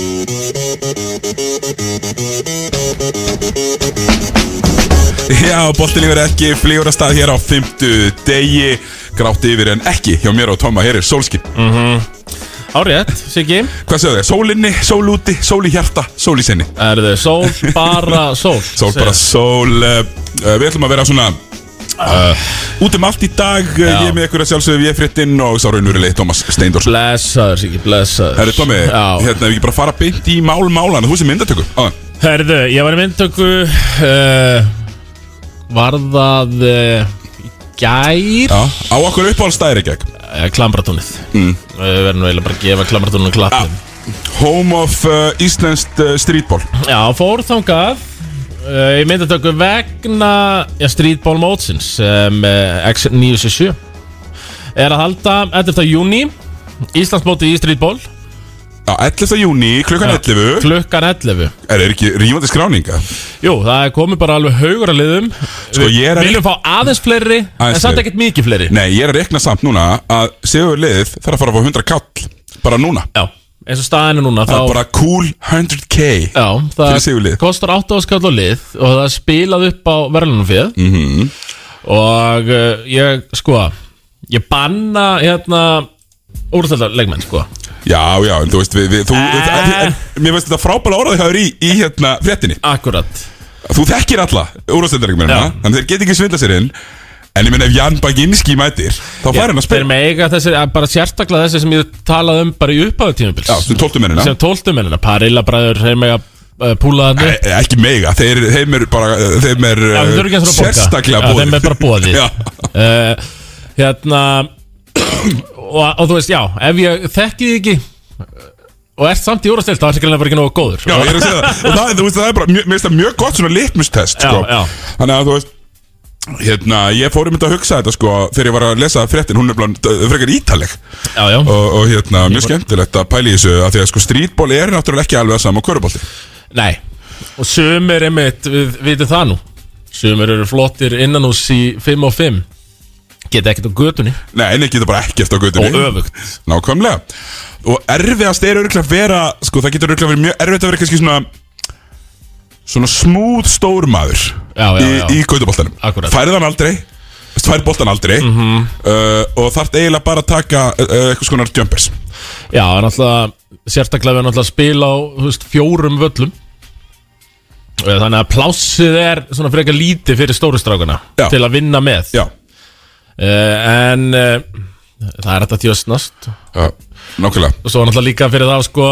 Já, boltin yfir ekki, flýgur að stað hér á fymtu degi Grátt yfir en ekki hjá mér og Tóma, hér er sólskin Árétt, Siggi Hvað segðu þið? Sólinni, sól úti, sól í hjarta, sól í sinni Er þið sól, bara sól Sól bara sól uh, uh, Við ætlum að vera svona uh, Út um allt í dag, uh, Já. ég er með ykkur að sjálfsögðu Ég er frittinn og sá raunveruleg Tómas Steindors Blessaður, Siggi, blessaður Herri Tómi, Já hérna ef við ekki bara fara beint í mál málan Þú sem myndatöku ah, Herðu, ég var í myndtöku uh, Var það uh, í Gær Já, á okkur uppáhaldstæðir ekki ekki uh, Klambratúnið mm. uh, Verðum eiginlega bara að gefa klambratúnum klappum Home of uh, Íslenskt uh, streetball Já, fór þangað uh, Í myndatöku vegna Já, Streetball Mótsins um, uh, X967 Er að halda 11. júni Íslandsmóti í Streetball Já, 11. júni, klukkan 11 Klukkan 11 Er það ekki rífandi skráninga? Jú, það er komið bara alveg haugur að liðum Sko, ég er að- Við viljum fá aðeins fleiri Aðeins En samt fleiri. ekkert mikið fleiri Nei, ég er að rekna samt núna að Sigur liðið þarf að fara að fá 100 kall Bara núna Já, eins og staðinu núna Það þá, er bara cool 100k Já, Fyrir sigurlið. það kostar 8 áskall á lið Og það er spilað upp á verðlunum fyrir -hmm. Mhm. Og uh, ég, sko Ég banna hérna Úrþelda leikmenn, sko Já, já, en þú veist við, við, þú, Ah. en, en, Mér veist þetta frábæla orðað hjá þér í, í hérna fréttinni Akkurat Þú þekkir alla úrvastendaringum Já. Þannig þeir get ekki svindla sér inn En ég meina ef Jan Baginski mætir Þá fær hann að Þeir spila mega þessi, eh, bara sérstaklega þessi sem ég talaði um bara í uppáðu tímabils Já, sem 12 mennina Sem tóltumennina, Parilla bræður, þeir mega uh, púla þarna upp. E- Ekki mega, þeir, þeim er bara Þeim er Já, þeir uh, eru ekki eins og að borga sérstaklega Já, bóðið Þeim er bara bóðið Já. uh, Hérna og, og þú veist, já, ef ég þekki þig ekki og ert samt í úrastelt þá er sikkerlega bara ekki nógu góður Já, ég er að segja það Og það, þú veist, það er bara, mjö- mér finnst það mjög gott svona litmustest, Já, sko já. Þannig að þú veist Hérna, ég fór um þetta að hugsa þetta, sko Þegar ég var að lesa fréttin, hún er blant uh, frekar ítaleg já, já. Og, og hérna, mjög skemmtilegt að pæla í þessu Af því að, sko, strítból er náttúrulega ekki alveg að sama Körubolti Nei, og sumir einmitt, við vitum það nú Sumir eru flottir innan hús í 5 og 5 Geta ekkert á götunni Nei, en ekki þetta bara ekkert á Og gautunni öfugt Nákvæmlega Og erfiðast er örgulega að vera Sko, það getur örgulega verið mjög erfitt að vera kannski svona Svona smúð stórmaður Já, já, Í, já. í kautuboltanum Akkurat. Mhm. Færið hann aldrei Færið boltan aldrei uh, Og þarf eiginlega bara að taka uh, Eitthvað skonar jumpers Já, það er náttúrulega sérstaklega við náttúrulega að spila á þú veist, fjórum völlum Eh, Þannig að plássið er svona frekar lítið fyrir stóru strákana Já. til að vinna með Já, uh, En uh, það er þetta tjósnast Og uh, nákvæmlega svo náttúrulega líka fyrir það sko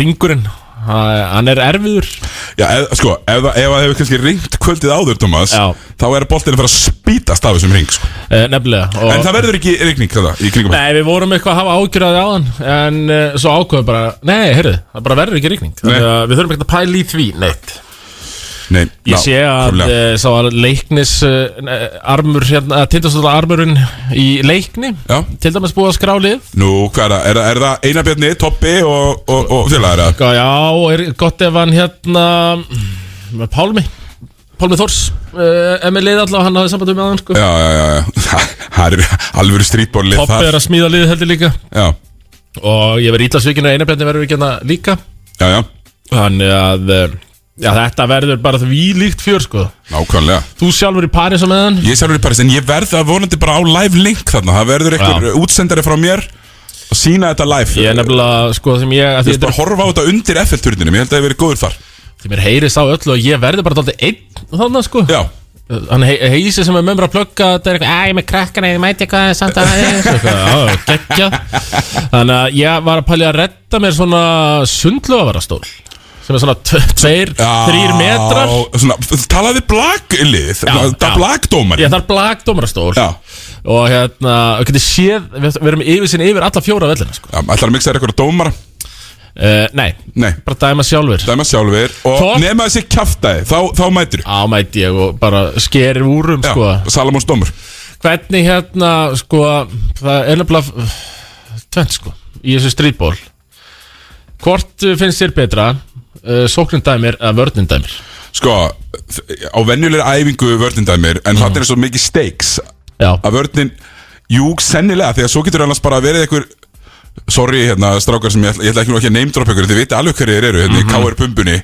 ringurinn Það- Hann er erfiður Já, eð, sko, ef, það- ef það hefur kannski ringt kvöldið áður, Thomas Já. Þá er boltin að fara að spýtast af þessum ring sko. uh, Nefnilega En það verður ekki rigning þetta í kringum Nei, við vorum eitthvað að hafa ágjur að áðan En uh, svo ákveðum bara Nei, heyrðu, það bara verður ekki rigning Þannig að Við þurfum ekkert að pæla í því Neitt Nei, Ég sé að nákvæmlega. e, sá að leiknis e, armur, hérna, tindastóla armurinn í leikni Já. til dæmis búið að skrá lið Nú, hvað er það? Er, það- er það Einarbjörni, Toppi og, og, og félagar? eða? Já, já, er gott ef hann hérna með Pálmi Pálmi Þórs, e, ef með lið allavega hann hafði sambandum með hann sko Já, já, já, já. Það er alvöru strítbólið Hopp er að smíða lið heldur líka Já, og ég verið ítlasvíkinu og einabjarni verður ekki hérna líka já, já, þannig að e, já, þetta verður bara því líkt fjör sko nákvæmlega Þú sjálfur í París á meðan Ég sjálfur í Paris, en ég verð að vonandi bara á live link þarna Það verður einhver útsendari frá mér og sína þetta live Ég er nefnilega, sko, sem ég, Þú að því veist þetta bara að horfa á þetta undir F-turninum, ég held að það verið góður þar er- mér heyrist á öllu og ég verði bara dálítið einn þannig, sko Já, hann hei- heisi sem er með mér að plugga þetta er eitthvað, æ, með krakkana, ég mæti eitthvað samt að það er eitthvað, já, geggja þannig að ég var að pæli að redda mér svona sundlugavarastól sem er svona t- tveir, já þrýr metrar svona, Talaði blagglið, já. það blagdómar ég þarf blagdómarastól Já, og hérna, og getið séð við, við erum yfir sinni yfir alla fjóra vellina sko. já, ætlar að mixa þér eitthvað dómara uh, nei, Nei, bara dæma sjálfur dæma sjálfur og Hvort- nema þessi kjaftaði, þá, þá mætir á mæti ég og bara skerir úrum Já, sko. Salamóns dómur hvernig hérna sko, það er nefnilega tvent sko, í þessu strítból hvort uh, finnst þér betra uh, sóknin dæmir eða vörnin dæmir Sko, þ- á venjulegri æfingu vörnin dæmir En þarna er svo mikið stakes já, Að vörnin, jú, sennilega Því að svo getur annars bara verið einhver sorry hérna strákar sem ég ætla, ég ætla ekki nú ekki að neymdropa ykkur þið viti alveg hverju þeir eru hérna í KR bumbunni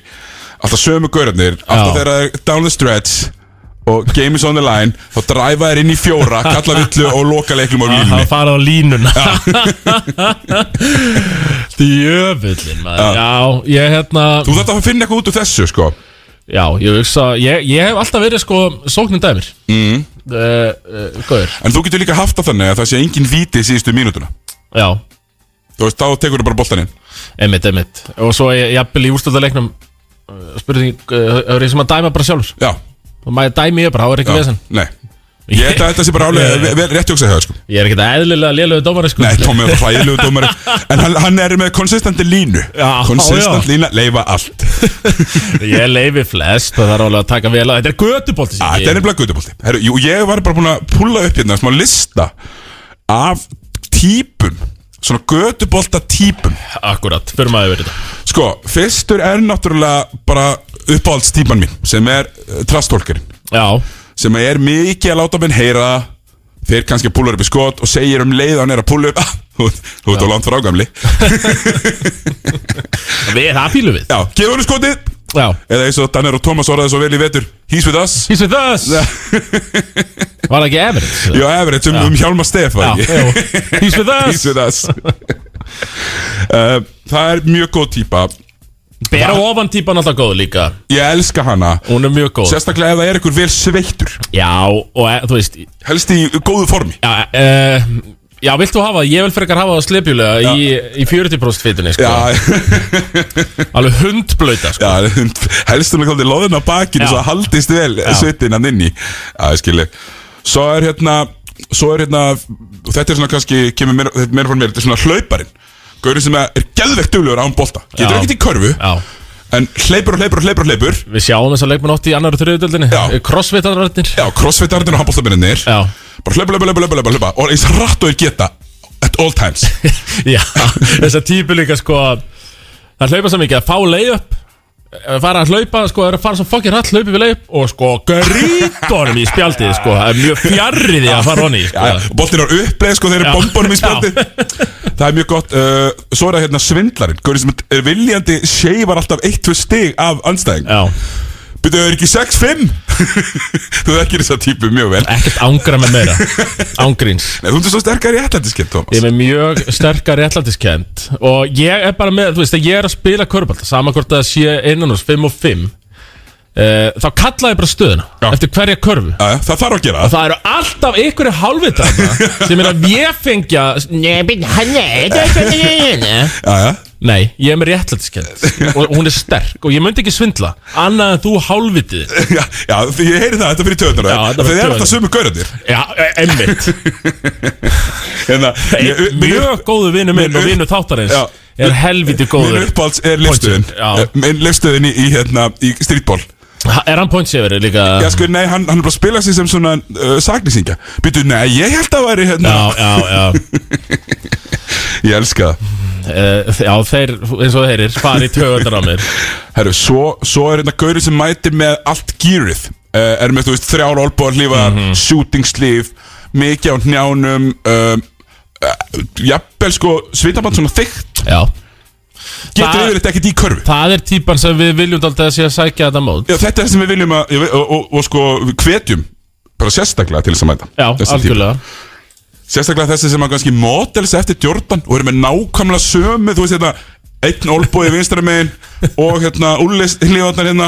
alltaf sömu gaurarnir alltaf Mhm. Já. þeirra down the stretch og game is on the line þá dræfa þeir inn í fjóra kalla villu og loka leiklum á Það línunni fara á línuna Djöfullin maður Já, ég hérna þú þarf að finna eitthvað út úr þessu sko Já, ég hugsa Ég, ég hef alltaf verið sko sóknin dæmir mm. uh, uh, Góður en þú getur líka haft það þannig að það sé engin víti síðustu mínútuna Já, þú veist þá tekur þú bara boltan inn einmitt, einmitt Og svo ég, ég í úrstöldarleiknum uh, Spurning, uh, er ég sem að dæma bara sjálfur já, Og maður dæmi ég bara, þá er ekki já vesen nei ég held að þetta sé bara Ég- álega vel rétt hugsað hjá þér, sko Ég er ekkert eðlilega lélögu dómari sko Nei, Tommy er hræðilegu dómari En hann, hann er með konsistandi línu Já, Konsistent já. lína, leifa allt Ég leifi flest og það er alveg að taka vel að Þetta er götubólti Á, Ah, Þetta er nefnilega guttubolti Herru, jú, Ég var bara búin að pulla upp hérna smá lista af típum Svona götubolta típum Akkurat, fyrir maður verið þetta Sko, fyrstur er náttúrulega bara uppáhalds típan mín sem er uh, trastólkerinn Já, sem er mikið að láta menn heyra það, þeir kannski púlar upp í skot og segir um leið að hann er að púla upp "Ah, Þú ert- þú ert á langt frá gamli við, það fýlum við Já, gefa hann skotið Já Eða eins og Danner og Thomas orðaði svo vel í vetur He's with us He's with us Var það ekki Everett? Jó, Everett um, um Hjálmar Steff var ekki? jú. He's with us He's with us uh, Það er mjög góð típa Bera ofan típan alltaf góð líka Ég elska hana Hún er mjög góð Sérstaklega ef það er ykkur vel sveittur Já, og e, þú veist Já, Helst í góðu formi e, já viltu hafa það? Ég vil frekar hafa það slepjulega í, í 40% fitunni sko. Já, Alveg hundblöta sko. já helst hún að koma til loðin á bakinu Já. Svo það haldist vel sveitin hann inn í Já, ég skilji Svo er hérna Svo er hérna og Þetta er svona kannski Kemur meira, þetta er meira frá mér Þetta er svona hlauparinn Gaurinn sem er gerðvegt duglegur án bolta Getur Já. ekkert í körfu Já En hleypur og hleypur og hleypur og hleypur Við sjáum þess að leikmenn oft í annar og Eh, þriðutöldinni Já. Crossfitararnir Já, crossfit-arðin og handbóltabinnir Já. Bara hlaupa, hlaupa, hlaupa, hlaupa, hlaupa Og eins hratt og þeir geta At all times Já, þess að típu líka sko Það hlaupa svo mikið að fá leiðup fara að hlaupa, sko, er að fara svo fokkir hratt hlaupi við leið og sko grítunum í spjaldið, sko, það er mjög fjarrið að fara honni, sko, Já, Boltin er uppleið, sko, þeir eru Já. bombunum í Já. spjaldi Það er mjög gott uh, Svo er það hérna svindlarinn Guðurinn sem er viljandi Seifar alltaf 1-2 stig af anstæðing já, Byrðu, þau eru ekki 6-5 Þú þekkir þessa típu mjög vel Nei, ekkert ángra með meira ángríns, þú ert svo sterkar í ætlandiskinn, Thomas ég er með mjög sterkar réttlætiskend og ég er bara með, þú veist, ég er að spila körbalt, sama hvort það sé innan hos 5 og 5 eh, þá kalla ég bara stöðuna, Já. eftir hverja körfu Já, já, Það þarf að gera Það eru alltaf ykkur halvvitar sem er að vefengja Nei, byrja, hann er þetta er þetta Já, já Nei, ég er með réttlætiskend og hún er sterk og ég myndi ekki svindla annað en þú halvvitið Já, já, því ég heyri það, þetta fyrir töðunar Já, þetta Þeir fyrir eru taugarnar. alltaf sömu gaurarnir Já, e, emmitt Hérna, ég- Mjög góðu vinnu minn og vinnu þáttarins Já. er helviti Minn góður uppáhalds er lifstöðin Já. Minn lifstöðin í, í, hérna, í streetball Ha- Er hann pointseferi líka? Já sko, nei, hann, hann er bara að spila sig sem svona uh, sagnýsingja Býtu, nei, ég held að væri hérna Já, já, já Ég elska það Eh, Já, þeir, eins og þeir er farið í tögundar á mér Herru, svo, svo er hérna gaurið sem mætir með allt gýrið uh, Er með, þú veist, þrjár olbúar hlífar Mhm. Shooting sleeve Mikið á njánum um, uh, Jafnvel sko, svitabann svona þykkt Já Getur Það- yfirleitt ekkert í körfu Það er típan sem við viljum aldrei að sé að sækja þetta mót Já, þetta er það sem við viljum að, og, og, og, og sko, við hvetjum bara sérstaklega til þess að mæta Já, Þessa típu. algjörlega Sérstaklega þessi sem að kannski models eftir Jordan og eru með nákvæmlega sömu Þú veist hérna, einn olbói vinstra megin og hérna Ullis hlífarnar hérna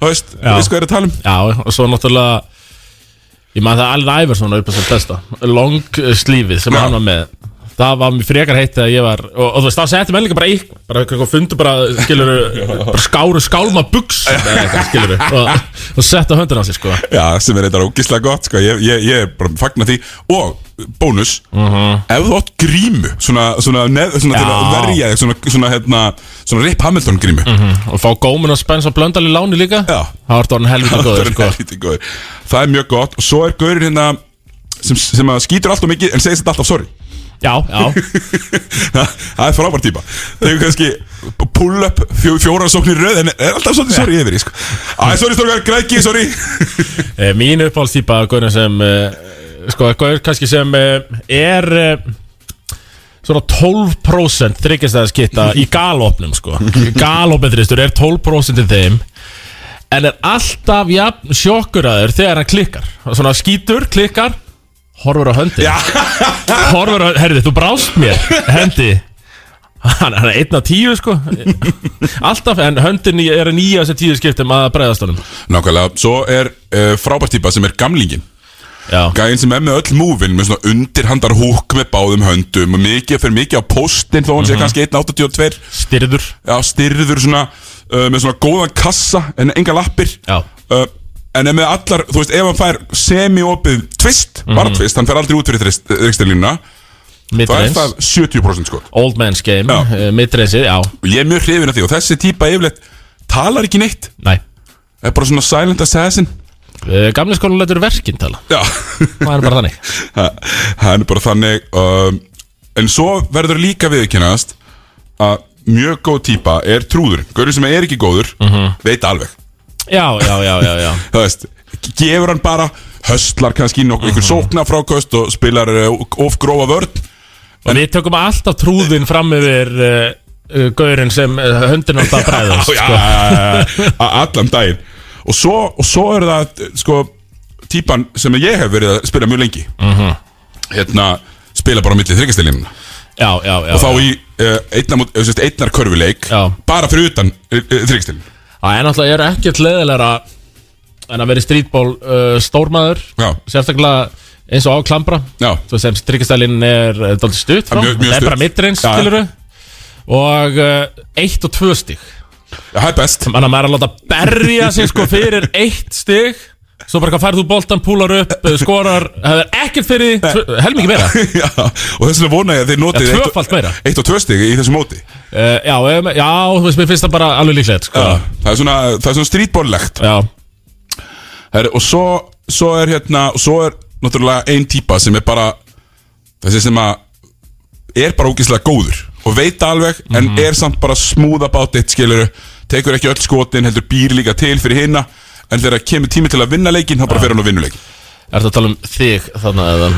Þú veist, þú Já. veist hvað ég er að tala um Já, og svo náttúrulega Ég maður það alveg æfur svona upp að sér besta Long eh, slífið sem Já. hann var með Það var mér frekar heitt að ég var Og, og þú veist, þá setti menn líka bara í Bara eitthvað fundu bara, skilur Bara skáru skálma buks Skilur og, og setta höndin á sig, sko Já, sem er eitthvað ógislega gott, sko, ég, ég, ég er bara fagna því Og, bónus, ef þú átt grímu, svona, svona, neð, svona til að Mhm. Já. Mhm, verja þig, svona, svona, hérna, svona Rip Hamilton grímu Og fá gómin og spens og blöndal í láni líka Mm. Já. Það var orðin helvita Það góður, er sko helviti góður. Það er mjög gott, og svo er gaurinn hérna sem, sem að skýtur alltaf mikið en segir þetta alltaf sorry Já, já, Þa- það er frábær típa Þegar kannski pull up fjó, fjóra sóknir í röð En er alltaf svolítið sorry yfir í sko Æ, sorry stórkar, græki, sorry Eh, Mín uppáhaldstýpa Gaurin sem eh, Sko, Gaur kannski sem eh, er eh, svona 12% þryggjastæðaskitta í galopnum sko galopinþristur er 12% í þeim en er alltaf jafn sjokkur að þér þegar hann klikkar svona skítur, klikkar horfur á höndi Já. horfur á, herði, þú brást mér hendi hann, hann er einn af tíu sko alltaf, en höndin í- er í nýja þessi tíu skiptum að bregðast honum Nákvæmlega, svo er uh, frábært típa sem er gamlingin já, Gæðin sem er með öll múvin með svona undirhandar húk með báðum höndum og mikið fyrir mikið á postin þó hann sé kannski 1.82 styrður Já, styrður svona uh, með svona góðan kassa en enga lappir Já. uh, En er með allar, þú veist, ef hann fær semi-opið tvist, bara tvist, hann fer aldrei út fyrir rekstilínuna þá er midreins, það 70% skot old man's game Já. eh, midreinsið, já, og ég er mjög hrifin af því og þessi típa yfirleitt talar ekki neitt næ er bara svona silent assassin Eh, Gamli skólan letur verkinn tala já Það er bara þannig Ha- hann er bara þannig um, en svo verður líka viðkennast að mjög góð típa er trúður gaurið sem er ekki góður veit alveg Já, já, já, já, já það veist gefur hann bara höstlar kannski nokkuð ykkur sókna frákost og spilar uh, of grófa vörn Og við tökum alltaf trúðin fram yfir uh, uh, Gaurinn sem uh, höndin alltaf bræðast Já, sko. já, já, já, allan daginn og svo, og svo er það sko, típan sem ég hef verið að spila mjög lengi Mhm. hérna, spila bara á milli þryggastilinn já, já, já, þá já. í uh, einnar, mót- eh, sem sagt, einnar körfuleik Já. bara fyrir utan uh, þryggastilinn Það er náttúrulega, ég er ekkert leðilega En að vera í strítból uh, stórmaður Já. Sérstaklega eins og á klambra Já. Svo sem strikkistælinn er uh, Daldið stutt frá Ja, mjög- mjög Það stutt. er bara mittreins, Já. skilur Og uh, eitt og tvö stík það er best Þannig að maður er að láta berja sig sko fyrir eitt stig Svo bara hvað færðu boltan, púlar upp, eh, skorar Það er ekkert fyrir, því, tvö- helmingi meira uh, Já, og þess vegna vona ég að þeir notið Já, eitt og- tvöfalt meira. eitt og tvö stig í þessu móti Já, um, já, þú veist, mér finnst það bara alveg líklegt sko. það er svona, það er svona strítbóllegt Já, Her, og svo, svo er hérna og svo er náttúrulega ein típa sem er bara þessi sem að er bara ógeðslega góður og veit alveg Mhm. en er samt bara smúð about it skilur, tekur ekki öll skotin heldur býr líka til fyrir hinna en þegar kemur tími til að vinna leikinn þá bara fer hann og vinna leikinn ertu að tala um þig þannig að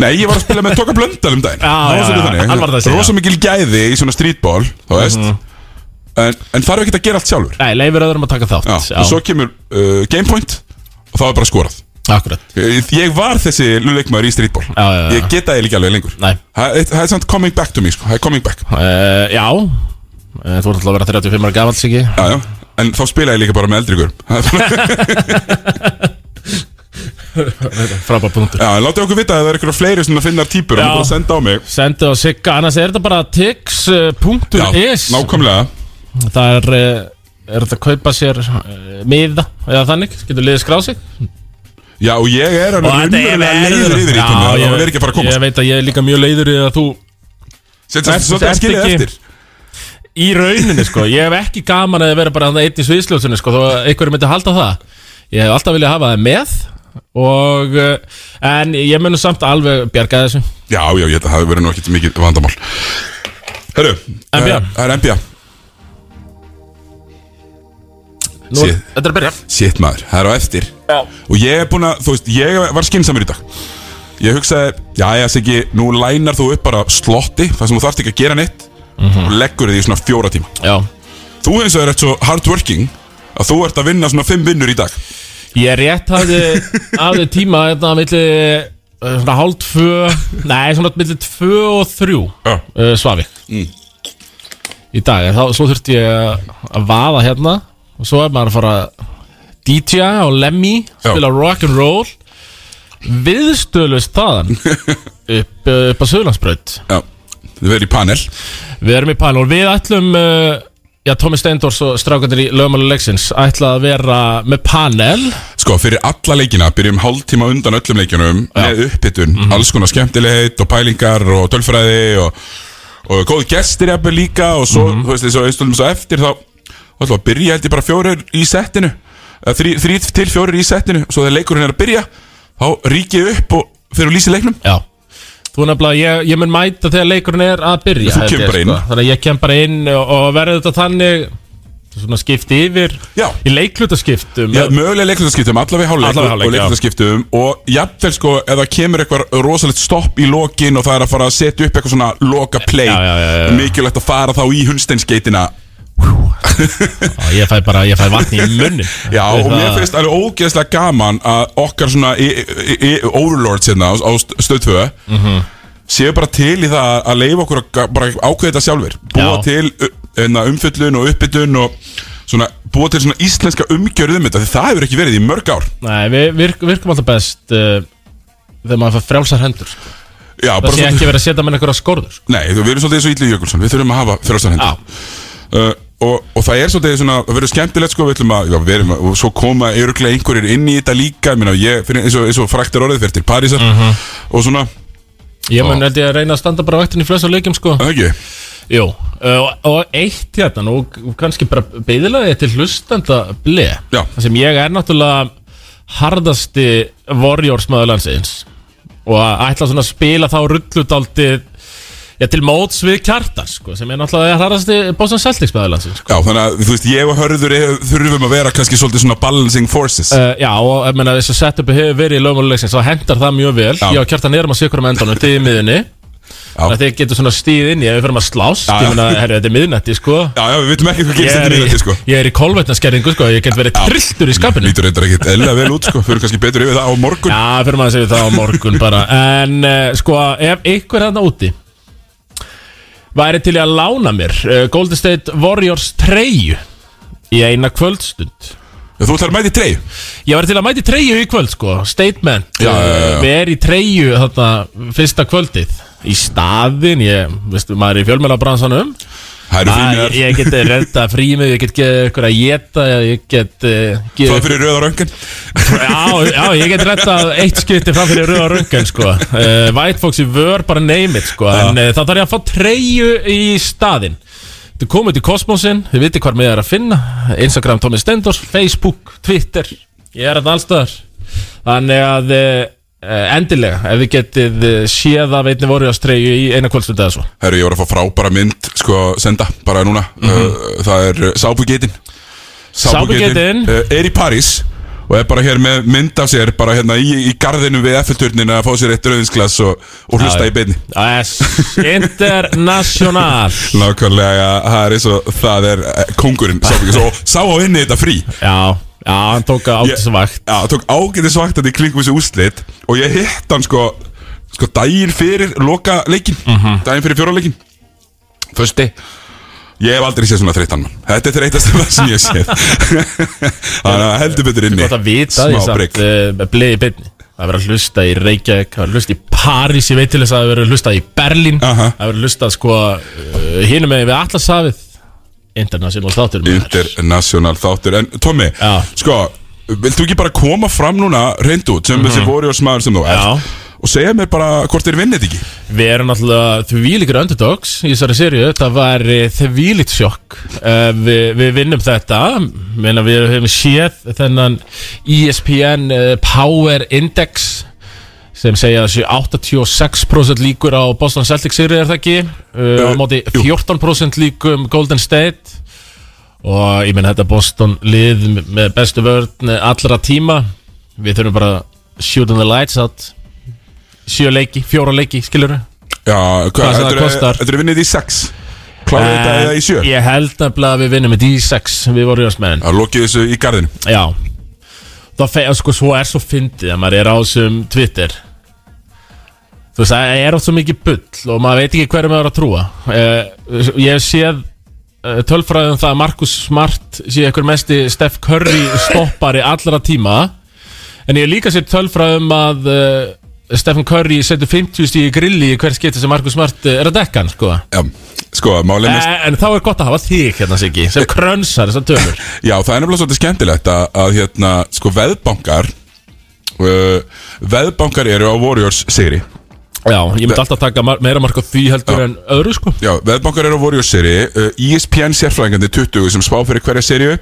Nei, ég var að spila með Tóka Blöndal um daginn Já, Það var já, svolítið já, þannig. hann var þessi, Rosa já. Mhm. mikil gæði í svona streetball Þá veist En, en þarf ekki að gera allt sjálfur Nei, leifir öðrum að taka þátt Já, og svo kemur uh, Gamepoint og þá er bara skorað Akkurat Ég Eh, ég var þessi luleikmaður í streetball Já, já, já. Ég geta það líka alveg lengur Nei. Það það er samt coming back to me sko. Það er coming back uh, Já, Eh, þú ert alltaf að vera 35 ára gamall, Siggi já, já. En þá spila ég líka bara með eldri ykkur Já, Frábær punktur en látið okkur vita að það er ykkur fleiri sem finnar típur og Já. bara senda á mig Sendu á Sigga, annars er þetta bara eh, Já, tix.is nákvæmlega Það er, eh, er þetta að kaupa sér uh, miða eða þannig, getur liðið skráð sig Já, og ég er alveg raunverulega leiður yfir í Já, tónlega ég- Það er ekki að fara að komast Ég veit að ég er líka mjög leiður í að þú Sett það Ert- svolítið að ert skilja ekki- eftir Í rauninni sko, ég hef ekki gaman að vera bara einn í sviðsljósunni sko Þó að einhverju myndi halda það Ég hef alltaf viljað hafa það með Og, eh, en ég mun nú samt alveg bjarga þessu Já, já, ég held að það hafi verið nú ekkert mikið vandamál Herru, NBA. eh, Það er NBA Nú, Séð. Þetta er að byrja Sitt maður, það er á eftir Já. Og ég er búin að, þú veist, ég var skinsamur í dag Ég hugsaði, já, já, Siggi Nú lænar þú upp bara slotti Það sem þú þarft ekki að gera neitt Og leggur þig í svona fjóra tíma Já Þú hins vegar ert svo hardworking Að þú ert að vinna svona fimm vinnur í dag Ég rétt hafði, hafði tíma þetta milli eh, svona hálf tvö Nei, svona milli tvö og þrjú Já. uh, Svavík Í dag, en þá, svo þurfti ég að vaða hérna Og svo er maður að fara að DJ á Lemmy Já. Spila rock and roll Viðstölust þaðan upp, eh, upp á Söðlandsbraut Já, þið verður í panel Við erum í pæl og við ætlum uh, Já, Tómi Steindors og strákandir í lögmálu leiksins ætla að vera með panel Sko, fyrir alla leikina, byrjum hálftíma undan öllum leikinum með uppbytun, alls konar skemmtilegheit og pælingar og tölfræði og, og góð gestir jafnvel líka og svo, þú veist, þessu aðstöldum svo eftir þá, þá ætlum við að byrja held ég bara fjórir í settinu, eða þrí, þrí til fjórir í settinu, svo þegar leikurinn er að byrja þá rík ég upp og fyrir að lýsa leiknum Já Þú nefnilega, ég, ég mun mæta þegar leikurinn er að byrja Þú held ég, kemur bara inn. Þannig að ég kem bara inn og, og verður þetta þannig svona skipti yfir Já. í leiklutaskiptum Já, mögulega leiklutarskiptum, allavega í hálfleik Allavega í og hálfleik, já. leiklutarskiptum og jafnvel sko, ef það kemur eitthvað rosalegt stopp í lokin og það er að fara að setja upp eitthvað svona loka play Já, já, já, já. mikilvægt að fara þá í hundsteinskeitina Já, ég fæ bara, ég fæ vatni í munnin Hérna, Já, og mér finnst alveg ógeðslega gaman að okkar svona í- í- í- overlords hérna á, á stöðtöðu mm Mhm. séu bara til í það að leifa okkur að ga- bara ákveða þetta sjálfur búa Já. til uh, hérna, umfyllun og uppbytun og svona, búa til svona íslenska umgjörð um þetta því það hefur ekki verið í mörg ár Nei, við virk, virkum alltaf best uh, þegar maður fær frjálsar hendur sko. Já, Það bara sé svona, ekki verið að setja með einhverja skorður sko. nei, þú- við erum svolítið eins og Íli Jökulsson við þurfum að hafa fyrirastan hendur uh, og, og það er svolítið svona, það verður skemmtilegt sko, við ætlum að, já, við erum, að- og svo koma öruglega einhverjir inn í þetta líka, ég meina, ég, fyrir, eins og, eins og frækt er orðið fyrir til Parísar Mhm. og svona, Ég mun held ég að reyna að standa bara á vaktinni í flestum leikjum sko. er það ekki? Jú, uh, og- og eitt hérna nú og kannski bara beðilega til hlustanda ble Já. Það sem ég er náttúrulega harðasti warriors maður landsins og að ætla svona að spila þá rullutaldið Já, til móts við kjartar, sko, sem er náttúrulega harðasti Boston Celtics maður landsins, Já, þannig að, þú veist, ég og Hörður eh, þurfum að vera kannski svolítið svona balancing forces Uh, já, og ég meina þess að setupi hefur verið í lögmálulegsins þá hendar það mjög vel Já. Já, og kjartan erum að sikra með endanum til í miðunni Þannig að þið getur svona stíð inn í ef við fyrir að slást Já, já. Ég meina, herri, þetta er miðnætti, sko Já, já, við vitum ekki hvað Ég gerist þetta er, miðvætti, sko í, ég er í kolvetnaskerðingu, sko Ég get verið trilltur í skapinu Já, Lítur reyndar ekkit eðlilega vel út, sko, fyrir kannski betur yfir það á morgun fyrir maður að segja það á morgun bara En, uh, sko, ef ykkur þarna úti væri til í að lána mér uh, Golden State Warriors 3 í eina kvöldstund Þú ætlar að mæti trey Ég var til að mæti treyju í kvöld sko Statement Já, já, já, já. Eh, Við erum í treyju þarna fyrsta kvöldið Í staðin, ég, veistu, maður er í fjölmjölabransanum Það eru Ég, frímiðar, ég get redda frímið, ég get geða ykkur að geta Ég get uh, það geð, er fyrir rauða röngan já, já, ég get reddað eitt skipti fram fyrir rauða röngan sko uh, White Fox í vör, bara name it sko En uh, þá þarf ég að fá treyju í staðin Þið komið til Kosmosin, þið vitið hvar miðað er að finna Instagram Tommy Stendors, Facebook, Twitter Ég er þetta allstaðar Þannig að uh, endilega, ef þið getið uh, séð af einni voru treyju í eina kvöldstund eða svo Herru, ég var að fá frábæra mynd, sko, senda, bara núna uh, Það er uh, Sábugeitin Mhm. Sápugeitin. uh, Er í París Og er bara hér með mynd af sér Bara hérna í, í garðinu við Eiffelturnin Að fá sér eitt rauðinsglas og, og hlusta Já, í beinni Yes, international Nákvæmlega, það er eins og það er eh, kongurinn Sábugeitin Og sá á inni þetta frí Já, já, hann tók að átt þessu vakt Já, tók ágætis vakt Þetta í kringum þessu úslit Og ég hitt hann sko Sko daginn fyrir loka leikin Mhm. Daginn fyrir fjóra leikin Fösti Ég hef aldrei séð svona þreyttan mann Þetta er þreytast það sem ég hef séð Þannig að heldur betur inni gott að vita því Smá brygg samt uh, bleið í beinni Það verður að hlusta í Reykjavík, það verður að hlusta í París, ég veit til þess að það verður að hlusta í Berlín Aha. Það verður að hlusta sko uh, hinum með við Atlasafið International þáttur maður. International þáttur En Tommi, Já. sko Viltu ekki bara koma fram núna reynd út Sem þessi Warriors maður sem þú Mhm. Já. ert Og segja mér bara hvort þeir vinnið ekki Við erum náttúrulega þvílíkur underdogs í þessari sériu, það var eh, þvílíkt sjokk uh, við, við vinnum þetta, Meina, við hefum séð þennan ESPN eh, Power Index sem segja að séu 86% líkur á Boston Celtics sériu er það ekki, uh, á Eh, móti jú. 14% líkum Golden State og ég meina þetta Boston lið með bestu vörn eh, allra tíma, við þurfum bara shooting the lights out sjö leiki, fjóra leiki, skilur Já, Hvað sem það heldurðu- kostar. Eh, heldurðu vinnið í 6 Kláðu þetta eða í 7 Ég held nefnilega að við vinnum með D6 Við vorum jörsmenn Það lokið þessu í garðinu Já Það fe- sko, svo er svo fyndið að maður er á þessum Twitter Þú veist, það er oft svo mikið bull og maður veit ekki hverju maður er að trúa uh, Ég hef séð uh, tölfræðum það að Markus Smart sé ekkur mesti Steph Curry stoppari allra tíma En ég hef líka séð tölfræðum að uh, Stephen Curry setur 50 stíð í grilli í hver skipti sem Markus Smart uh, er að dekka hann, sko Já, sko, málið með Eh, En, en þá er gott að hafa þig hérna Siggi Eh. sem krönsar þessar tölur Já, það er nefnilega svolítið skemmtilegt að, að hérna, sko, veðbankar uh, Veðbankar eru á Warriors sigri Já, ég myndi alltaf taka mar meira mark á því heldur en öðru sko Já, veðbankar E eru á Warriors sigri uh, ESPN sérfræðingandi 20 sem spá fyrir hverja sériu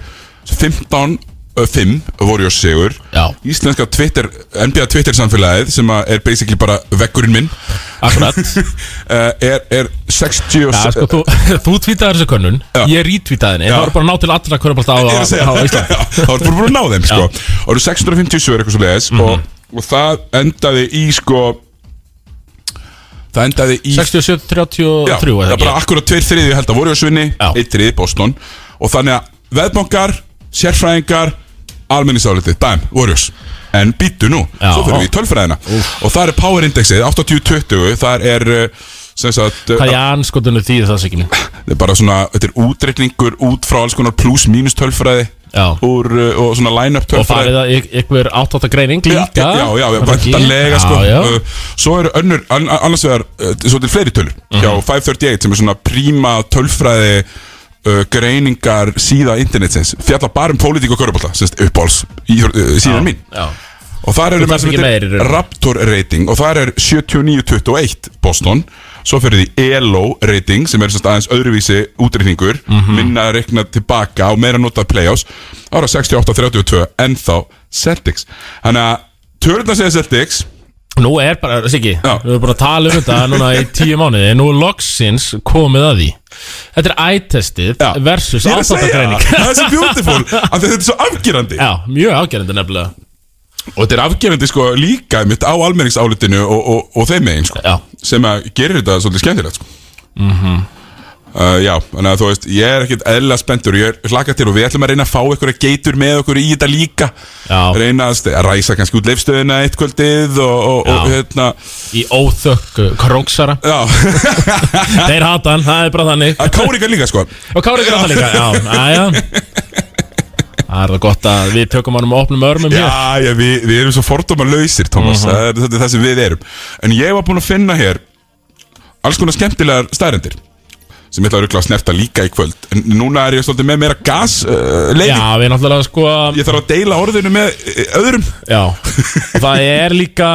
15 ö, fimm Warriors sigur Já. Íslenska Twitter, NBA Twitter samfélagið sem að er basically bara vekkurinn minn Akkurat uh, er, er 60 og Já, sko, þú, þú tvítaði þessu könnun Já. Ég rítvítaði henni Já. Það voru bara að ná til allra körpallta á, á, Ég er að segja á Íslandi Já, þá ertu bara búin að ná þeim sko. og eru 650 sögur eitthvað svo leiðis og, og það endaði í sko það endaði í 67, Já, 33 það eða er bara ekki akkurat tveir þriðju held að voru að svinni Já. eitt þriðju Boston og þannig að veðbankar, sérfræðingar almenningsálitið, dæm, Warriors en býttu nú, Já. svo fyrir við í tölfræðina og það er power indexið, 80-20 það er uh, sem sagt uh, Hvað ég anskotunni því það sé ekki mín það er bara svona, þetta er útreikningur út frá alls konar pluss mínus tölfræði Já. úr, uh, og svona line-up Og tölfræði farið að y- ykkur átt greining Já, líka já, já, já, Var það ekki? vantanlega sko Já, já. Uh, Svo eru önnur, an- annars vegar uh, Svo til fleiri tölur Mhm. Hjá 538 sem er svona príma tölfræði uh, Greiningar síða internetsins Fjalla bara um pólitík og körubólta Sérst uppáls í, uh, síðan mín Já, Og þar eru Þú menn þarft sem ekki meira í heitir rauninni. Raptor rating Og þar er 79-21 Boston Svo fyrir því ELO rating Sem er sérst aðeins öðruvísi útrýningur Mhm. Minna að rekna tilbaka og meira notað playoffs Ára 68-32 Ennþá Celtics Þannig að Törna segja Celtics Nú er bara, Siggi, Já. við erum bara að tala um þetta núna í tíu mánuði Nú er loksins komið að því Þetta er ættestið Já. versus Ég er að segja áttáttakreining Það er svo beautiful af því að Þetta er svo afgerandi Já, mjög ágerandi nefnilega Og þetta er afgerandi sko líka mitt á almenningsálitinu og, og, og þeim megin sko Já. Sem að gerir þetta svolítið skemmtilegt sko Mhm. uh, Já, þannig að þú veist Ég er ekkert eðla spenntur og Ég er hlakað til og við ætlum að reyna að fá einhverja geitur með okkur í þetta líka Já. Reyna að, st- að ræsa kannski út leifstöðina eitt kvöldið og, og, og Já. hérna Í óþökk uh, króksara Já Þeir hata hann, það er bara þannig Að Kári kann líka sko Og Kári gráta líka Já, aðja Það er það gott að við tökum hann um opnum örmum hér Já, já við, við erum svo fordóma lausir, Mhm. Thomas það, er, það er það sem við erum En ég var búinn að finna hér Alls konar skemmtilegar stærendir Sem ég ætla að rugla að snerta líka í kvöld En núna er ég svolítið með meira gas uh, Já, leiðing. við náttúrulega sko Ég þarf að deila orðinu með uh, öðrum Já, og það er líka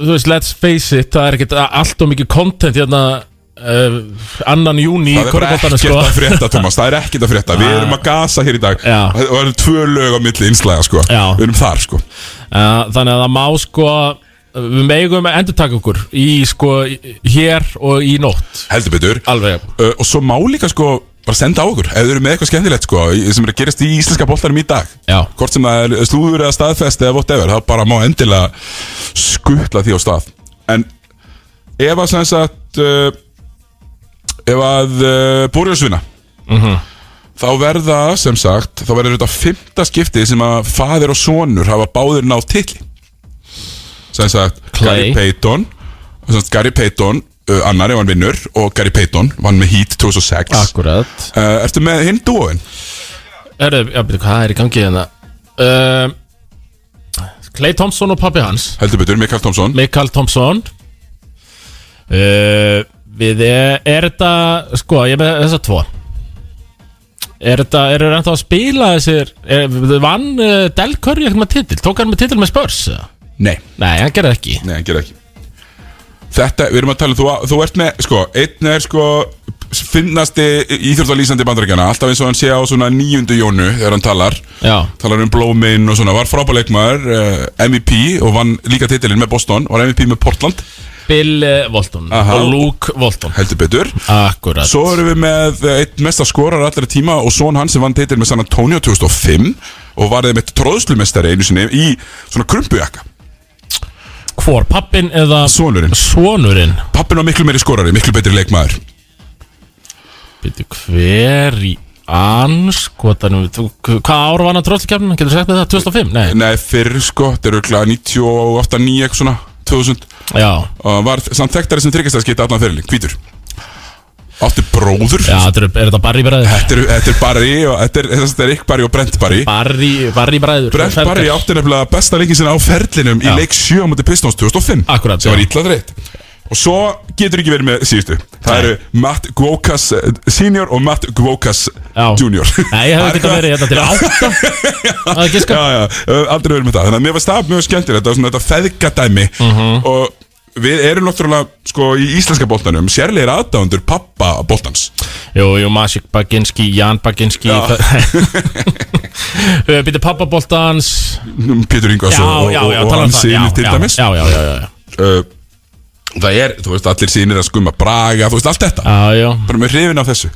Þú veist, let's face it Það er ekkert a- allt og mikið content hérna uh, Annan júni í Það er bara korfbóttanum ekkert sko að frétta, Thomas Það er ekkert að frétta Við erum að gasa hér í dag Já. Og það eru tvö lög á milli innslæða sko Já. Við erum þar sko Uh, þannig að það má sko Við megum að endur taka okkur Í sko, í- hér og í nótt Heldur betur Alveg uh, Og svo má líka sko bara senda á okkur Ef þau eru með eitthvað skemmtilegt sko í- Sem er að gerast í íslenska boltanum í dag Já. Hvort sem það er slúður eða staðfest eða whatever Það bara má endilega skutla því á stað En ef að sem sagt uh, Ef að uh, Borjós vinna Mhm. Þá verða sem sagt Þá verður þetta fymta skiptið sem að Fadir og sonur hafa báðir náð titli Sem sagt Clay. Gary Payton sem sagt, Gary Payton uh, annar ef hann vinnur Og Gary Payton vann með Heat 2006 Ah. Akkurat Uh, ertu með hinn dúofinn? Erðu, já, byrju, hvað er í gangi hérna? Uh, Clay Thompson og pappi hans Heldur betur, Mikael Thompson Mikael Thompson uh, Við er, er þetta Sko, ég er með þessa tvo Er þetta, eru þeir ennþá að spila þessir er, Vann uh, Del Curry eitthvað með titil Tók hann með titil með Spurs eða? Nei Nei, hann gerði ekki Nei, hann gerði ekki Þetta, við erum að tala, þú, þú ert með, sko, einn er sko finnasti íþjóðalýsandi bandarækjana Alltaf eins og hann sé á svona nýjundu jónu þegar hann talar Já, Talar um blómin og svona, var frábæleikmaður, uh, MVP og vann líka titilinn með Boston Var MVP með Portland, Bill uh, Walton Aha. og Luke Walton heldur betur Akkurat Svo erum við með eh, einn mesta skorar allra tíma og son hann sem vann titil með San Antonio 2005 Og var þeim eitt tróðslumestari einu sinni í svona krumpujakka Hvor, pappin eða Sonurinn, sonurinn pappin var miklu meiri skorari, miklu betri leikmaður Býtu, hver í anskotanum þú- Hvað ár var hann að tróðlkjafnum? Getur sagt með það? 2005? Nei, Nei, fyrr sko, þetta eru klæða 98, 9, eitthvað svona, 2000 já og var samt þekktari sem tryggastæðskipti allan fyrirlin, hvítur Átti bróður Já, þetta eru- er þetta Barry bræður Þetta er, þetta er Barry og þetta er, þetta er Rick Barry og Brent Barry Barry, Barry bræður Brent Feldgar. Barry átti nefnilega besta leikin sinna á ferlinum Já. í leik 7 á múti Pistons 2005 Akkurat, sem var já. illa dreitt og svo getur ekki verið með síðustu það Nei. eru Matt Gwokas eh, senior og Matt Gwokas Já. junior Nei, ég hefði þetta eitthvað- verið hérna til átta Það er giska Mhm. já, já, uh, aldrei verið með það Þannig að mér var stað mjög skemmtilegt Þetta var svona þetta feðgadæmi Og við erum náttúrulega sko í íslenska boltanum sérlegir aðdáðundur pappa boltans Jú, jú, Masik Baginski, Jan Baginski Eh, Já. Býtti pappaboltans Pétur Ingvars Já, og, já, og, já, og tala um hans það Já, sínir til já, dæmis Já, já, já, já, já. uh, Það er, þú veist, allir sínir að skumma braga, þú veist, allt þetta já, já. Bara með hrifin af þessu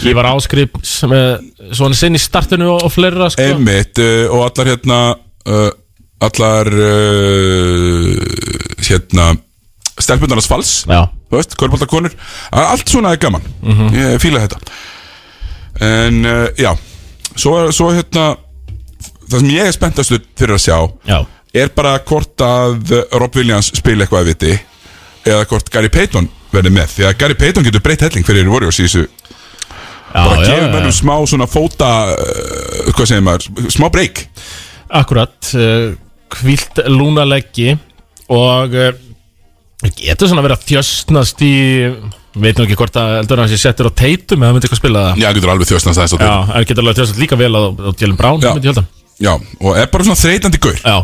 Ég var áskrip með eh, svona sinn í startinu og, og fleira sko. Einmitt, uh, og allar hérna uh, Allar uh, Hérna Stelpundarnas fals Já, Þú veist, körbóltakonur Allt svona er gaman, ég fíla þetta En uh, já svo, svo hérna Það sem ég er spenntastu fyrir að sjá já Er bara hvort að Rob Williams spila eitthvað að viti Eða hvort Gary Payton verði með Því að Gary Payton getur breytt helling fyrir voru og síðustu Já, Bara já, gefur já, mönnum já. smá svona fóta uh, Hvað segir maður, smá break Akkurat uh, Hvílt lúnaleggi Og uh, Getur svona verið að þjösnast í Veit nú ekki hvort að eldur hans ég settur á teitum Eða myndi eitthvað spila það Já, hann getur alveg þjóðsnast aðeins á Já, þetta en getur alveg þjösnast líka vel á, á Jalen Brown Já. myndi ég held að Já, og er bara svona þreytandi gaur Já,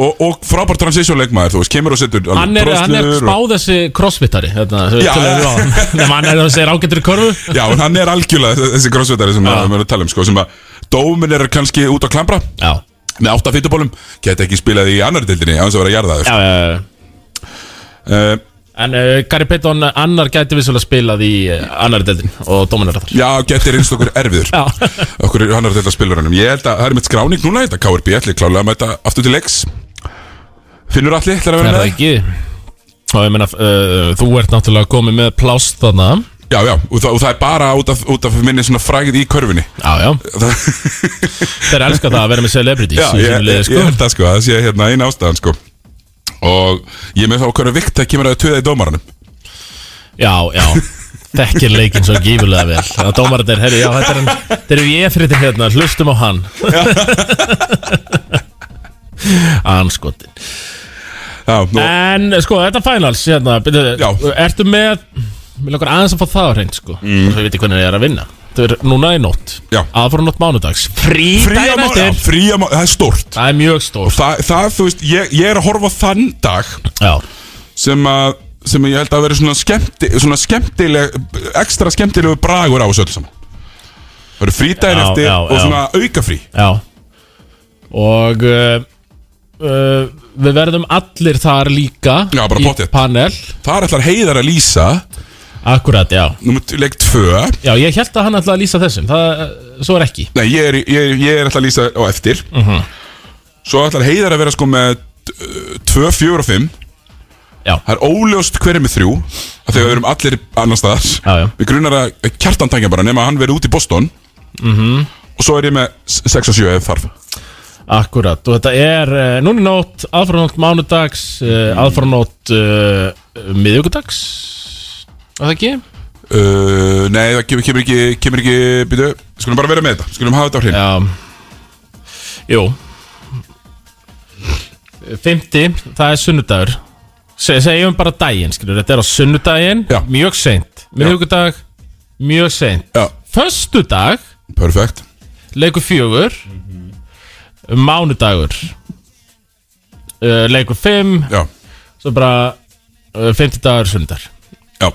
Og, og frábær transition leikmaður, þú veist, kemur og setur alveg hann er, hann er troslur og- spáð þessi crossfittari Þetta, sem við Já, já. töluðum á áðan. Nefnum hann er að segja ágættur í körfu Já, en hann er algjörlega þess- þessi crossfitari sem við erum að tala um sko, sem að dómin er kannski út á klambra Já, með átta fytubólum, geta ekki spilað í annar dildinni án þess að vera jarðaður já, já, já. uh, En uh, Gary Payton annar gæti vissulega spilað í uh, annar deildin og dóminar þar Já, geti reynst okkur erfiður Já. Okkur er annar dilda spilur hannum Ég held að það er mitt skráning núna, þetta KRB ætli klálega að mæta aftur til leiks Finnur allir, ætlar að Er vera það með ekki? Og ég meina, uh, þú ert náttúrulega komið með plást þarna Já, já, og það, og það er bara út af, út af minni svona frægð í körfunni Já, já, Það þeir elska það að vera með celebrities Já, í ég, sínu liði, ég, sko. ég held það sko, það sé hérna eina ástæðan sko Og ég er með þá hverju vikt að kemur að töða í dómaranum Já, já, þekkir leikinn svo gífurlega vel Það dómararnir, herri, já, þetta er hann Þeir eru ég fyrir þetta hérna, hlustum á hann Anskotin Já, nú, En sko, þetta finals hérna, byrju, Já. Ertu með Vil okkur aðeins að fá það á hreint sko mm. Svo ég veit hvernig það er að vinna Þetta er núna í nótt Já. Aðfóra nótt mánudags Frí, frí að daginn mánu, eftir frí að mánu, það er stórt Það er mjög stór Þa, Það, þú veist, ég, ég er að horfa á þann dag Já, sem að sem að ég held að vera svona, skemmti, svona skemmtileg ekstra skemmtilegu bragur á þessu öll saman Það eru frídæðin Já, eftir já, og já. svona aukafrí já Og uh, uh, Við verðum allir þar líka Já, bara Í pottþétt. panel Þar ætlar heiðar að lýsa Akkurat, já Númer t- leik 2 Já, ég held að hann ætlaði að lýsa þessum Það, eh, svo er ekki Nei, ég er, ég, ég er ætla að lýsa á eftir Mhm. Svo ætlar heiðar að vera sko með 2, 4 og 5 Já, Það er óljóst hver er með 3 Þegar við erum allir annars staðar Já, já. Við grunar að eh, kjartan tækja bara nema að hann veri út í Boston Mhm. Og svo er ég með 6 og 7 ef þarf Akkurat, og þetta er uh, núni nótt, aðfaranótt mánudags, uh, aðfaranótt uh, miðjögudags, var það ekki? Uh, nei, það kemur, kemur ekki, kemur ekki býtu, skulum bara vera með þetta, skulum hafa þetta á hrein Já, jú. Fymti, það er sunnudagur, Se, segjum bara daginn, skilur, þetta er á sunnudaginn, Já. mjög seint, miðjögudag, mjög seint. Já, Föstudag, perfekt leikur fjögur, mánudagur, uh, leikur fimm, Já, svo bara uh, 50 dagar sundar já,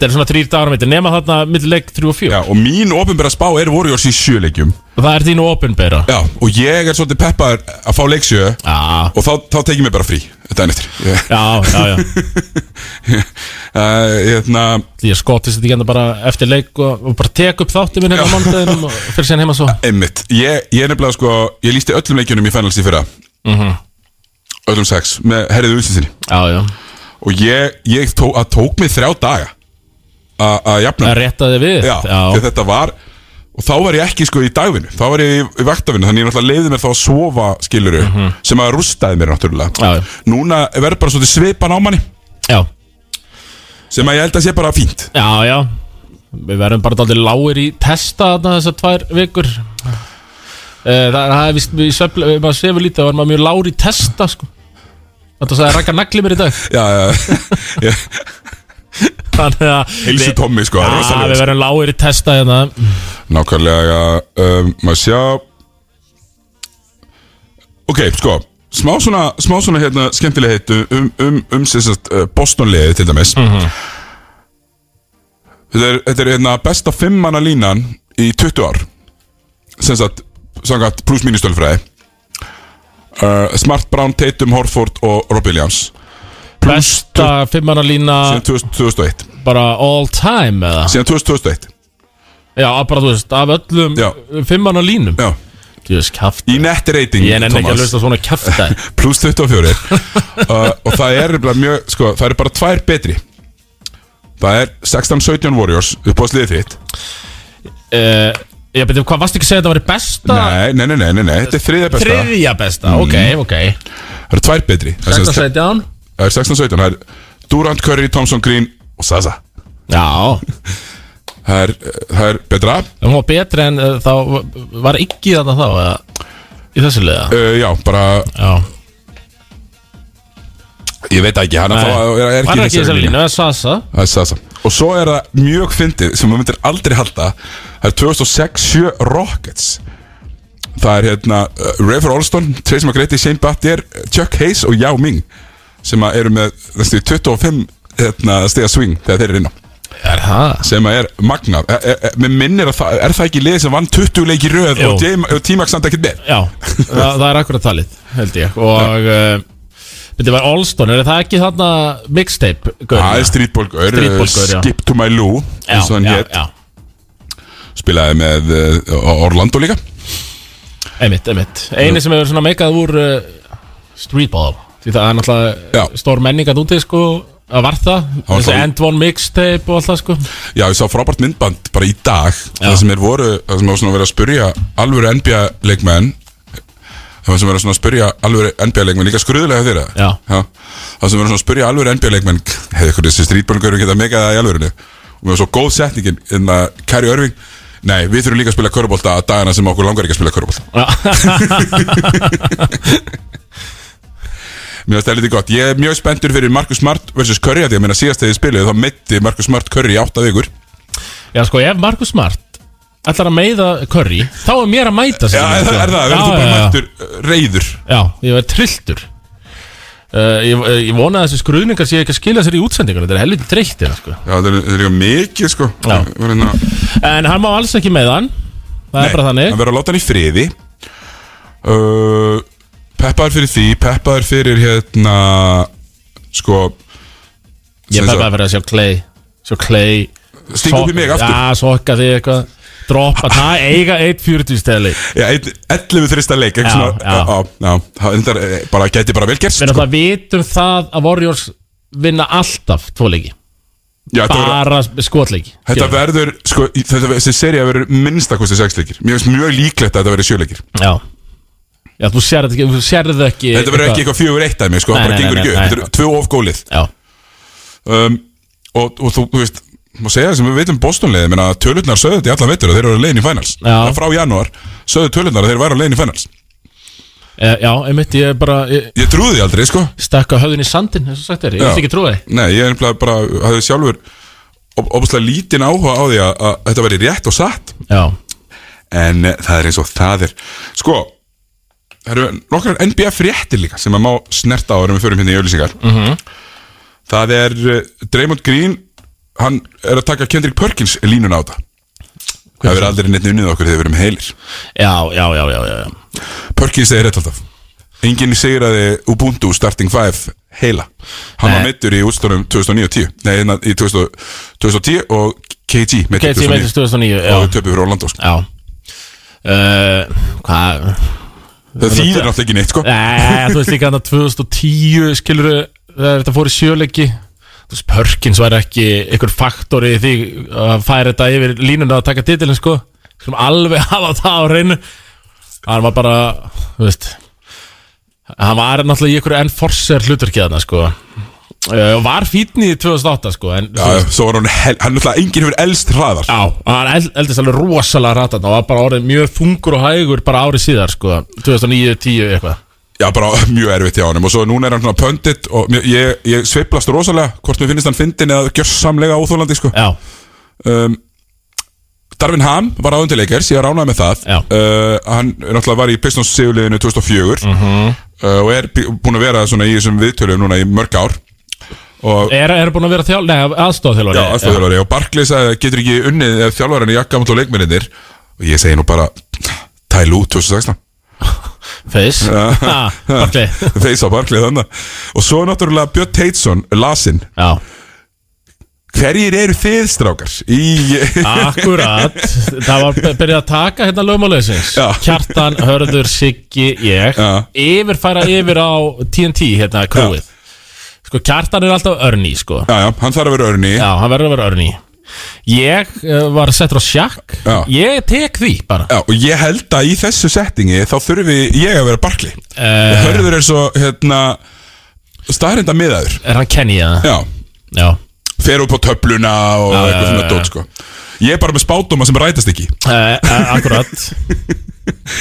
það er svona þrýr dagar á milli nema þarna millileik 3 og 4 já, og mín ofinbæra spá er Warriors í sjöleikjum og það er þínu opinbera Já, og ég er svolítið peppaður að fá leiksjö já, Og þá, þá tekið mér bara frí, þetta er nýttir Ég, Ah. já, já, já uh, hérna, því að skottist þetta ekki enda hérna bara eftir leik og, og bara tek upp þátti minn hérna á mándaginum og fyrir síðan heima svo einmitt Ég, ég er nefnilega sko, ég lísti öllum leikjunum í finals í fyrra Öllum sex, með herriðu útlistinni Mhm. já, já, Og ég, ég tó, að tók mig þrjá daga a- Að jafna það réttaði við Já, því að þetta var Og þá var ég ekki sko í dagvinnu Þá var ég í- í vaktavinu Þannig ég náttúrulega leiði mér þá að sofa skiluru Sem að rústaði mér náttúrulega Mhm. Já, já. Núna verður bara svolítið svipan á manni já, Sem að ég held að sé bara fínt já, já. við verðum bara daldið lágir í testa þarna þessar tvær vikur Eh, Það, það er vist, við svefla, maður svefur lítið, það var maður mjög lágur í testa, sko. Þetta sagði Raka nagli mér í dag. Já, já, já Þannig að... Heilsu Tommi sko, það er Já, við rosalega verðum lágir í testa hérna Nákvæmlega, um, maður sjá Ok, sko smá svona, smá svona hérna, skemmtileg heitu um, um, um sem sagt, uh, Boston-liðið til dæmis Mhm. Þetta er, þetta er hérna, besta fimmana línan í 20 ár sem sagt, samkvæmt pluss mínustölfræði uh, Smart, Brown, Tatum, Horford og Rob Williams Besta fimmannalína síðan 2000 2001 bara all time eða síðan 2000 2001 Já, bara þú veist, af öllum Já. fimmannalínum Já. Þú veist, kæft í netti rating Ég nenni ekki að Thomas. hlusta á svona kæfta pluss 24 uh, og það er nefnilega mjög, sko, það eru bara tvær betri það er 16-17 Warriors upp á sliðið þitt uh, Ég beti, hvað varst ekki að segja að þetta væri besta? nei, nei, nei, nei, nei, nei, þetta er þriðja besta Þriðja besta, ok, ok það eru tvær betri Það er sem Þetta sagt- setja hann það er 16-17, það er Durant, Curry, Thompson, Green og Sasa Já, það er, það er betra en hún var betri en uh, þá var ekki þetta þá eða, Í þessu liða uh, já, bara, Já, ég veit ekki hann er, þá- er, er Hann ekki, er ekki í þessari línu, það er Sasa það er Sasa og svo er það mjög fyndið sem maður myndir aldrei halda það er 2006-7 Rockets það er hérna uh, Rafer Olston, Tracy McGrady, Shane Battier Chuck Hayes og Yao Ming sem að eru með þessi 25 hérna, stiga swing þegar þeir eru inn á Er það? sem að er magnað e, e, e, mér minnir að það, er það ekki lið sem vann 20 leiki í röð Jú. og Jam- og T-Max samt ekkert með Já, það, það er akkurat talið, held ég Og uh, Þetta var Allston, er það ekki þarna mixtape? það er streetballgur, Streetball uh, gaur, já. Skip to my Lou eins og hann já, hétt, já, spilaði með uh, Orlando líka einmitt, einmitt Einu sem hefur svona meikað úr uh, streetball Því það er náttúrulega Já. já. stór menning að úti sko að var það, var þessi það- end one mixtape og alltaf sko Já, ég sá frábært myndband bara í dag Já. Það sem er voru, það sem var svona verið að spyrja alvöru NBA leikmenn Það sem verið svona að spyrja alvöru NBA leikmenn Líka skruðulega þeirra Já. Það sem verið svona að spyrja alvöru NBA leikmenn Hefði ykkur þessi strítbólgöru geta mega það í alvörinu Og mér var svo góð setningin En að Kæri Örving Nei, við þurfum líka að spila körubolta að dagana sem okkur langar ekki að spila körubolta Mér finnst það lítið gott Ég er mjög spenntur fyrir Marcus Smart vs. Curry af Því að minna síðast þegar ég spilaði þá mitti Marcus Smart Curry í átta vikur Já sko, ef Markus Smart ætlar að meiða Curry, þá er mér að mæta sko. Já, er það, er það, verður þú bara mættur uh, reyður Já, ég verð trilltur uh, ég, ég vona að þessi skruðningar sé ekki að skila sér í útsendingar Þetta er helviti treykt eða sko Já, það er, það er líka mikið sko Já. Það er hérna- En hann má alls ekki með hann Það er bara þannig Hann verður að láta hann í friði uh, Peppaður fyrir því Peppaður fyrir hérna Sko sem Ég peppaði sagt, fyrir að sjá Clay Sjá Clay Stinga upp í mig so- aftur. Já, sokka þig eitthvað Droppa það, eiga 1.40 steli Við Já, einn- 11 þrista leik Já, ekki svona, já. já, já, það reyndar, eh, bara, Gæti bara vel gerst sko. náttúrulega vitum um það að Warriors vinna alltaf tvoleiki já, þetta, verður, Bara skotleiki þetta verður sko, í- þetta, Þessi serið verður minnstakosti 6 leikir Mér finnst mjög líklegt að þetta verður 7 leikir Já Já, þú sérð ekki, þú sérð ekki Þetta verður ekki eitthvað fjögur eitt af mig sko, Nei, Bara nei, gengur nei, ekki upp, nei. þetta er tvö of gólið Já, um, og, og þú, þú veist má segja það sem við veitum Boston-leiði menna tölurnar sögðu þetta í allan veitur að þeir eru leiðin í finals Já. Það frá janúar sögðu tölurnar að þeir væru leiðin í finals e, já einmitt, ég bara ég ég trúði því aldrei sko stakka höfðin í sandin, eins og sagt er Ég Já. ætti ekki að trúa þig nei, ég er nefnilega bara hafði sjálfur opaslega lítinn áhuga á því að, að þetta væri rétt og satt Já, en eh, það er eins og það er sko það eru nokkrar NBF réttir líka sem að má snerta á erum við förum hérna í auðlýsingar -hmm. það er eh, Draymond Green hann er að taka Kendrick Perkins línuna á þetta það verður aldrei neitt unnið okkur þegar við erum heilir já, já, já, já, já, já. Perkins segir rétt alltaf enginn segir að Ubuntu starting 5 heila hann var Nei. meittur í útstónum 2009-10 nei, hérna í 2000 2010 og KG meittur KT meitist 2009 2009 og Já, töpið fyrir Orlando sko. já. Uh, Hvað það þýðir náttúrulega ekki neitt sko. Nei, þú veist líka hann að 2010 skilur þegar þetta fór í sjöleiki Þú veist, Perkins var ekki einhver faktor í því að færa þetta yfir línuna að taka titilin sko Skulum alveg hafa það á reynu Hann var bara, þú veist Hann var náttúrulega í einhverju enforcer hluturkiðana sko uh, Var fínn í 2008 sko en, þú Já, svo var hann, hel- hann náttúrulega enginn hefur elst hraðar Já, og hann eld- eldist alveg rosalega ratan og var bara orðið mjög þungur og hægur bara árið síðar, sko, 2009-10 eitthvað Já, bara mjög erfitt hjá honum Og svo núna er hann svona pöndit Og mér- ég, ég sveiflast rosalega Hvort mér finnist hann fyndin eða gjörsamlega óþólandi sko. Já, um, Darvin Ham var áðun til leikers Ég ránaði með það Já. uh, Hann náttúrulega var í Pistons sigurliðinu 2004 mm -hmm. uh, og er búin að vera svona í þessum viðtölum núna í mörg ár og Er, er búin að vera þjál, nei, aðstofþjálfari já, aðstofþjálfari og Barkley sagði að getur ekki unnið ef þjálfarinn er jakka út á leikminninir og ég segi nú bara tæl út 2016 Feis Barkley þeis á Barkley þannig og svo náttúrulega Björn Teitsson Lasin, Já, hverjir eru þið strákar í Ah. akkurat Það var be- byrjað að taka hérna lögmáleysins Já. Kjartan, Hörður, Siggi, ég Já. Yfirfæra yfir á TNT hérna krúið Sko Kjartan er alltaf örni sko já, já, hann þarf að vera örni já, Já, hann verður að vera örni Ég uh, var settur á sjakk Já. Ég tek því bara og ég held að í þessu settingi þá þurfi ég að vera Barkley Eh. Hörður er svo hérna staðrinda miðaður Er hann Kenny eða? já, Já fer upp á töfluna og Já, eitthvað já, svona já, dót sko ég er bara með spátdóma sem rætast ekki Uh, akkurat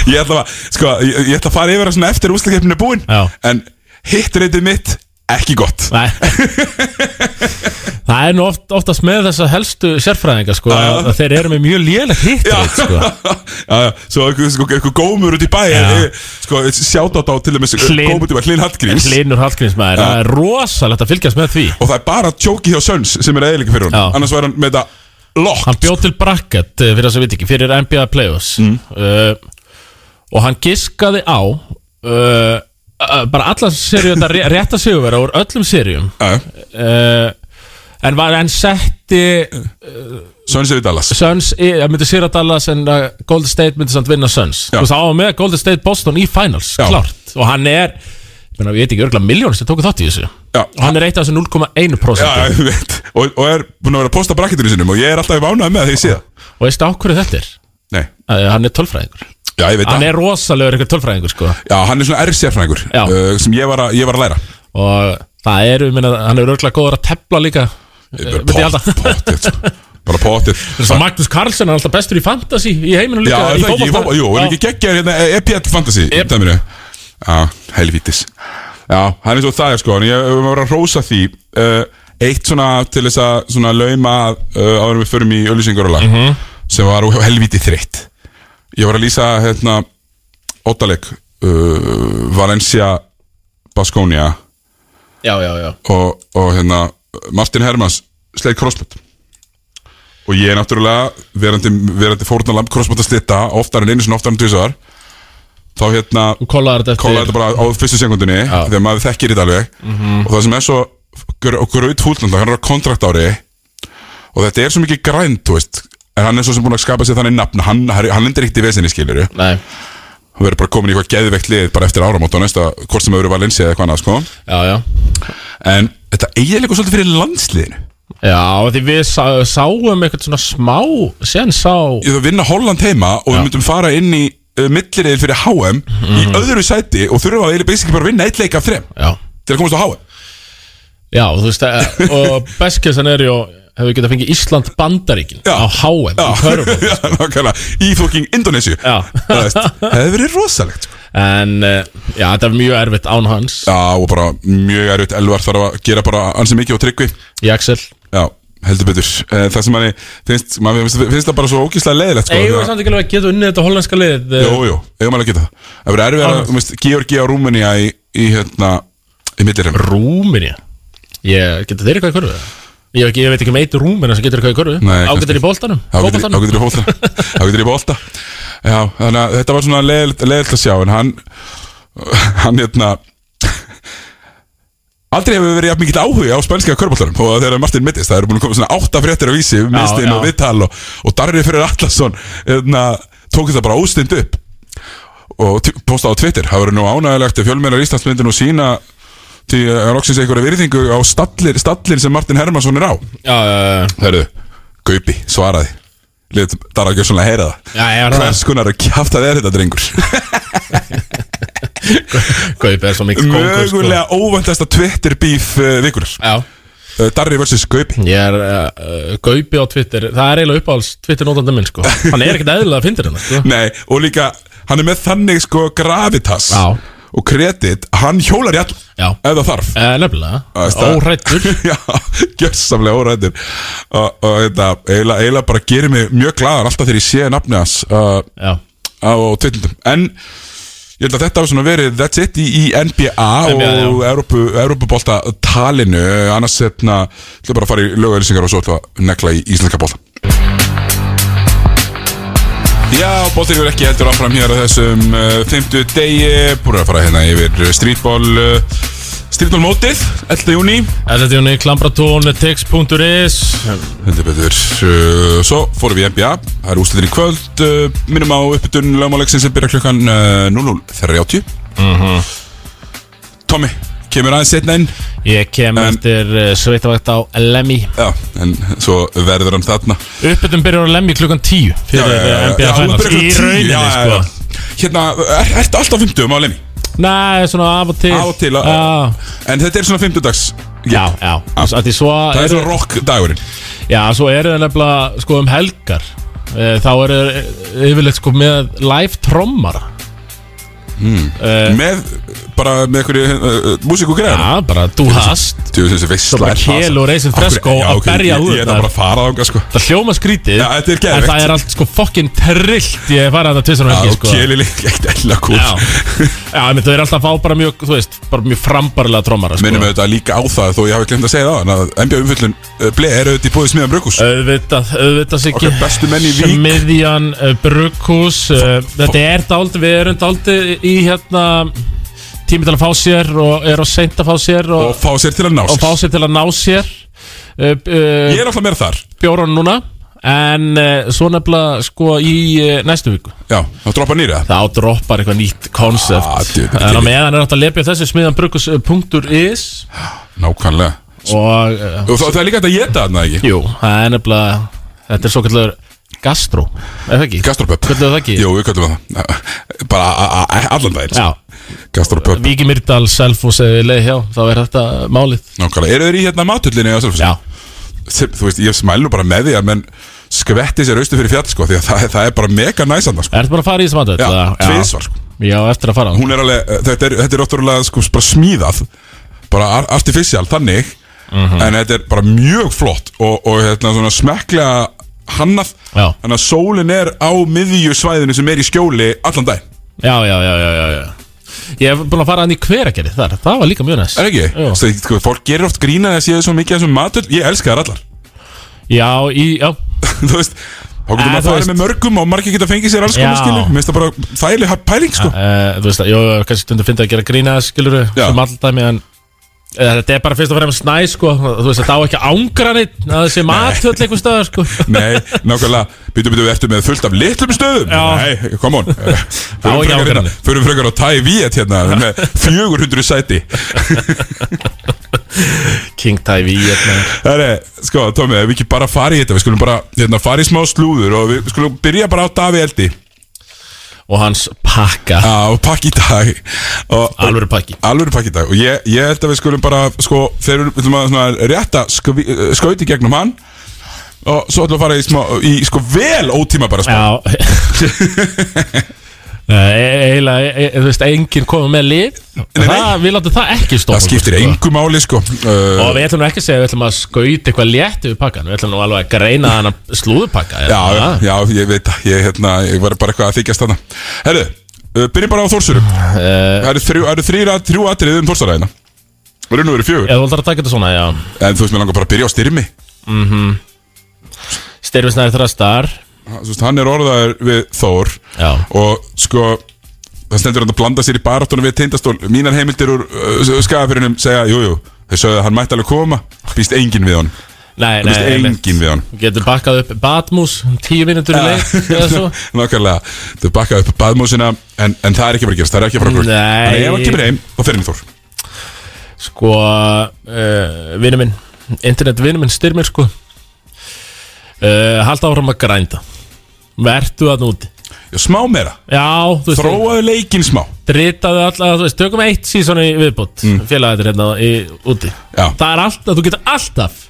ég ætla að, sko, ég, ég ætla að fara yfir að svona eftir úslakefninu er búin Já. en hitt reytið mitt ekki gott Nei Það er nú oft, oftast með þessa helstu sérfræðinga sko, að að þeir eru með mjög lélegt hitt rate, sko. já, já, svo eitthvað sko, eitthvað gómur út í bæ Já. sko, sjátátt á til dæmis eh, Hlyn. gómur út í bæ, Hlinn Hallgríms Hlinur Hallgrímsmaður, það er rosalegt að fylgjast með því og það er bara tjóki hjá Söns sem er eðilega fyrir hún Já. annars var hann með þetta lokk Hann bjóð til bracket, eh, fyrir þess að við ekki, fyrir NBA Playoffs uh, og hann giskaði á uh, uh, bara allar serið þetta rétta sigurvera úr öllum seriðum Já, uh, en var enn setti Söns er í Dallas Suns, ég myndi sýra Dallas en uh, Golden State myndi samt vinna Suns Já. Þú veist, á hann með Golden State Boston í finals, Já. klárt Og hann er, ég meina, ég veit ekki örgulega miljónir sem tóku þátt í þessu Já. Og hann er eitt af þessu 0,1% Já, ég veit og, og er búin að vera að posta brakketinu sinum og ég er alltaf í vánað með því ég sé það Og veistu á hverju þetta er? Nei, Uh, hann er tölfræðingur já, ég veit það Hann er rosalegur eitthvað tölfræðingur, sko Já, hann er svona R-sérfræðingur Já. uh, sem ég var, að, ég var að læra Og það eru, minna, hann er örgulega góður að tepla líka Ég Eh, bara myndi ég halda. pott- Pottið, sko Bara pottið Svo Magnús Karlsson er alltaf bestur í fantasy í heiminum Já, líka er í það ekki, fótbolta. fótball, jú, er Já. ekki geggjaður hérna EPL Fantasy Yep. dæminu? Já, helvítis Já, hann er svo það, sko, en ég við var að rósa því uh, Eitt svona til þess að svona lauma uh, áður en við förum í öllusingur og lag Mhm. sem var úr helvíti þreytt Ég var að lýsa, hérna, Óttaleg uh, Valencia Baskonia Já, já, já og, og hérna Martin Hermans sleið crossbot og ég er náttúrulega verandi, verandi fórnalamb crossbot að stitta oftar en einu sinni oftar en tvisar þá hérna Þú kollaðir þetta eftir kóla þetta bara á fyrstu sekundinni þegar maður þekkir þetta alveg og það sem er svo gröð fúlnanda, hann er á kontrakt ári og þetta er svo mikið grænt þú veist, en hann er svo sem búin að skapa sér þannig nafn, hann, hann lendir ekkert í vesinni skilur Nei, hann verður bara komin í eitthvað geðveikt lið bara eftir áramót og næsta, hvort sem hefur verið Valencia eða eitthvað annað sko. já, já en þetta eiginlega svolítið fyrir landsliðinu Já, því við sá, sáum eitthvað svona smá sen sá ég þarf að vinna Holland heima og við myndum fara inn í uh, millireil fyrir HM í Mhm. öðru sæti og þurfum að eiginlega basically bara að vinna eitt leik af þrem Já, til að komast á HM já þú veist eh, og Beskjössan er jó hefur getað fengið Ísland Bandaríkin Já. á HM í körfum Já, nákvæmlega, í fóking Indonesia Já. Það veist, hefði verið rosalegt sko. en eh, já, þetta er mjög erfitt án hans Já, og bara mjög erfitt Elvar þarf að gera bara ansi mikið og tryggvi í Axel Já, heldur betur Eh, Það sem manni finnst, manni finnst, finnst það bara svo ógíslega leiðilegt sko, Eigum því við að- samt ekki alveg að geta unnið þetta hollenska lið eh, Jú, jú, eigum alveg að geta það Það verður erfið að, Alveg. þú veist, Georgi á Rúmenía í, í hérna, í millireil Rúmenía Ég, geta þeir eitthvað í körfu? Ég, veit ekki- ég veit ekki um eitt Rúmenía sem getur eitthvað í körfu Nei, kannski. Ágættir í bóltanum Þá Fótboltanum? getur ég bólta Þá getur ég bólta Já, þannig að þetta var svona leðilt að sjá En hann Hann hérna Aldrei hefur verið jafn mikill áhugi á spænska körbóltarum og þegar Martin mittist, það eru búin að koma svona átta fréttir á vísi, mistinn já. og vittal og, og Darri fyrir Allarsson hérna, tók þetta bara óstind upp og t- postaði á Twitter það verður nú ánægilegt að fjölmeirar Íslandsmyndin og sína til að loksins einhverja virðingu á stallir, stallir sem Martin Hermansson er á Já, já, já. Hörðu, Gaupi, svaraði Lit, Það er ekki svona að heyra það já, já, Hvers konar að kjafta þér þetta drengur já Kaup er svo mikið kóngur, sko. Mögulega óvæntasta Twitter beef uh, vikunar Já uh, Darri vs. Gaupi Ég er uh, gaupi á Twitter Það er eiginlega uppáhalds Twitter nótandi minn sko Hann er ekkert eðlilega að fyndir hann sko. Nei, og líka, hann er með þannig sko gravitas Já. Og kredit, hann hjólar í all Já Ef það þarf uh, Nefnilega Veist það? Órættur Já, gjörsamlega órættur Og, og þetta, eiginlega, eiginlega bara Eh, gerir mig mjög glaðar Alltaf þegar ég sé nafni hans uh, Já á Twitter En Ég held að þetta hafi svona verið That's it í, í NBA, NBA, já. og Evrópu, Evrópubólta talinu Annars hérna, ætla bara að fara í lögauðlýsingar og svo ætla að negla í íslenska bólta Já, bóltir eru ekki heldur áfram hér á þessum uh, 50 degi Búið að fara hérna yfir streetball uh, Streetball mótið, 11. júni Þetta er hún í klambratón, tix.is Heldur betur uh, Svo fórum við í NBA Það eru úslitir í kvöld uh, Minnum á uppbytun lögmáleiksin sem byrja klukkan uh, 00.30 Mhm. Tommy, kemur aðeins setna inn Ég kem En- eftir uh, sveitavakt á Lemmy Já, en svo verður hann þarna Uppbytum byrjar á Lemmy klukkan 10 Fyrir Já, já, já, eh, já, NBA hún byrjar Finals Í klukkan 10, já, rauninni já, sko já. Hérna, er, ertu alltaf 50 á lemmi? Nei, svona af og til Af og til, já. Já, En þetta er svona 50 dags já, já. Af því svo Það er eru- svona rock dagurinn Já, svo eru það nefnilega sko um helgar Eh, Þá eru þeir yfirleitt sko með live trommara Með, bara með einhverju uh, uh, músík og greiðar Eh. Já, bara þú hast Þú veist þessi veist Svo bara Kjel og Raisin Fresco að berja út Ég er það bara að fara þangað sko Það hljóma skrítið Já, þetta er En geðveikt. það er allt sko fokkin trillt Ég hef farið að þetta tvisar og Já, ekki og sko Kjel er líka eitt ella kúl Já, já menn þau eru alltaf að fá bara mjög, þú veist, bara mjög frambarlega trommara sko. minnum auðvitað líka á það þó ég hafi glemt að segja það að NBA umfjöllun uh, ble er auðvitað í bóði smiðan Eh, brukus Auðvitað, auðvitað sig okkar bestu menn í vík Smiðjan, uh, Brukhús uh, Þetta er dálítið, við erum dálítið í hérna Tími til að fá sér og er á seint að fá sér og Og, fá sér til að ná og, sér fá sér til að ná sér uh, uh, ég er alltaf meira þar Bjóran núna En uh, svo nefnilega sko í uh, næstu viku já, þá droppa nýra þá droppar eitthvað nýtt konsept Ah, djöfull, en á ekki. meðan er átt að lepja þessu smiðanbrukus.is nákvæmlega eh, og uh, og það, það er líka hægt að geta þarna ekki jú, það er nefnilega þetta er svo kallur gastró eða ekki? gastropöp Kölluðu það ekki? jú, við köllum það Eh, bara a- a- a- allan daginn Já, gastropöp Viki Myrdal, Selfos eða leið hjá, þá er þetta málið nákvæmlega eru þeir í hérna matullinni á Selfossi? Já, Sem- þú veist, ég smæl nú bara með því að menn skvetti sér austur fyrir fjall sko því að það, það er bara mega næsanda sko ertu bara að fara í þessu matur? já, tvisvar sko Já, eftir að fara hún er alveg, eh, þetta er, þetta er ótrúlega sko, bara smíðað, bara ar- artificial þannig, Mhm. en þetta er bara mjög flott og, og hérna svona smekklega hannað Já. þannig að sólin er á miðju svæðinu sem er í skjóli allan dag Já, já, já, já, já, já Ég hef búin að fara hann í hveragerði þar, það var líka mjög næst er ekki? Jú. Svo, sko, fólk gerir oft grína þess að ég er svo mikið af þessum matur ég elska þær allar, Já, í, já, þú veist þá getur Eh, maður þú að fara veist. með mörgum og margir geta fengið sér alls konar Já. skilu mér finnst það bara þægileg ha- pæling sko uh, þú veist að, jú, jú, kannski stundum fyndið að gera grína skilur við, Já. sem alldæmi en eh, Þetta er bara fyrst og fremst næ, sko, þú veist þetta á ekki að ángra neitt að þessi matöll einhver stöðar, sko Nei, nákvæmlega, býtum við eftir með fullt af litlum stöðum Já. Nei, come on Eh, Förum Já, já, frekar hérna- hvernig? förum frekar á Thai Viet hérna með 400 sæti King Tai Vietnam Það er, sko, Tómi, ef við ekki bara fara í þetta Við skulum bara hérna, fara í smá slúður og við skulum byrja bara á Davi Eldi og hans pakka á pakki í dag og, og, alvöru pakki Alvöru pakki í dag og ég, ég held að við skulum bara sko, þeir eru við ætlum að svona rétta skvi, skauti gegnum hann og svo ætlum við að fara í, smá, í sko vel ótíma bara smá Já Eh, e, Eila, e, þú veist, enginn komið með lið nei. Það, við látum það ekki stóra Það skiptir engu máli sko uh, Og við ætlum nú ekki að segja, að við ætlum að skauta eitthvað létt yfir pakkan Við ætlum nú alveg að greina hann að slúðupakka er Já, það? já, já, ég veit það, ég, hérna, ég var bara eitthvað að þykjast þarna Herðu, uh, byrjum bara á Þórsurum Það Eh, eru þrjú, það eru þrjú, þrjú atrið um Þórsara hérna Það eru nú verið fjögur Eða þú ætlar að taka þetta svona, já En þú veist, mér langar bara að byrja á styrmi Styrfisnæri þrastar Þú veist, hann er orðaður við Þór Já. Og sko, það stendur hann að blanda sér í baráttunum við tindastól Mínar heimildir úr uh, skafafyrinum segja, jú, jú Þeir sögðu að hann mætti alveg koma Býst enginn við hann Nei, nei, Býst einmitt. enginn við hann Þú getur bakkað upp Batmus, tíu mínútur í leik eða svo Nákvæmlega, þau bakkaðu upp baðmúsina en, en það er ekki bara að gerast, það er ekki bara að gerast Nei. Þannig að ef hann kemur heim, þá fer hann í Þór Sko, uh, vinnu minn, internetvinnu minn styrmir sko uh, Halda áfram að grænda Vertu að núti Já, smá meira, Já, þú veist, þróaðu leikinn smá dritaðu alla, þú veist, tökum eitt sísoni viðbútt mm. Félagættir hérna í, úti Já. Það er alltaf, þú getur alltaf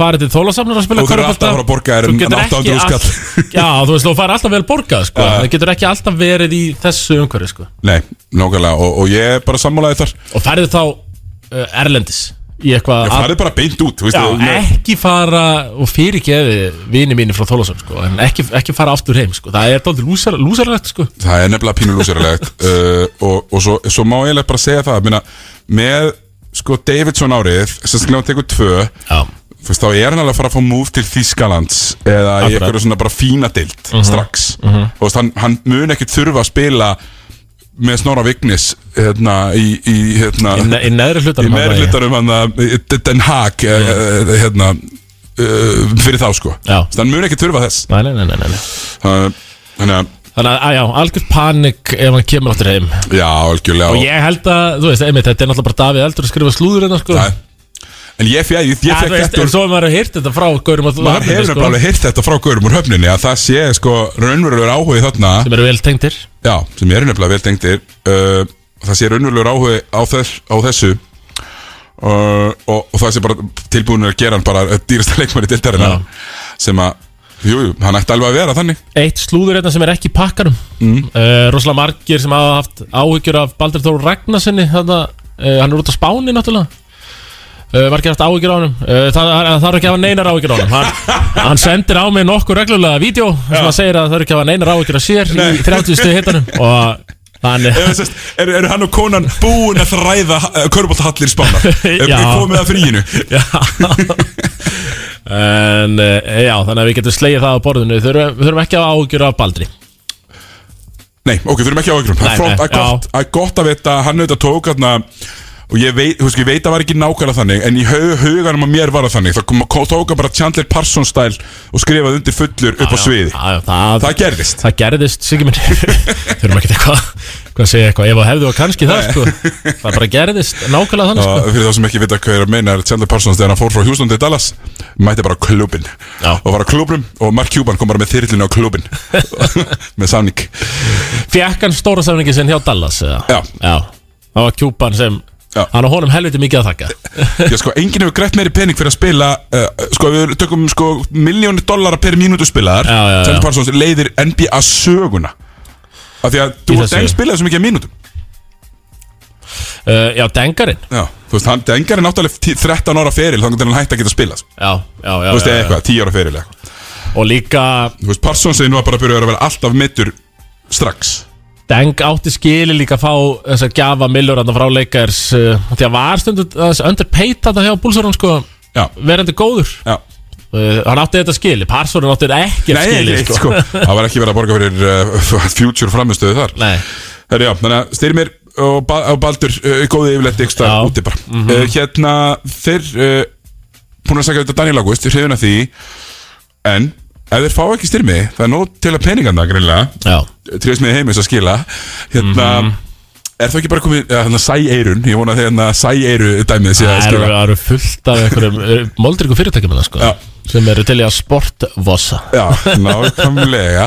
farið til þólasafnur að spila Og þú eru körfubolta. alltaf að fara að borga þér um Þú en- getur en ekki 800 all- skall. Já, þú veist, þú farið alltaf vel borgað sko. Já. Það getur ekki alltaf verið í þessu umhverfi sko. Nei, nákvæmlega, og, og ég er bara sammálaði þar Og færðu þá uh, Erlendis í eitthvað Já, farið bara beint út, þú veist Já, þú- með- ekki fara og fyrirgefi vini mínir frá Þólasson sko, en ekki, ekki fara aftur heim sko. það er dálítið lúsar, lúsarlegt sko. Það er nefnilega pínu lúsarlegt uh, og, og svo, svo má ég bara segja það minna, með sko Davidson árið sem skilja hann tekur tvö Já, þú veist þá er hann alveg að fara að fá múf til Þískalands eða í Akkurat. Mhm. einhverju svona bara fína dild strax og veist, hann, hann mun ekkit þurfa að spila með Snorra Vignis hérna, í, í, hérna, í, ne í neðri í hlutanum meðri hlutarum hann að Den Haag eh, eh, hérna, uh, fyrir þá sko Já. Þess, hann mun ekkit þurfa þess Nei, nei, nei, nei, nei. Það- þannig að Þannig að, að já, algjör panik ef hann kemur áttur heim já, algjörlega Og ég held að, þú veist, einmitt, þetta er náttúrulega bara Davíð Eldur að skrifa slúður hérna, sko Það- En ég fekk, ég, ég Já, fekk þú veist, þetta en svo hefur maður heyrt þetta frá Gaurum sko, að þú Maður hefur nefnilega alveg heyrt þetta frá Gaurum úr höfninni að það sé sko raunverulegur áhugi þarna Sem eru vel tengdir Já, sem er nefnilega vel tengdir uh, Það sé raunverulegur áhugi á, þess, á þessu uh, og, og það sé bara tilbúinur að gera hann bara dýrasta leikmæri dildarina Já. sem að, jú, jú, hann ætti alveg að vera þannig Eitt slúður hérna sem er ekki í pakkanum mm. Rosalega margir sem hafa haft áhyggjur af Baldur Þór Ragnarssoni Þannig hann er út á Spáni, náttúrulega uh, Margir haft áhyggjur á hann uh, Það það þarf ekki að hafa neinar áhyggjur á hann Hann, hann sendir á mig nokkuð reglulega vídeo Sem hann segir að það þarf ekki að hafa neinar áhyggjur á sér Í 30 stuð hittanum Og þannig Eða, sest, er, er hann og konan búin að þræða uh, körbóltahallir spánar? Er Já. komið að fríinu? Já En uh, já, þannig að við getum slegið það á borðinu Við þurfum, við þurfum ekki að ágjur af Baldri Nei, ok, þurfum ekki á ykkur Það Nei, er flott, nei, það er gott, það er gott að vita Hann auðvitað tók þarna Og ég veit, þú veist, ég veit að það var ekki nákvæmlega þannig En í hau- huganum að mér var það þannig Það kom, kom- tók hann bara Chandler Parsons stæl Og skrifaði undir fullur upp á sviði já, já, það, Það gerðist það gerðist, Siggi minn Þurfum ekki eitthvað Hvað að segja eitthvað, ef það hefðu og kannski það sko. Það bara gerðist, nákvæmlega þannig Og sko. fyrir þá sem ekki vita hvað er að meina er Chandler Parsons þegar hann fór frá Houston til Dallas mætti bara á klubin Já. og var á klubnum og Mark Cuban kom bara með þyrlinu á klubin með samning Fekk hann stóra samningi sinn hjá Dallas eða? Já. Það var kjúpan sem Já. Hann og honum helviti mikið að þakka Já sko, enginn hefur greitt meiri pening fyrir að spila uh, Sko, við tökum sko Miljónir dollara per mínútu spilaðar Já, já, já. Chandler Parsons leiðir NBA söguna Af því að Í þú og þessu. Deng spilaði svo mikið að mínútum uh, Já, dengarinn Já, þú veist, hann Dengar er náttúrulega tí- 13 ára feril Þannig að hann hætti að geta spilað Þú Já, já, já, veist, já, eða já. eitthvað, 10 ára feril eða eitthvað Og líka Þú veist, Parsons er nú bara að byrja að vera alltaf mittur strax Deng átti skili líka að fá þess að gjafa millur að frá leikars uh, því að var stundu þess underpaid þetta hjá búlsórum sko Já, verandi góður já uh, hann átti þetta skili, parsórum átti þetta ekki Nei, skili ekki, sko. Það var ekki verið að borga fyrir uh, future framistöðu þar Nei, Herri, já, þannig að styrmir og, ba og Baldur uh, góði yfirleitt ykkur Já. Mhm. stað úti bara uh, Hérna, þeir uh, búin að segja þetta Daniel August, þeir hefðin að því en ef þeir fá ekki styrmi það er nóg til að peningarna greinlega já, tríðismiði heimis að skila hérna, Mhm. er það ekki bara komið ja, hérna, sæeirun, ég vona að þeir hérna sæeiru dæmið sé að það eru, skila það eru fullt af einhverjum moldriku fyrirtækjum hérna, sko, Já. sem eru til í að sportvossa Já, nákvæmlega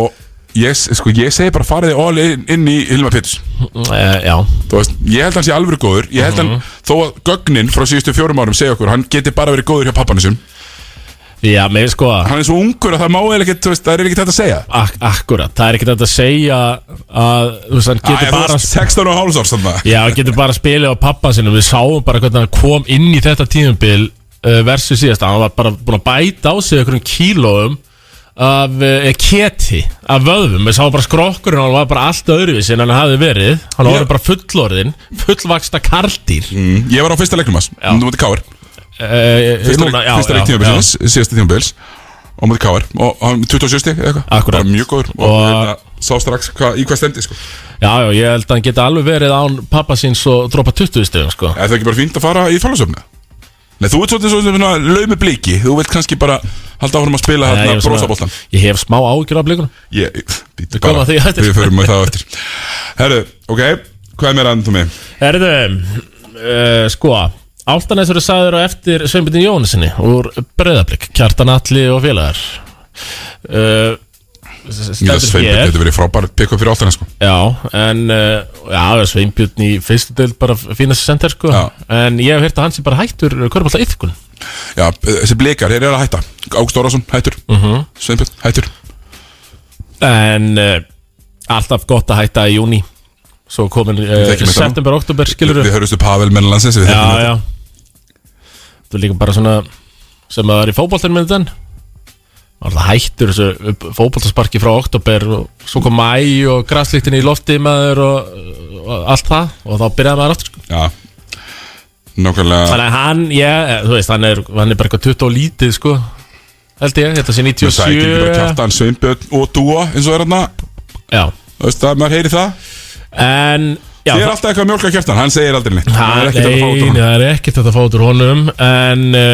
og ég, sko, ég segi bara fariði all in, inn í Hilma Péturs uh, Já, Þú veist, ég held að hann sé alveg góður Ég held að Mhm. hann, þó að gögnin frá síðustu fjórum árum segja okkur, hann geti bara verið góður hjá pappanisum já, með sko að Hann er svo ungur að það má eða ekkert, þú veist, það er ekkert hægt að segja Ak akkurat, það er ekkert hægt að segja að þú veist, hann Æ, getur þú bara veist, 16 og hálfs árs þarna Já, hann getur bara að spila á pappa sinum Við sáum bara hvernig hann kom inn í þetta tíðumbil uh, Versus síðast Hann var bara búin að bæta á sig einhverjum kílóum Af uh, keti Af vöðvum, við sáum bara skrokkurinn Hann var bara allt öðruvísi en hann hafði verið Hann var Já. bara fullorðinn, fullvaksta karldýr mm. Mm, Ég var á fyrsta leiknum hans, nú mútið Káar uh, Fyrsta, leik, fyrsta leik tímabils, síðasta tímabils Og mútið Káar, og hann 27 eða eitthvað Akkurat. Bara mjög góður, og, Og- hérna, sá strax hva, í hvað stemdi, sko Já, já, ég held að hann geti alveg verið án pappa síns og dropa 20 stegum sko. Er það ekki bara fínt að fara í fálasöfna? Nei, þú ert svolítið svona laumi bliki Þú vilt kannski bara halda áfram að spila Nei, hérna ég, var brosaboltan svona, ég hef smá ágjur af blikunum Ég, býtu komum bara, að því á eftir. við förum með það á eftir Herru, ok, hvað er mér andan þú með? Herðu, uh, sko Áltanes eru sagður á eftir Sveinbjörn Jónasinni úr Breiðablík Kjartan Atli og félagar uh, Ég það Stendur sveipur, hér þetta verið frábært pick-up fyrir áttan sko. Já, en uh, já, Sveinbjörn í fyrstu deild bara fínast sendir sko Já. En ég hef heyrt að hann sé bara hættur Körbólta yfkun Já, eh, þessi blikar, þeir eru að hætta Ágúst Orásson, hættur Mhm. Sveinbjörn, hættur En uh, alltaf gott að hætta í júni Svo komin uh, þekkjum þetta nú. september, oktober skilur Við höfumst upp Pavel mennlandsins Já, já þú líka bara svona sem að það er í fótboltan með þann var alltaf hættur þessu fótboltasparki frá oktober og svo kom mæ og græslíktin í lofti maður og, og allt það og þá byrjaði maður aftur sko. Já Nákvæmlega þannig að hann, ég, eh, þú veist, hann er, hann er bara eitthvað 20 og lítið sko held ég, þetta sé Það er ekki bara 97 kjartan Sveinbjörn og Dúa eins og er hérna já, Þú veist að maður heyri það en já, Ég er alltaf eitthvað að mjólka kjartan, hann segir aldrei neitt Það er ekkert að fá út úr Nei, honum. það er ekkert hægt að fá út úr honum En uh,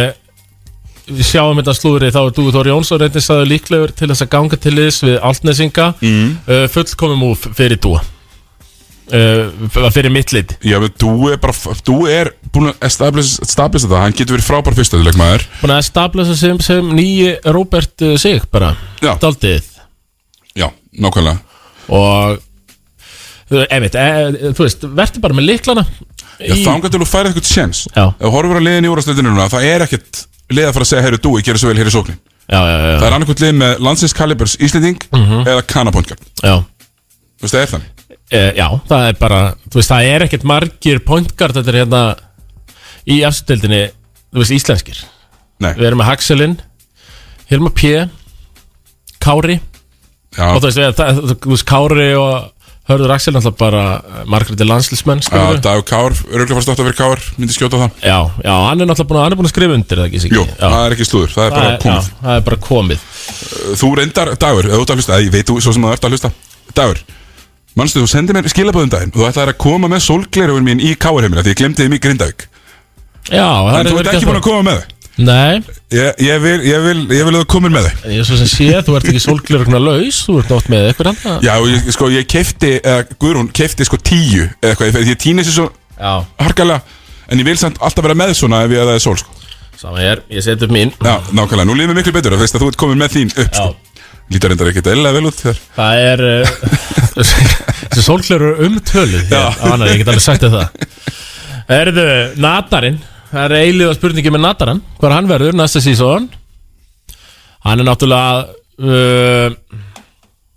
við sjáum þetta slúðri Þá er Dúi Þóri Jónsson reyndis aður líklegur til þess að ganga til þess við Altnesinga mm. uh, Fullkomi múf fyrir Dúa uh, Fyrir mitt lit Já, menn Dúi er bara, Dúi er búin að establish establish þetta Hann getur verið frábær fyrstöðuleikmaður Búin að stabla þess sem, sem nýji Robert uh, Sig bara Já. Daldið Já, nákvæmlega Og þú- einmitt, e, þú veist, verður bara með líklana Já, þangar til þú færið eitthvað séns Já. Ef þú horfur að liðin í úrastildinu núna Það er ekkert lið að fara að segja Heyru, Dúi, gera svo vel hér í sóknin já, já, já, Það er annarkvæmt lið með landsins kalibers Íslending Mhm. Eða kanapóntgjörn já. Þú veist, það er þannig Uh, já, það er bara, þú veist, það er ekkert margir pointgard þetta er hérna í afstöldinni, þú veist, íslenskir. Nei, Við erum með Haxelin, Hilma P, Kári já, og þú veist, við, það, þú veist, Kári og Hörður Axel náttúrulega bara eh, margriði landslísmenn, já, skilur við. Dagur Kár Örgulega fara stótt að vera Kár, myndi skjóta á það Já, já, hann er náttúrulega búin að, hann er búin að skrifa undir það ekki, sig? Jú, það er ekki slúður, það er bara komið Já, það er bara komið. Þú reyndar, Dagur, ef þú ert að hlusta, ég veit þú svo sem þú ert að hlusta Dagur, manstu, þú sendir mér skilabóðum daginn og Þú ætlaðir að koma með sólgleruður mín í káarheimina Því ég glemdi þeim í Grindavík Já, það En þú ert ekki búin að koma með þau Nei, Ég, ég vil, ég vil, ég vil að þú komir með þau en ég er svo sem sé, þú ert ekki sólglurugna laus, þú ert nátt með eitthvað annað. Já, og ég, sko, ég keifti, eða Guðrún keifti sko tíu eða eitthvað, ég, ég týni sér svo Já, harkalega en ég vil samt alltaf vera með svona ef ég að það er sól sko. sama hér, ég seti upp mín. Já, nákvæmlega, nú lífum við miklu betur þú veist að þú ert komin með þín upp sko. Já. Lítar reyndar ekkert eðlilega vel út þér Það er uh, þessi sólklöru umtöluð Já. hér, á annað, ég get alveg sagt þér það Erðu Natarinn Það er eilíða spurningi með Natarinn Hvar hann verður næsta sísón Hann er náttúrulega uh,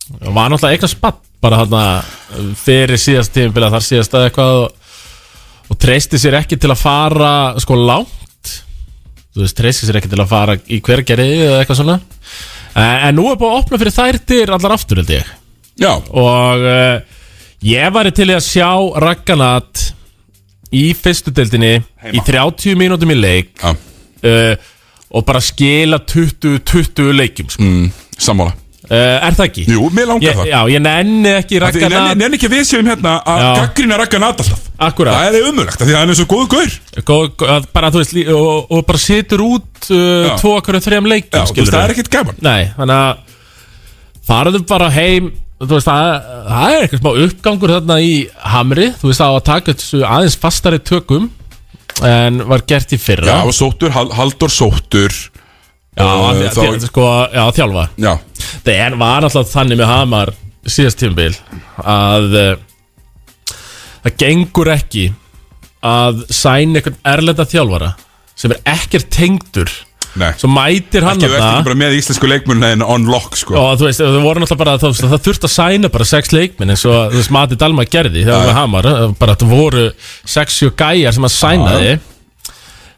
Var náttúrulega eitthvað spatt Bara hann að fyrir síðast tíðinbila Þar síðast að eitthvað og, og treysti sér ekki til að fara Sko langt Þú veist, treysti sér ekki til að fara í hvergeri Eða eitthvað svona Eh, En nú er búið að opna fyrir þær dyr allar aftur held ég Já, Og uh, ég væri til í að sjá Ragganat í fyrstu deildinni Í 30 mínútum í leik já, uh, Og bara skila 20-20 leikjum sko. mm, sammála uh, Er það ekki? Jú, mér langar Ég, það já, ég nenni ekki Því ég nenni, Ragganat nenni... nenni ekki að við séum hérna að Já. gaggrina rakka nat alltaf Akkurat, Það er umulagt, því að hann er svo góð gaur Já, Gó- gó- að bara þú veist lí- Og, og bara situr út uh, Já. Tvo akkur þrejum leikjum þú veist, það er ekkert gaman Nei, þannig að farðu bara heim þú veist, það, það er eitthvað smá uppgangur þarna í Hamri, þú veist, það á að taka þessu aðeins fastari tökum en var gert í Já, fyrra og sóttur, Hal- Halldór sóttur já, að, þá- þá... sko, já þjálfa Já, það en var alltaf þannig með Hamar síðast tímabil að eh, það gengur ekki að sæna einhvern erlenda þjálfara sem er ekkert tengdur nei svo hérna- mætir hann Ekki, þú ert þarna- ekki bara með íslensku leikmunna en on lock sko Og þú veist, það voru náttúrulega bara, það, það þurfti að sæna bara sex leikminn eins og þú veist, Mati Dalma gerði þegar við hamar, eh, bara það voru sex, sjö gæjar sem að sænaði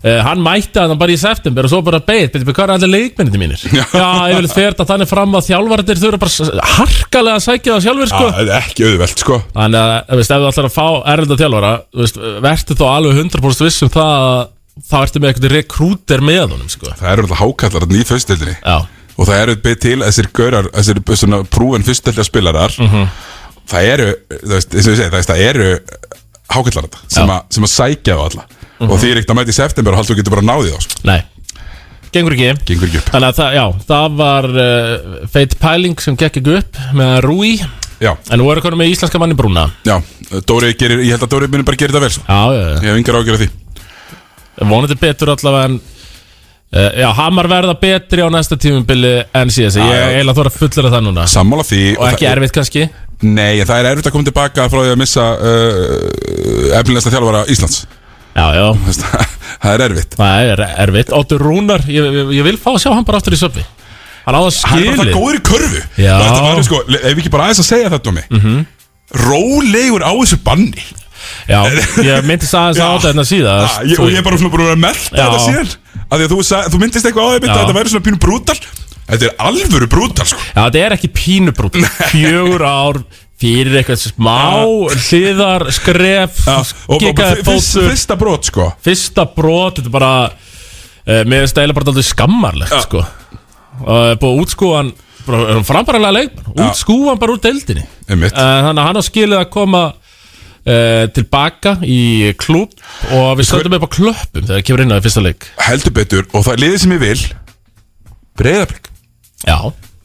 uh, Hann mætti að hann bara í september og svo bara beið, betur, hvað eru allir leikminni mínir? Já, ég vil ferða þannig fram að þjálfarnir þurfa bara s- harkalega að sækja það sjálfur, sko Já, Ah, það er ekki auðvelt sko Þannig að, þú veist, ef þú ætlar að fá erlenda þjálfara, þú veist, verður þá alveg 100% viss um það að þá ertu með eitthvað rekrúter með honum, sko Það eru alltaf hákallar í fyrstildinni Já, Og það eru beð til þessir gaurar, þessir svona prúin fyrstildar spilarar Mhm. Það eru, þú veist, eins og ég segi, það, veist, það eru hákallar þetta sem, að- sem að sækja á alla Mhm. Og því er ekkert að mæta í september og haldur þú getur bara náðið á sko. nei, gengur ekki Gengur ekki upp Þannig að það, já, það var uh, feit pæling sem gekk ekki upp með Rúi Já, En nú er konum með íslenska manni Brúna já, Dóri gerir, ég held að Dóri minni bara gerir þetta vel sko. Já, já, Ég hef yngar ágjörð því já, vonandi betur allavega en uh, Já, Hamar verða betri á næsta tímumbili en síðast Ég Já, já. er eiginlega þóra fullera það núna Sammála því Og ekki það, erfitt kannski Nei, en það er erfitt að koma tilbaka frá því að missa uh, efnilegsta þjálfara Íslands Já, já, Þú veist, Það er erfitt það er erfitt Óttur Rúnar, ég, ég, ég vil fá að sjá hann bara aftur í söpvi Hann á Hann það er skilið bara það góður í körfu Já. Mhm. Og Þetta var sko, ef við ekki bara aðeins að segja þetta um mig Rólegur á þessu banni Já, ég myndi sagði þess Já. að átta hérna ah, síðast ég, Og ég er bara svona búin að vera að melta Já. þetta síðan af því að þú, sa- þú myndist eitthvað á því að Já. þetta væri svona pínu brútal Þetta er alvöru brútal sko. Já, þetta er ekki pínubrútt Fjögur ár fyrir eitthvað smá hliðar, skref, Já, Ah, og, og, gikaði og fyrst, fótur fyrsta brot sko. Fyrsta brot, þetta er bara uh, Mér finnst það eiginlega bara alltaf skammarlegt Já. sko. uh, Búið að útskúa hann bara- eh, er hann Frambaralega leikmann Útskúa hann bara úr deildinni uh, Einmitt. Þannig að hann á skilið að koma uh, Tilbaka í klúb Og við stöndum upp á klöppum Þegar það kemur inn á því fyrsta leik Heldur betur og það er liðið sem ég vil Breiðablik Já,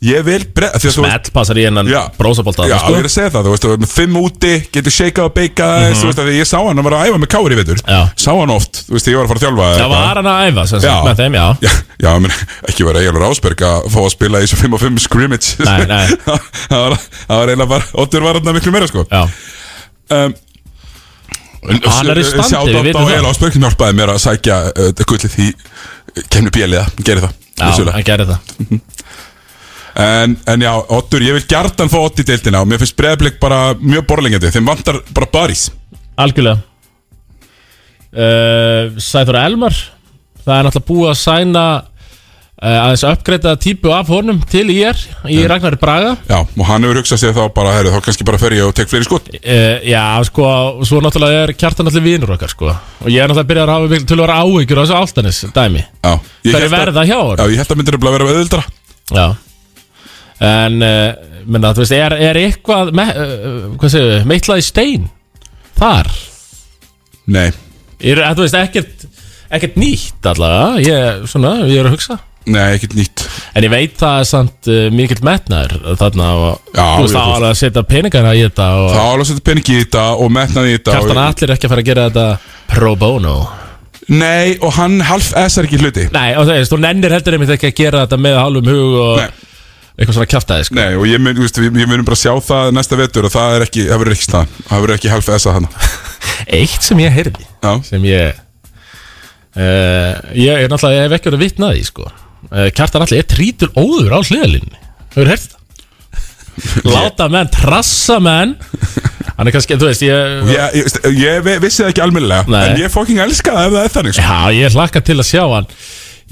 Ég vil breiðablik smell passar í hennan Já. brósabólta Já, sko. ég er að segja það, þú veist, við erum fimm úti, getur shakeað og beikað, mm -hmm. þú veist, að því ég sá hann, hann var að æfa með kári í veitur, Mhm. Já. sá hann oft, þú veist, ég var að fara að þjálfa. Já, var hann að æfa sem sagt, Já. með þeim, já Já, já menn, ekki verið eiginlega Rásberg að fá að spila í þessu 5 og 5 scrimmage. Nei, nei. það var það var eiginlega bara, Otur var hann miklu meira, sko. Já, Um, Hann er í standi, við það. vitum það. Eil Rásberg hjálpaði mér að sækja uh, gullið í kemni bjeliða, gerir það. já vissulega. hann gerði það En, en já, Otur, ég vil gjartan fá Otti í deildina og mér finnst breyðblik bara mjög borlingandi, þeim vantar bara barís. Algjörlega uh, Sæþór Elmar Það er náttúrulega búið að sæna uh, aðeins uppgreita típu af honum til IR í Ragnari Braga Já, og hann hefur hugsað sér þá bara, herru, þá kannski bara fer ég og tek fleiri skot uh, Já, sko, svo náttúrulega er kjartan allir vinur okkar, sko og ég er náttúrulega byrjað að hafa miklu tölvara áhyggjur á þessu áltanis dæmi Já, ég Hverju hélt að, verða hjá já, honum? ég held að myndir að vera auðvildra Já En, uh, menna, þú veist, er, er eitthvað me, uh, hvað segir við, meitlaði stein þar? Nei, Ég er, að eh, þú veist, ekkert, ekkert nýtt allavega, ég, svona, ég er að hugsa nei, ekkert nýtt En ég veit það er samt uh, mikill metnaður þarna og Já, þú veist já, það þú var að setja peningana í þetta og Það álega setja peningi í þetta og metnaði í þetta Kjartan og, Allir er ekki að fara að gera þetta pro bono Nei, og hann half S er ekki hluti Nei, og þú veist, þú nennir heldur einmitt ekki að gera þetta með hálfum hug og Nei. eitthvað svona kjaftaði sko. Nei, og ég mun, þú veist, við- ég munum bara sjá það næsta vetur og það er ekki, það verður ekki staðan Það verður ekki half S að hann Eitt sem ég heyrði Já, sem ég uh, ég er náttúrulega, ég hef ekki verið að vitna að því sko. uh, Kjartan Allir er trítur óður á hliðalinni Hefur heyrt þetta? Láta menn, trassa menn Hann er kannski, þú veist, ég ég, ég, veist, ég ve- vissi það ekki almennilega Nei. En ég fóking elska það ef það er þannig sko. Já, ég hlakka til að sjá hann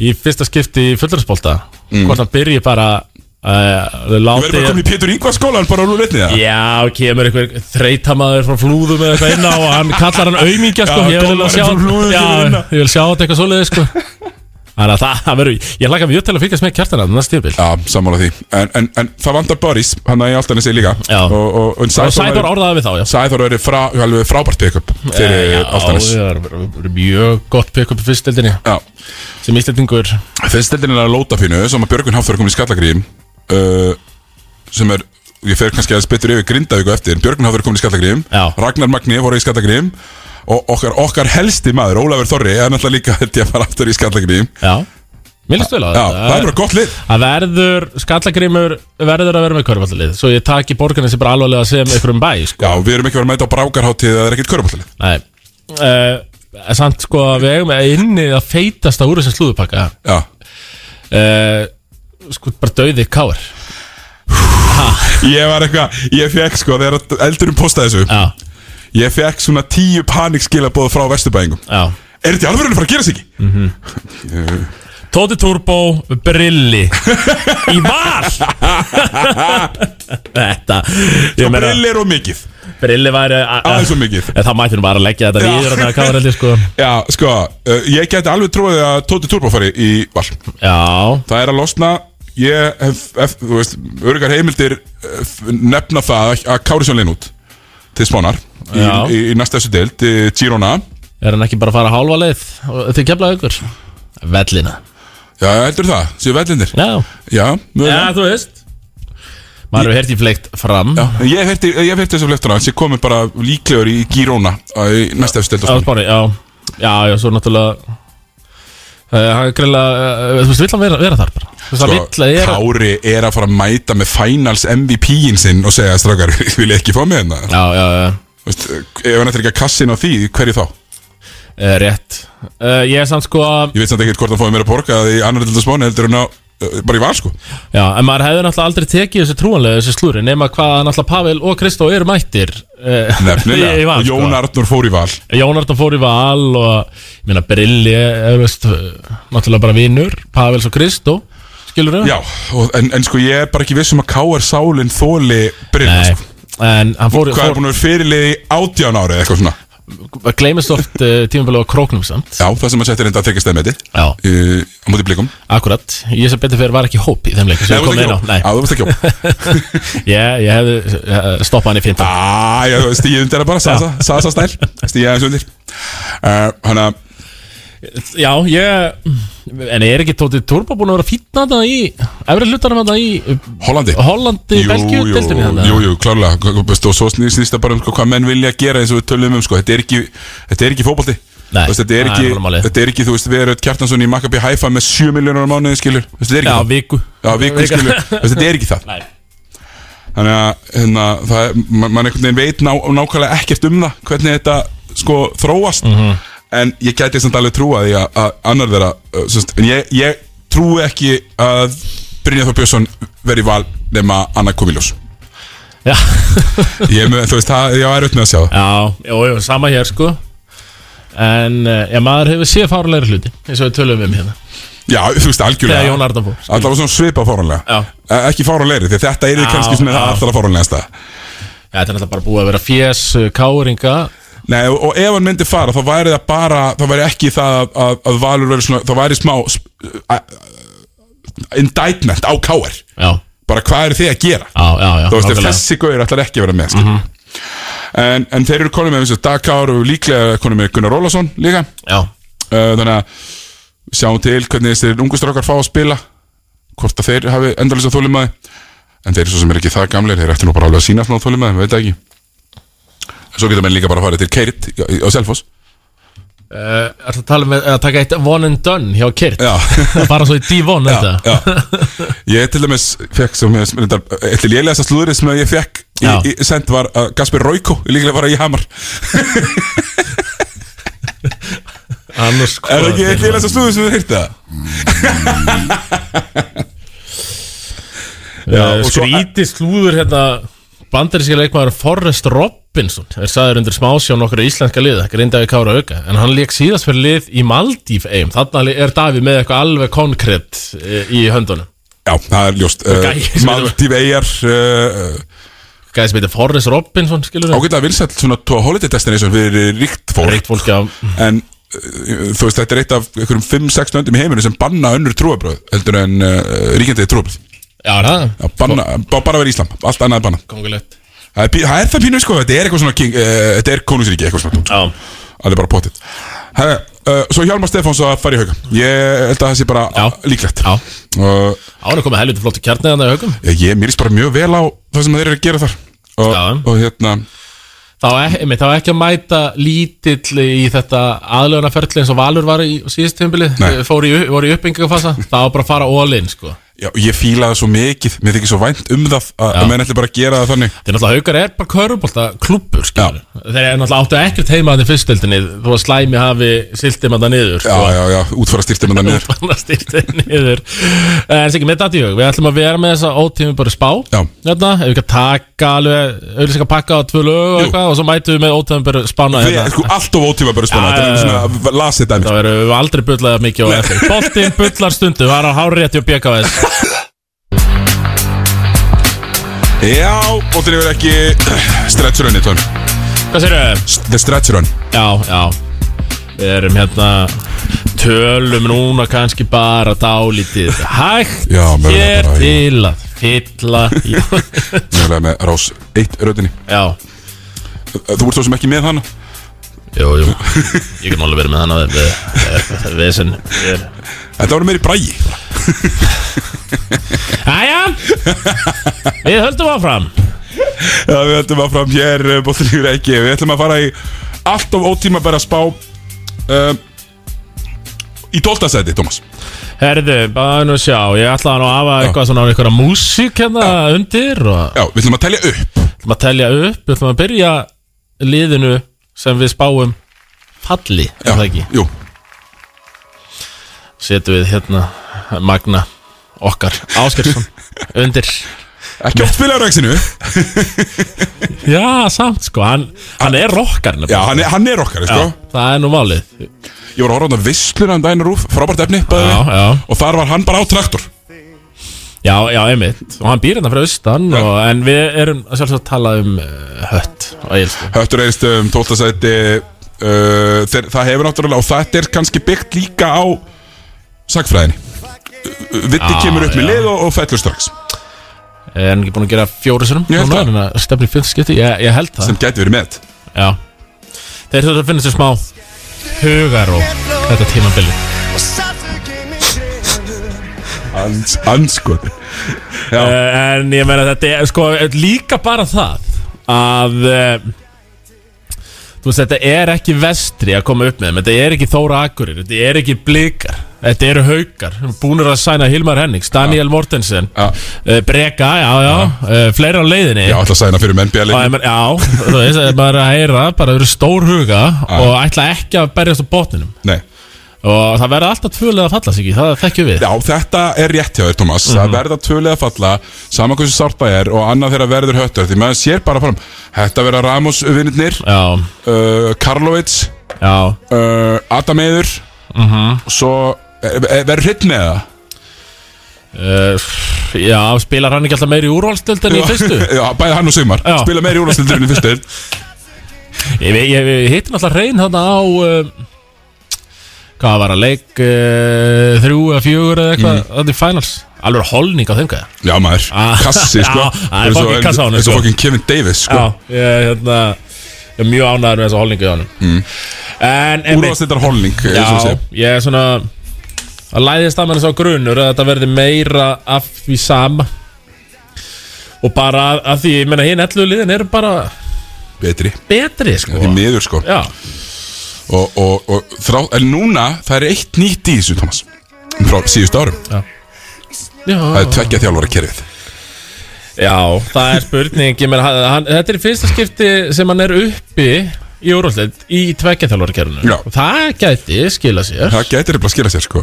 í fyrsta skipti í fullarinsbólta hvort hann byrji bara uh, Við verðum láti bara komin í Pétur Ingvar skólan bara úr litnið það Já, kemur einhver þreytamaður frá flúðum eða eitthvað inn á og hann kallar hann aumingja sko, Já, ég dómarinn vil alveg sjá frá Flúðum Já, kemur inn á. ég vil sjá þetta eitthvað svoleiði sko Þannig að það, það verður, ég hlakka mjög til að fylgjast með hérna kjartana næst tíðbill Já, sammála því En, en, en það vantar Boris, hann að ég alltaf nessi líka Já. Og, og, og, en Og Sæþór væri- Sæþór orðaði við þá, já Sæþór verið frá, alveg frábært pick-up Eh, fyrir Altanis Já, það verður mjög gott pick-up í fyrstildinni Já, sem íslendingur fyrstildin er að lóta fínu sem að Björgun Hafþór er komin í skallagrín uh, sem er, ég fer kannski aðeins betur yfir Grindavík á eftir, en Björgun Hafþór er komin í skallagrín Já. Ragnar Magni voru í skallagrín og okkar, okkar helsti maður, Ólafur Þorri er náttúrulega líka held ég að fara aftur í skallagrín Já, mér líst vel á Já, þetta það er bara gott lið Það verður, skallagrimur verður að vera með körfaldalið Svo ég taki borgarnið sem bara alvarlega sem einhverjum bæ sko. Já, við erum ekki verið að mæta á brákarháttið það er ekkert körfbóltalið Nei uh, Samt sko að við eigum inni að feitasta úr þessum slúðupakka Já, uh, Sko bara dauði káir ég var eitthvað, ég fekk sko þegar eldurum postaði þessu Já, Ég fekk svona tíu panikskilabóð frá vesturbæðingum já Er þetta í alvörinu að fara að gera sig ekki? Tóti Turbo, Brilli Í val Þetta Sko Brill er og mikið Brilli væri a- a- Aðeins of mikið. Eh, Það mætti nú bara að leggja þetta Já. viður Þetta káir heldur sko Já, sko, uh, ég geti alveg trúið að Tóti Turbo fari í val Já, Það er að losna Ég hef, hef þú veist, örgar heimildir eh, f- nefna það að Kári Sjón lein út til spánar í, Já. í, í næsta þessu deild, eh, Girona Er hann ekki bara að fara hálfa leið og- til kemlaði ykkur? Vellina Já, heldur það, séu vellindir Já, Já, mögulega þú veist Maður hefur hert í fleikt fram Já, en Ég hef hérti, ég hef hérti þessu fleftuna Þessi komið bara líklegur í Girona eh, í næsta þessu deild á Já, Spáni. spáni, já Já, já, svo náttúrulega uh, Hann er greiðlega, uh, þú veist, vill hann vera, vera þar bara Þú veist, hann vill að er Sko, Kári er að fara að mæta með finals MVP-in sinn og segja strákar, vil ég ekki fá með hérna Já, já, já, Þú veist, eh, ef hann eftir ekki að kassin á því, hverju þá? uh, rétt uh, Ég er samt sko að Ég veit samt ekkert hvort hann fóði mér að borga því annar til þess mánu heldur en á uh, bara í var sko Já, en maður hefði náttúrulega aldrei tekið þessu trúanlega þessu slúri nema hvað náttúrulega Pavel og Kristó eru mættir eh, Nefnilega, í- í val, og Jón Arnur fór í val sko. Jónardan fór í val og ég meina Brilli er veist, eh, náttúrulega bara vinnur Pavels og Kristó, skilur Já, og, en, en sko ég er bara ekki viss um að K.R. Sálin þóli Brynna Nei, sko. en hann fór, Hvað er búin að vera fyrirlið í átján árið eitthvað svona fór gleymist oft uh, tímabili á króknum samt Já, það sem að setja reynda að þykja stefnmeti Já, uh, á múti blikum akkurat, ég sem betur fyrir var ekki í hóp í þeim Nei, leikum sem þú ég kom veist inn á ekki Nei, á Já, þú veist ekki á ég, ég hefði eh, stoppað hann í Ah. 15 Æ, já, stíðið undir það bara, sasa, sasa stæl Stíðið aðeins undir uh, Hanna, Já, ég En er ekki Tóti Turbo búin að vera fýtna þetta í Efri hlutanum þetta í eh, Hollandi Hollandi, Belgíu, deltinni jú, þetta jú, jú, klárlega K- k- Og svo snýst snýst það bara um sko, hvað menn vilja gera eins og við tölum um sko. þetta, er ekki, þetta er ekki fótbolti Nei, Þú veist, þetta, er það er alveg ekki, málið. þetta er ekki, þú veist, við erum Kjartansson í Maccabi Haifa með 7 miljónar á mánuði skilur Þú veist, Þetta er ekki Já, það viku Já, viku skilur, Þú veist, þetta er ekki það Nei, Þannig að hérna, það, er- ma- mann einhvern veginn veit ná, nákvæmlega ekkert um það hvernig þetta sko þróast Mhm. en ég gæti samt alveg trúa því að, að annar þeirra uh, semst, en ég, ég trúi ekki að Brynjar Þór Björnsson veri í val nema Anna Komiljós já, ég, er með- þú veist, það, ég var auðvitað með að sjá það já, jú, jú, sama hér sko En, eh, já, maður hefur séð fárlega hluti eins og við tölum um hérna Já, þú veist, algjörlega Þegar Jón Arnar fór. Alltaf var svona svipað fáranlega Já. Ekki fáranlegri, því að þetta er Já, kannski svona það já. allra fáranlegasta Já, þetta er náttúrulega bara búið að vera fjés, eh, káringa Nei, og, og ef hann myndi fara, þá væri það bara Það væri ekki það að, að, að Valur veri svona Það væri smá sp- a- a- Indictment á káar Já, Bara hvað eru þið að gera? já, já, já Þú veist, ef nákvæmlega. Mhm. þessi gaur ætlar ekki að vera með mm en, en þeir eru konum með þessu Dag Kár og líklega konum með Gunnar Rólasson líka Já, uh, þannig að sjáum til hvernig þessir ungu strákar fá að spila hvort að þeir hafi endalins að þólimaði en þeir eru svo sem er ekki það gamlir þeir ættu nú bara alveg að sína svona þólimaði, veit það ekki en svo getur menn líka bara að fara til Keirit í- í- á Selfoss uh, er það að tala með að taka eitt one and done hjá Kirt Já. Bara svo í D1 þetta já. ég til dæmis fekk sem ég reyndar, eh, eitt til ég lesa slúðri sem ég fekk í, Já. í, send var uh, Gaspar Róiko líklega var að ég hamar Annars sko er það ekki eitt til ég lesa slúðri sem þú heyrti það Já, og svo- Skríti slúður hérna Bandaríski leikmaður Forrest Robinson er sagður undir smásjón okkur íslenska lið grindaði Kára auka, en hann leik síðast fyrir lið í Maldíf eigum, þannig er Davíð með eitthvað alveg konkrétt eh, í höndunum já, það er ljóst gæi uh, sem- Maldíf Eyjar uh, Gæði sem heitir Forrest Robinson, skilur við ágætlega vinsætt svona to holiday destination fyrir eh, ríkt fólk Reykt fólk af en uh, þú veist þetta er eitt af einhverjum 5-6 nöndum í heiminu sem banna önnur trúabröð heldur en uh, ríkjandi trúabröð Já, er það, Já, banna, bá, bara vera Íslam, allt annað er banna kongulegt það er, pí- það er það pínu sko, þetta er eitthvað svona king, uh, þetta er konungsríki eitthvað svona tótt Já, það er bara potið Herra, uh, svo Hjálmar Stefáns að fara í hauga ég held að það sé bara Já. líklegt já, uh, ára komið helviti flottu kjarnið þannig að haukum ég mér líst bara mjög vel á það sem þeir eru að gera þar og, Já. og hérna Þá er, einmitt, þá er ekki að mæta lítill í þetta aðlöðunarferli eins og Valur var í síðust tímbilið, Nei. fór í, voru í uppbyggingafasa, þá bara að fara all-in sko. Já, ég fíla það svo mikið, mér þykir svo vænt um það að, að menn ætli bara að gera það þannig Þeir náttúrulega haukar er bara körubólta klúppur skilur. Þeir er náttúrulega áttu ekkert heima þannig fyrstildinni þó að slæmi hafi siltið maður niður sko. Já, já, já, útfara styrtum en það niður Þannig að stiltið niður Eh, En sikki, með datt í hug, við ætlum að vera með þessa ótími bara spá Já. Þarna, ef við ekki að taka alveg auðvitað pakka á tvö lög og Jú. eitthvað og svo mætum við með ótími bara spána hérna. Við, sko, allt of ótíma bara spana, Já, þetta er já, alveg svona lasið dæmi Þá erum við aldrei bullaðið mikið á eftir Boltinn bullar stundu, það er á hárétti og BKS Já, og þetta er ekki stretch runni, tón Hvað sér þau? The stretch run Já, já Við erum hérna Tölum núna kannski bara dálítið Hægt Já, mögulega hér bara, já. til að fylla í- Mjögulega með rás 1 rauninni Já, Þú ert svo sem ekki með hana jú, jú Ég kann alveg verið með hana við- við- við- við- Vesen við erum- Þetta var meiri brægi Jæja Við höldum áfram Já, við ætlum að fram hér, bóttinlegur ekki Við ætlum að fara í allt of ótíma bara spá uh, Í 12. seti, Tómas Herðu, bara nú sjá Ég ætlaði nú að hafa eitthvað svona einhverja músík hérna undir og Já, við ætlum að telja upp Við ætlum að telja upp, við ætlum að byrja liðinu sem við spáum falli, er Já, það ekki? Jú, Setum við hérna Magna okkar Áskersson undir Ekki oft fylgja ræksinu Já, samt sko, hann, hann er rockar Já, hann er, hann er okkar, sko Það er nú málið Ég var að horfa á þetta visslur en dæna rúf Frábært efni, bæði Já, við. já, Og þar var hann bara á traktor já, já, einmitt Og hann býr hérna frá austan og, En við erum að sjálfsög að tala um uh, hött og eilstu Höttur eilst um 12. sæti uh, þeir, Það hefur náttúrulega Og þetta er kannski byggt líka á Sagfræðinni Uh, Vitti Já, kemur upp með já. lið og, og fellur strax Er hann ekki búin að gera fjóru sinum? Ég held það. Þannig að stefni í fjöndskipti, ég, ég held það Sem gæti verið með Já Þeir þurfa að finna sér smá hugar og þetta tímabili Ans, Anskot Já, uh, En ég meina þetta er sko líka bara það að uh, þú veist þetta er ekki vestri að koma upp með þeim, þetta er ekki Þóra Akurir þetta er ekki Blikar, þetta eru Haukar búnir að sæna Hilmar Hennings, Daniel Mortensen Já. uh, Breka, já já uh, fleiri á leiðinni já alltaf sæna fyrir menn Og bjali ég meina, Já, þú veist, það er bara að heyra bara eru stór huga og ætla ekki að berjast á botninum Nei og það verða alltaf tvölega að falla sig ekki, það þekkjum við Já, þetta er rétt hjá þér, Thomas Mhm. Það verða tvölega að falla, sama hversu sárt það er og annað þeirra verður höttur því maður sér bara fram, þetta verða Ramos vinnirnir, Já, uh, Karlovits já, uh, Adam Eður Mhm. og svo e, e, verður hrytt með það uh, já spilar hann ekki alltaf meiri úrvalstöldinni í fyrstu Já, bæði hann og Sigmar, Já. spila meir í úrvastildurinn í fyrstu Ég, ég, ég, ég hittin alltaf reyn þarna á uh, hvað var að leik uh, þrjú eða fjögur Mm. eða eitthvað þetta er finals, alveg holning á þeim gæða Já maður, Ah. kassi sko Já, það er Eins og- fucking kassi á honum, eins og sko. fucking Kevin Davis sko Já, ég, hérna, ég er mjög ánæður með þessa holningu í honum mm. En, en Úrvastildar holning eh, eins og Já, sé. ég er svona að læðist að mann sá grunur að þetta verði meira af því sama og bara að, að því, ég meina, hinn ellu liðin eru bara Betri, betri, sko því miður sko Já, og, og, og þrá, En núna, það er eitt nýtt í þessu, Thomas Frá síðust árum já, Það er tveggja þjálfara kerfið já, það er spurning ég meina, hann- hann, þetta er í fyrsta skipti sem hann er uppi í úrvallet í tveggjaþjálfarkerfinu Já. og það gæti skila sér Það getur eitthvað að skila sér sko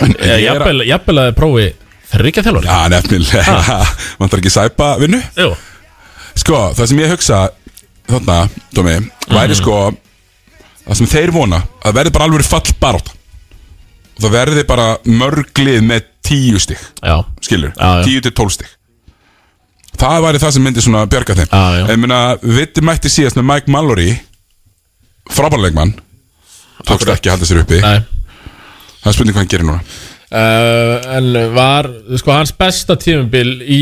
En, en ég Eh, er að- jafnvel jafnvel að þið prófi þryggjaþjálfari Já, nefnilega Vantar ekki sæpa vinnu Jú, Sko, það sem ég hugsa Þarna, Dómi Væri Mhm. sko Það sem þeir vona Það verði bara alveg fall barátt Og það verði bara mörglið með tíu stig já, Skilur, Já, já. tíu til tól stig Það væri það sem myndi svona bjarga þeim Já, já. En minna, viti mætti síðast með Mike Mallory Frábærleikmann Tókst ekki að halda sér uppi nei Það er spurning hvað hann gerir núna Uh, en var, sko, hans besta tímubil í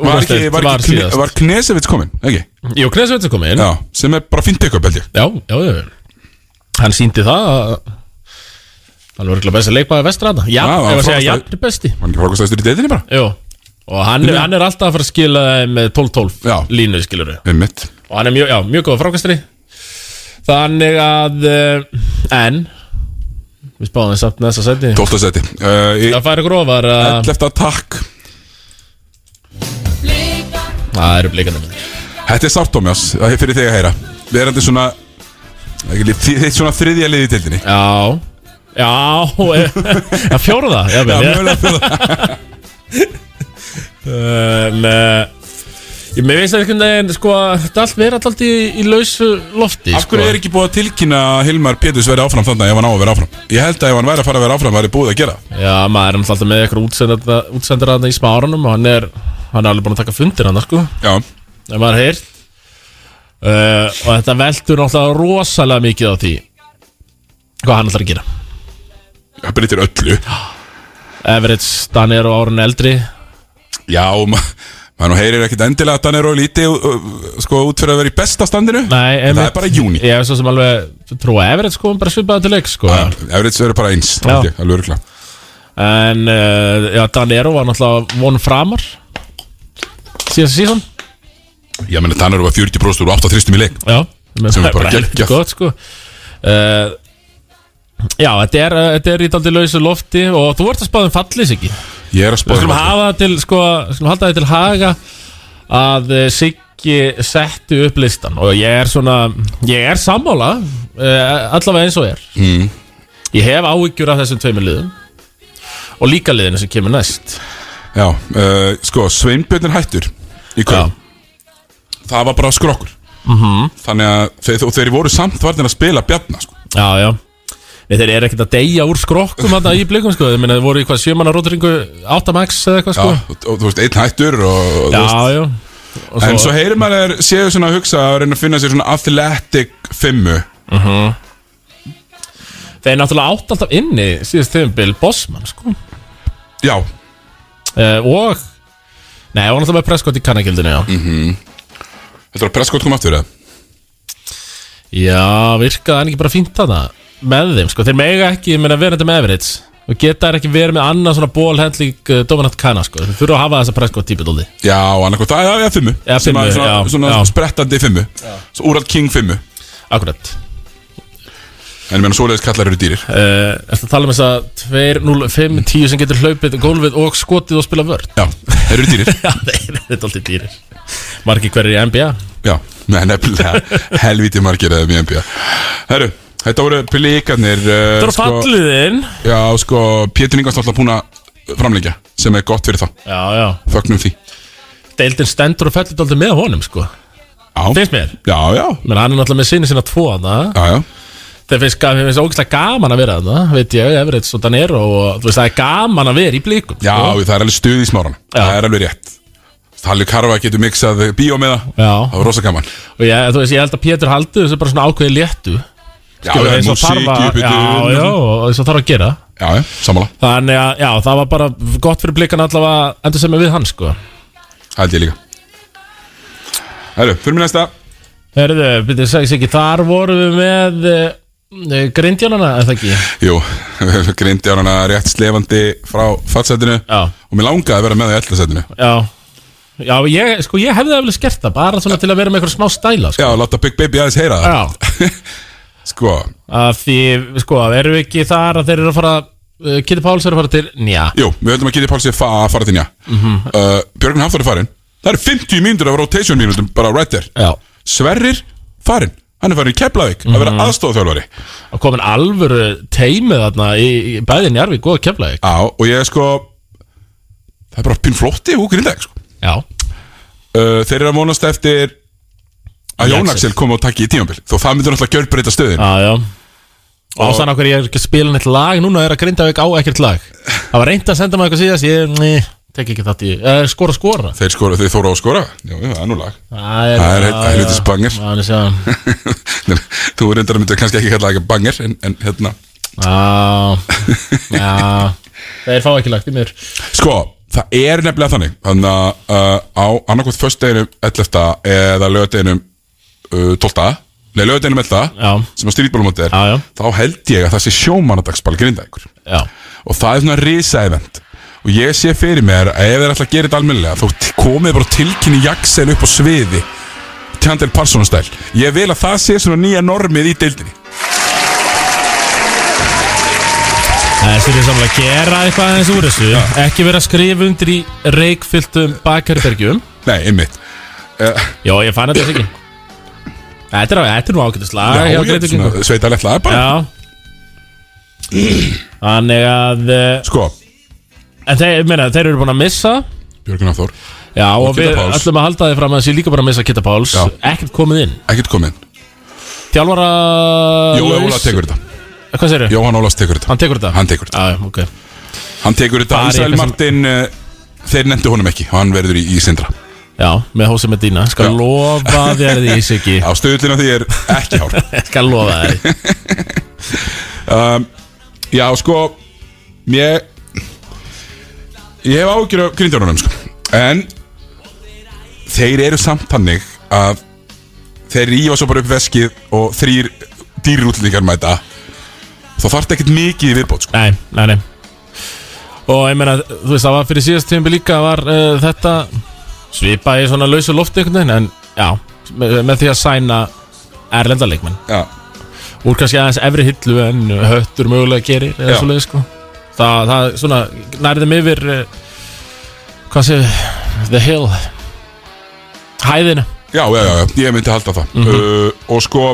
Var, ekki, úrvalsdeild var, var ekki, síðast var Knesevits komin, ekki? Jú, Knesveit er komin já. Já, sem er bara fínt pick-up held ég já, já, já Hann síndi það að Hann var ekki best að leikmaði vestranda Já, Já, hann ef að segja frábært- jafn er besti Var hann ekki frákvastæðistur í deildinni bara? Jú, og hann, er- hann er alltaf að fara að skila þeim með 12-12 Já. línu skilur Við mitt Og hann er mjög, já, mjög góða frákastri Þannig að uh, En Við spáðum þess aftur næsta seti 12. seti uh, í Það færi grófar að 11. takk Það eru blikandi Þetta er sárt Tómas, það er fyrir þig að heyra Verandi svona ekki líf- þi- Þitt svona þriðja lið í deildinni Já Já, eh, já fjórða Já, jafnvel, mögulega fyrir það um, uh, Ég með veist einhvern veginn sko, þetta allt verið allt í, í lausu lofti sko. Af hverju er ekki búið að tilkynna að Hilmar Péturs verið áfram þannig ef hann á að vera áfram Ég held að ef hann væri að fara að vera áfram væri búið að gera það. Já, maður er náttúrulega alltaf með eitthvað útsendara, útsendara þarna í smárunum og hann er, hann er alveg búin að taka fundir hann sko, Já, ef maður heyr uh, og þetta veldur náttúrulega rosalega mikið á því hvað hann ætlar að gera það breytir öllu Everett, Danir og Árun Eldri Já, og ma maður nú heyrir ekkit endilega að hann er og lítið uh, uh, sko út fyrir að vera í besta standinu Nei, En það einmitt. er bara júni Ég er svo sem alveg trúa Everett sko, bara svipaði til leik sko Efriðs verður bara eins, Já. held ég, alveg örugglega. En uh, já, Danero var náttúrulega von framar Síðast síðan Ég meni, Tannar var 40% úr 8 þristum í leik Já Sem er bara helviti geggjað. gott sko uh, Já, þetta er, uh, þetta er í daldi lausu lofti Og þú ert að um spáðum fallis ekki Við Ég er að spáða skulum hafa það til, sko við Skulum halda það til haga Að uh, Siggi setti upp listan Og ég er svona Ég er sammála uh, Allavega eins og er mm. Ég hef áhyggjur af þessum tveimur liðum og líka liðinu sem kemur næst Já, uh, sko, Sveinbjörn er hættur í kvöld Það var bara skrokkur Mhm. -hmm. Þannig að þeir, og þeir voru samt varnir að spila bjarna sko. já, já Nei, þeir eru ekkert að deyja úr skrokkum þarna í blikum sko, þeir minna þeir voru í hvað sjömanna rótringu 8 max eða eitthvað Já, sko og, og þú veist, einn hættur og, og, þú Já, veist, já Og En svo heyrir maður er, séu svona að hugsa að reyna að finna sér svona athletic fimmu Þeir náttúrulega átt alltaf inni síðast tíðumbil Bosman sko Já, uh, Og Nei, það var náttúrulega með preskott í kannakildinu já þetta var presskort kom aftur eða? Já, virkaði hann ekki bara fínt þarna með þeim, sko, þeir mega ekki ég meina, vera þetta með Everits og geta þær ekki verið með annað svona bólhendlík uh, Dominant Kana, sko, þeir þurfa að hafa þessa preskot típu dóldi Já, annarkot, það er- það er fimmu Já, Sem fimmu, að svona, já, svona já. sprettandi fimmu Svo Úrall King fimmu Akkurat En ég meina, svoleiðis kallar eru dýrir uh, Ertu að tala um þess að 2, 0, 5, 10 sem getur hlaupið gólfið og skotið og spila vörn Já, þeir eru dýrir Já, þeir eru dóldi dýrir Margi hverjir í NBA Já, nei, nefnilega helviti margir eða mjög NBA Herru, þetta voru blíkarnir uh, Þú eru falliðinn Já, sko, Pétur Ingvars náttúrulega búin að framlengja sem er gott fyrir þá, Já, já, fögnum því deildin stendur og fellur dóldi með honum, sko Já, Finnst mér já, já, Men hann er náttúrulega með sinni sinna tvo, það já, já. Þeir finnst, ga- þeim finnst ógeðslega gaman að vera þarna veit ég, Everett og Danero og þú veist það er gaman að vera í sko. blíkum Já, það er alveg stuð í smáran Já. Það er alveg rétt Halli Karfa getur mixað bíó með það Já. Það var rosa gaman og ég, þú veist, ég held að Pétur haldi þessu bara svona ákveði léttu Já, Skilur, já, eins og músík mm-hmm. þarf í að- uppbytun. já, já, og þess að þarf að gera Já, já, sammála, þannig að já, það var bara gott fyrir blíkan allavega endur sem er við hann sko held ég líka Herru, fyrir mér næsta Herðu, byrju, segis ekki, þar vorum við með uh, grindjónana, er það ekki? Jú, greindi á hana rétt slefandi frá fatsætinu Já. Og mér langaði að vera með það í ellasætinu Já Já, ég, sko, ég hefði eflega skert það bara svona til að vera með eitthvað smá stæla sko. Já, láta Big Baby aðeins heyra það Já, Sko, að því, sko, erum við ekki þar að þeir eru að fara uh, Kitty Páls eru að fara til, njá jú, við höldum að geta í pálsi að fa að fara til njá mm uh, Björgvin Hafþór er farin Það eru 50 mínútur af rotation mínútum bara right there Já, Sverrir farin, hann er farin í Keflavík að vera aðstofþjálfari og komin alvöru teimið þarna í, í bæðin Jarvík og Keflæk Já, og ég sko Það er bara pinn flotti húkur í dag sko. Já, uh, Þeir eru að vonast eftir að Jón Axel. Axel komi og takki í tímambil Þó það myndur náttúrulega gjörbreyta stöðin já, já Og ástæðan okkur ég er ekki að spila neitt lag Núna er að Grindavík á ekkert lag Það var reynd að senda maður eitthvað síðast Ég, ný, tek ekki þátt í uh, Skora, skora Þeir, skora, þeir þóra á að skora Já, já, það er nú lag Það Það er- já, það er já. lítið spanger. Já, hann er sjá- Nei, Þú er reyndar að myndu kannski ekki kalla það ekki banger en, en hérna Já, já Þeir fá ekki lagt í mér Sko, það er nefnilega þannig Þannig að uh, á annarkvæmt föstudeginum 11. eða lögadeginum uh, 12. Nei, lögadeginum 11. Já. sem að stríðbólumóti er Já, já. Þá held ég að það sé sjómanadagsball grinda ykkur Já, Og það er svona risa event Og ég sé fyrir mér að ef þeir ætla að gera þetta almennilega Þá t- komið bara og tilkynni jaksel upp á sviði Chandel Parsons stæl Ég vil að það sé svona nýja normið í deildinni Það er svolítið samlega að gera eitthvað aðeins úr þessu Ekki vera að skrifa undir í reikfylltum bakherbergjum Nei, einmitt Eh, Jó, ég fann þetta ekki Þetta er, á- þetta er nú ágætis lag Já, hjá ég er Grindvíkingum. svona sveitalegt lag bara Já Þannig að eh, Sko, En þeir, ég meina, þeir eru búin að missa Björgun Áþór Já, og, Kidda við Páls. ætlum að halda þið fram að þessi líka bara að missa Kitta Páls Já. Ekkert komið inn Ekkert komið inn Þjálfara Jói Laus- Óla tekur þetta Hvað segir þau? Jóhann Ólas tekur þetta Hann tekur þetta? Hann tekur þetta Já, ok Hann tekur þetta Bara Ísrael eitthvað sem- Martin uh, Þeir nendu honum ekki og Hann verður í, í sindra Já, með hósi með dýna Já. Skal lofa þér því, Siggi Já, stöðlina því er ekki hár Skal lofa þér Já, sko Ég Ég hef ágjör af grindjónunum sko. En Þeir eru samt þannig að Þeir rífa svo bara upp veskið Og þrýr dýrútlíkar mæta Þá þarf ekkert mikið í viðbót sko. Nei, nei, nei Og ég meina, þú veist, það var fyrir síðast tíðanbyrð líka var uh, þetta svipað í svona lausu lofti einhvern veginn en já, með, með því að sæna erlenda leikmenn Já, úr kannski aðeins efri hillu en höttur mögulega gerir eða Já. svo sko Það, það svona, nærðum yfir uh, hvað séu The Hill Hæðina Já, já, já, já, ég myndi halda það uh, Og sko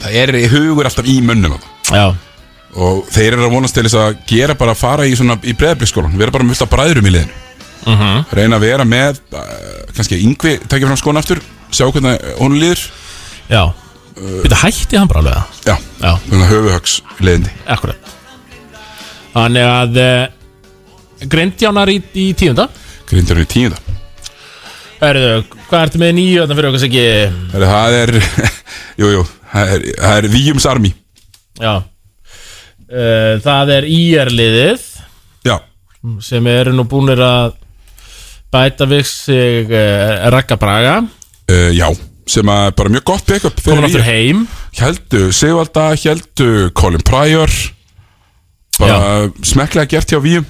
Það er í hugur alltaf í mönnum á það Já, og þeir eru að vonast til þess að gera bara að fara í, svona- í breðabliksskólan vera bara með fullt af bræðurum í liðinu reyna að vera með uh, kannski að yngvi takja fram skóna aftur sjá hvernig hún líður Já Býta hætti hann bara alveg það já, Já, þannig að höfuhögs leiðindi akkurat Þannig að uh, Grindjánar í, í tíunda grindjarinn í tíunda Erðu, hvað ertu með nýju Þannig fyrir okkur sem ekki Herri, það er, jú, jú það er, það er Víjums Army Já uh, Það er IR-liðið já, sem eru nú búnir að bæta við sig uh, Raka Braga uh, já sem að er bara mjög gott pick-up fyrir komin aftur VIA. heim Héldu Sigvalda, héldu Colin Pryor bara smekklega gert hjá Víum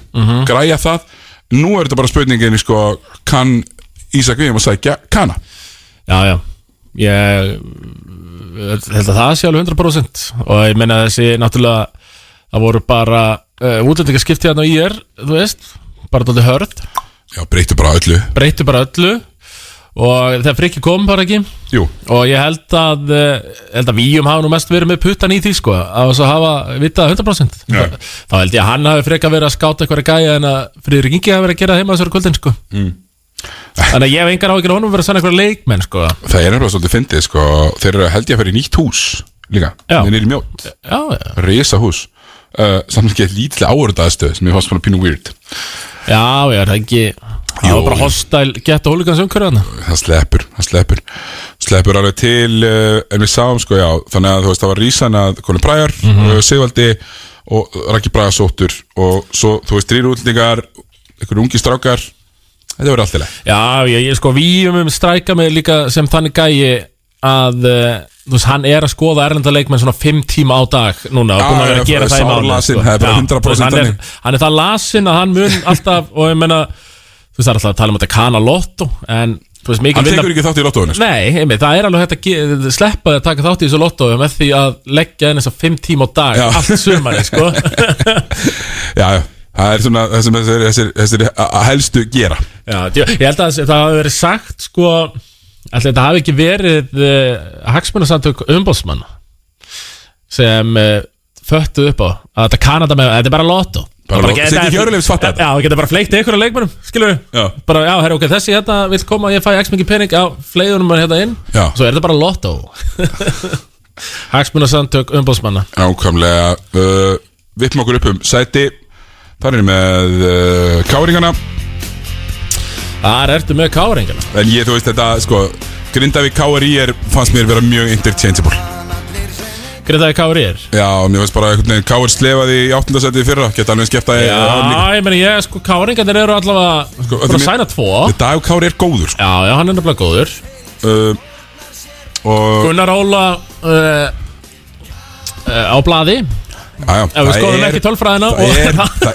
græja það, nú er þetta bara spurningin sko, kann Ísak Víum að sækja kanna Já, já Ég eh, held að það sé alveg 100% og ég meina þessi náttúrulega það voru bara uh, útlendingaskipti hérna í er, þú veist bara dálítið hörð, já, breyttu bara öllu breyttu bara öllu og þegar frikki kom bara ekki jú, og ég held að eh, held að Víum hafa nú mest verið með puttan í því sko, að þess að hafa vitað 100% Já. þá, þá held ég að hann hafi freka verið að skáta eitthvað gæja en að Friðrik Ingi hafi verið að gera heima þessari kvöldin sko mm. þannig að ég hef engar áhyggjur á honum að vera að sanna eitthvað leikmenn sko það er nefnilega svolítið fyndið sko, þeir eru held ég að fyrir nýtt hús líka, Já. þeir eru mjótt já, já risa hús uh, samt ekki lítilega áhörðaðstöð sem ég fannst svona pínu weird Já, já, það er ekki Það Jú. var bara hostile gett og hólugans umhverfana það sleppur, það sleppur sleppur alveg til, uh, en við sáum sko já, þannig að þú veist það var Rísan að Colin Pryor, mm Sigvaldi og Raki Braga sóttur og svo þú veist þrýr útlendingar, einhverjum ungi strákar þetta verður allt í leið Já, ég, ég sko, víum um stræka mig líka sem þannig gæi að eh, þú veist, hann er að skoða erlenda leikmenn svona 5 tíma á dag núna og Já, búin að vera já, að gera það í mánu sárlasinn, það er bara 100% hann, þannig. er, hann er það lasin að hann mun alltaf og ég meina, þú veist, það er alltaf að tala um þetta kana lotto en þú veist, hann mikið vinna tekur ekki þátt í lottoðunni sko. Nei, einmitt, það er alveg hægt að ge- sleppa því að taka þátt í þessu lottói með því að leggja inn þess að 5 tíma á dag Já. allt sumari, sko já, já, það er svona það sem þessir, þessir, þessir a- a- helstu gera Já, djö- ég held að það hafi verið sagt sko Alltaf þetta hafi ekki verið uh, Hagsmunasamtök umbóðsmanna sem uh, föttu upp á að þetta Kanada með, þetta er bara lotto Bara Það lotto. geta- Sitja ekki örlefis fatta þetta. Já, það geta bara fleikt einhverja leikmönum, skilur við Já. Bara, já, herri, ok, þessi hérna vill koma ég fæ x mikið pening á fleiðunum mann hérna inn Já. Svo er þetta bara lotto Hagsmunasamtök umbóðsmanna ákamlega uh, vippum okkur upp um sæti þar erum við með uh, káringana Þar ertu með káringana en ég, þú veist þetta, sko Grindavík KRI er, fannst mér vera mjög interchangeable Gretaði kári er Já, mér finnst bara einhvern veginn Káur slefaði í áttundasæti í fyrra Geta alveg skipta í Já, ég meni ég, sko, káringarnir eru allavega Sko, sko, þetta að mér- sæna tvo Dag Káur er góður sko. Já, já, hann er nefnilega góður uh, Og Gunnar Óla uh, uh, á blaði Ef já, já, við það skoðum er- ekki tölfræðina Það og er, það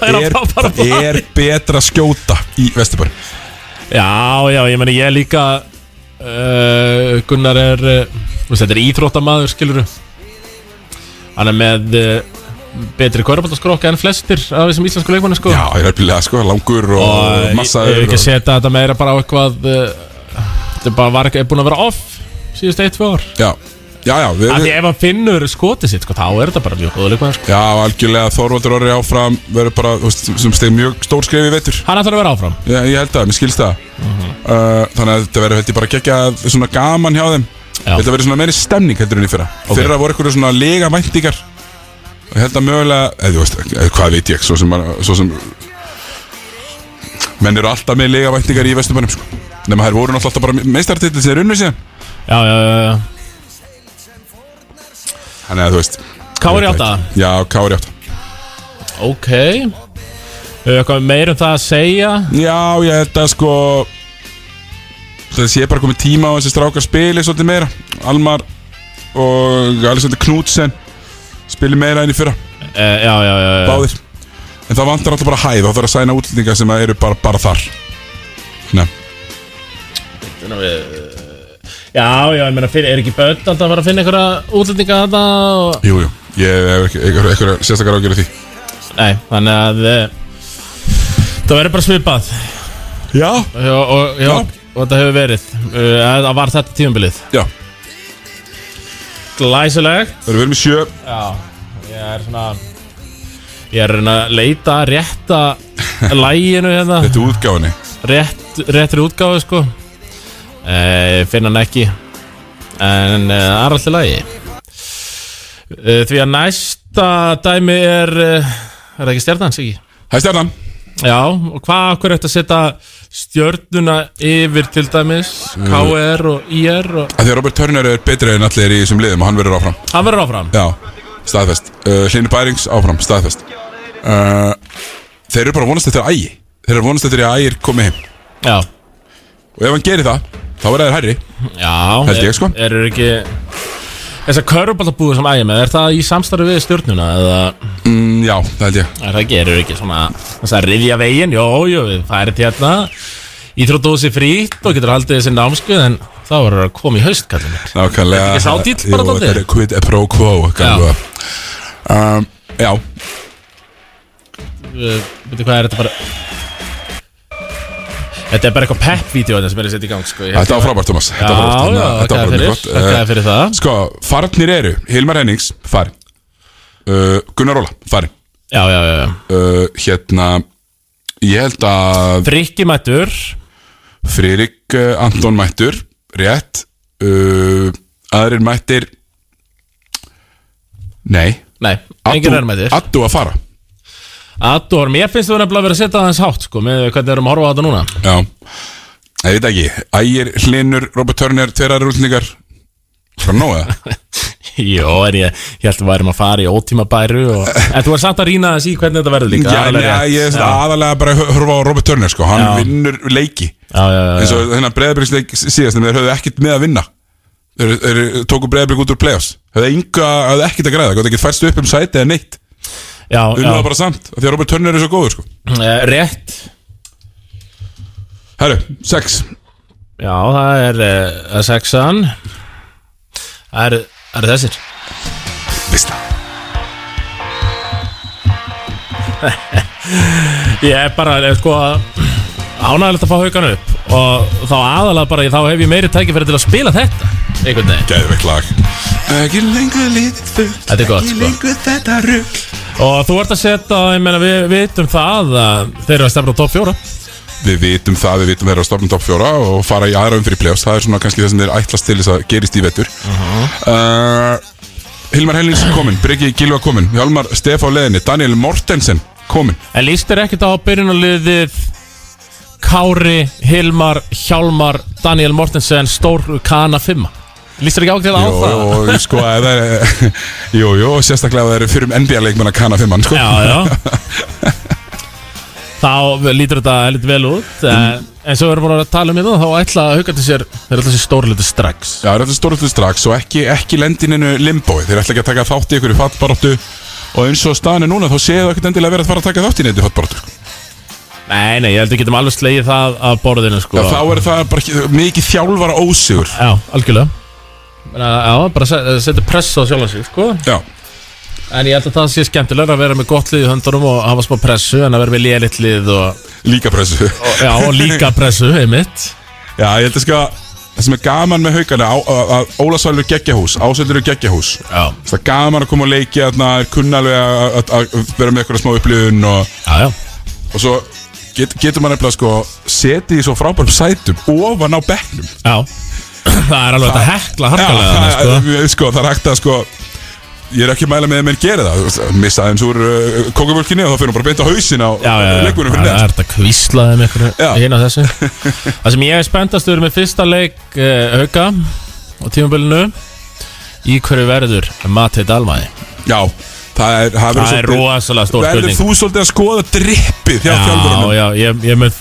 er að fá bara það blaði. er betra að skjóta í Vesturbæri Já, já, ég meni ég líka uh, Gunnar er uh, þú veist, Þetta er íþróttamaður, skilur Hann er með uh, betri kvörubaldaskróka en flestir af þessum íslensku leikmanni sko Já, ég er alveg sko, langur og, og massa ég hef og, ekki setja þetta meira bara á eitthvað uh, þetta bara var ekki búin að vera off síðust eitt, tvö ár Já, já, já, við, Af því ef hann finnur skotið sitt, sko, þá er þetta bara mjög góða leikmann sko. já algjörlega Þorvaldur orri áfram Verður bara, þú veist, sem steg mjög stór skrif í vetur Hann ætlar að vera áfram Já, ég held það, mér skilst það uh, Þannig að þetta verður held ég bara gegja svona gaman hjá þeim Já. Þetta verður svona meiri stemning heldur en í fyrra Ok. Fyrra voru eitthvað svona lega væntingar Og ég held að mögulega, eða þú veist, eða, hvað veit ég, svo sem, man- svo sem Menn eru alltaf með lega væntingar í vestumannum sko Nefnum að þær voru náttúrulega alltaf bara meistartitil sem er unnu síðan Já, já, já, já Þannig að þú veist Kári ég veit átta. það ekki. Já, Kári átta Ok Hefur eitthvað meir um það að segja Já, ég held að sko Það sé bara komið tíma á þessi strákar spili svolítið meira Almar og Alexander Knudsen spili meira enn í fyrra uh, Já, já, já, já. Báðir En það vantar alltaf bara hæð Það þarf að sæna útlendinga sem eru bara, bara þar Nei, Já, já, ég meina, finn- er ekki börn alltaf að fara að finna einhverja útlendinga þetta og... jú, jú Ég hef ekki- einhver- einhverja sérstakar ágjörðu því Nei, þannig að uh, Það verður bara svipað Já Já, og, já, Já. og þetta hefur verið uh, að- að var þetta tímabilið Já, Glæsilegt það eru verið með sjö Já, ég er svona Ég er að reyna að leita að rétta læginu hérna Þetta er útgáðinni rétt, Réttri útgáfu sko e, Finn hann ekki En eh, það er alltaf lægi e, Því að næsta dæmi er eh, Er það ekki stjarnan, Siki? Það er stjarnan Já, og hvað okkur ætti að setja stjörnuna yfir til dæmis Mm. KR og IR og Af Því að Robert Turner er betri en allir í þessum liðum og hann verður áfram hann verður áfram Já, staðfest uh, Hlynur Bærings áfram, staðfest uh, Þeir eru bara að vonast eftir að ægi Þeir eru að vonast eftir að ægir komi heim Já, Og ef hann gerir það, þá verða þeir hærri já Held ég, er- sko. Eru ekki Þessar körubaltabúið sem ægir með Er það í samstarfi við stjörnuna eða mm, Já, það held ég er það ekki, eru ekki svona Þess að rifja veginn, jó, jó, við færið til hérna Íþrótdósi frýtt og getur haldið þessi námskuð En þá verður að koma í haust, kallum mér Nákvæmlega Er ekki sá díll bara Jú, dálítið? Þetta er quid pro quo Já, um, já. Veitu hvað er þetta bara Þetta er bara eitthvað pepp-vídeó þetta sem er að setja í gang, sko Ég held þetta var ég- frábært, Thomas Já, Þetta var frábært, já, þannig að þetta var þakkaði bara mjög fyrir, gott. þakkaði fyrir það Sko, farnir eru Hilmar Hennings, farin uh, Gunnar Óla, farin Já, já, já, já uh, Hérna Ég held að Frikki mættur Fririk uh, Anton mættur Rétt uh, Aðrir mættir Nei Nei, enginn er mættur Addu að fara Ador, mér finnst þú nefnilega að vera að setja það hans hátt sko, með hvernig við erum að horfa á þetta núna Já Ég veit ekki Ægir, Hlinur, Robert Turner Tverar útlendingar Frá nóga Jó, en ég, ég held að við værum að fara í ótíma bæru og, En þú er samt að rýna þess í hvernig þetta verður líka Já, alveg en rétt. ég er aðalega bara að horfa á Robert Turner sko. Hann Já. vinnur leiki já, já, já, eins já. og þennan breðabriksleik síðast en þeir höfðu ekkert með að vinna þeir, þeir tóku breðabrik út úr playoffs höfðu, enga, höfðu ekkert að græða, gott ekki færst upp um sæti eða neitt, já, unnu það já. bara samt af því að Robert Turner er svo góður sko Eh, Rétt Herru, sex, Já, það er uh, sexan Það eru- það eru þessir vissla Ég er bara, eh, sko Ánægilegt að fá haugan upp Og þá aðalega bara, þá hef ég meiri tækifæri til að spila þetta Einhvern veginn Gæðvegt lag Ekki lengur lítið fullt Þetta er gott, Ekki sko. lengur þetta rugg Og þú ert að setja, ég meina, við við vitum það að Þeir eru að stefna á topp fjóra Við vitum það, við vitum þeirra að stopna topp fjóra og fara í aðra umfyrir playoffs, það er svona kannski það sem þeir ætlast til þess að gerist í vettur uh Hilmar Helins komin, Breki Gilva komin Hjalmar Stef á leðinni, Daniel Mortensen komin En líst er ekkert á byrjunarliðið Kári, Hilmar, Hjálmar, Daniel Mortensen, Stór, Kana, Fimma Líst er ekki ákveðið á Jú, það? og sko, ef það er, jú, jú, og sérstaklega ef það eru fyrir um NBA-leikmenn að kanna fimmann, sko. Já, já Þá lítur þetta lítið vel út En, en svo erum við búin að tala um hérna Þá ætla að hauga til sér Þeir ætla sér stórlítið strax Já, það er alltaf stórhaldið strax og ekki, ekki lendininu limbói. Þeir ætla ekki að taka þátt í ykkur í fattbaróttu og eins og staðan er núna þá séu það ekkert endilega verið að fara að taka þátt í neitt í fattbaróttu. Nei, nei, ég held við getum alveg slegið það Af borðinu, sko Já, þá er það bara ekki- mikið þjálfara ósigur. Já, algjörlega Meina, Já, bara se- eh, setja press á sjálfan sig, sko Já, En ég held að það sé skemmtilega að vera með gott lið í höndunum og hafa smá pressu en að vera með lélitt lið og, líka pressu. Já, og líka pressu, einmitt Já, ég held að sko að það sem er gaman með haugana, að Ólasvalur geggjahús, Ásöldur geggjahús. Já, Það er gaman að koma og leikja þarna, er kunn alveg að- að að vera með eitthvað smá upplifun og já, já og svo get, getur maður nefnilega sko setið í svo frábærum sætum ofan á bekknum Já, það er alveg þetta hekla harkalega það, þarna, sko. sko. sko, það er hægt að sko ég er ekki að mæla með að menn gera það þú veist, missa aðeins úr uh, kongumölkinni og þá fyrir maður bara beint á hausin á Já, já, já, leikunum það fyrir er neðst þetta kvíslaði með Já. einhverju hinn á þessu Það sem ég er spenntastur með fyrsta leik eh, auka á tímabilinu Í hverju verður Mati Dalmæði já, það er, það Það er svolítið- rosalega stór verður spurning þú svolítið að skoða drippið hjá Já, þjálfurunum já, ég, ég mun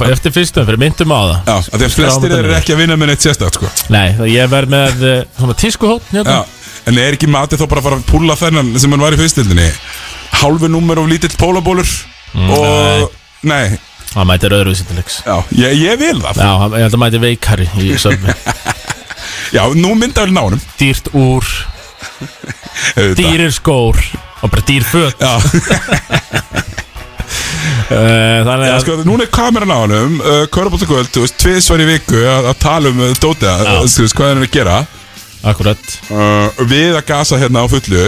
bara eftir fyrstum fyrir myndum á það já, af því að flestir Skráðum eru þetta ekki að vinna með neitt sérstakt sko Nei, það- ég verð með eh, svona tískuhótt já, hérna. en er ekki matið þá bara að fara að púlla þennan sem hann var í fyrstildinni hálfu númer of lítill pólabólur Mm, og, nei, Það mætir öðruvísi til leiks já, ég, ég vil það Já, hann- ég held að mæti veikari í söfni Já, nú mynda vel nánum Dýrt úr, dýrir skór og bara dýr föt Já, Eh, Þannig já að sko, núna er kameran á honum uh, Körbóttakvöld, þú veist, tvisvar í viku að að tala um uh, Dóta, Já. uh, þú veist, hvað er hann að gera Akkurat uh, Við að gasa hérna á fullu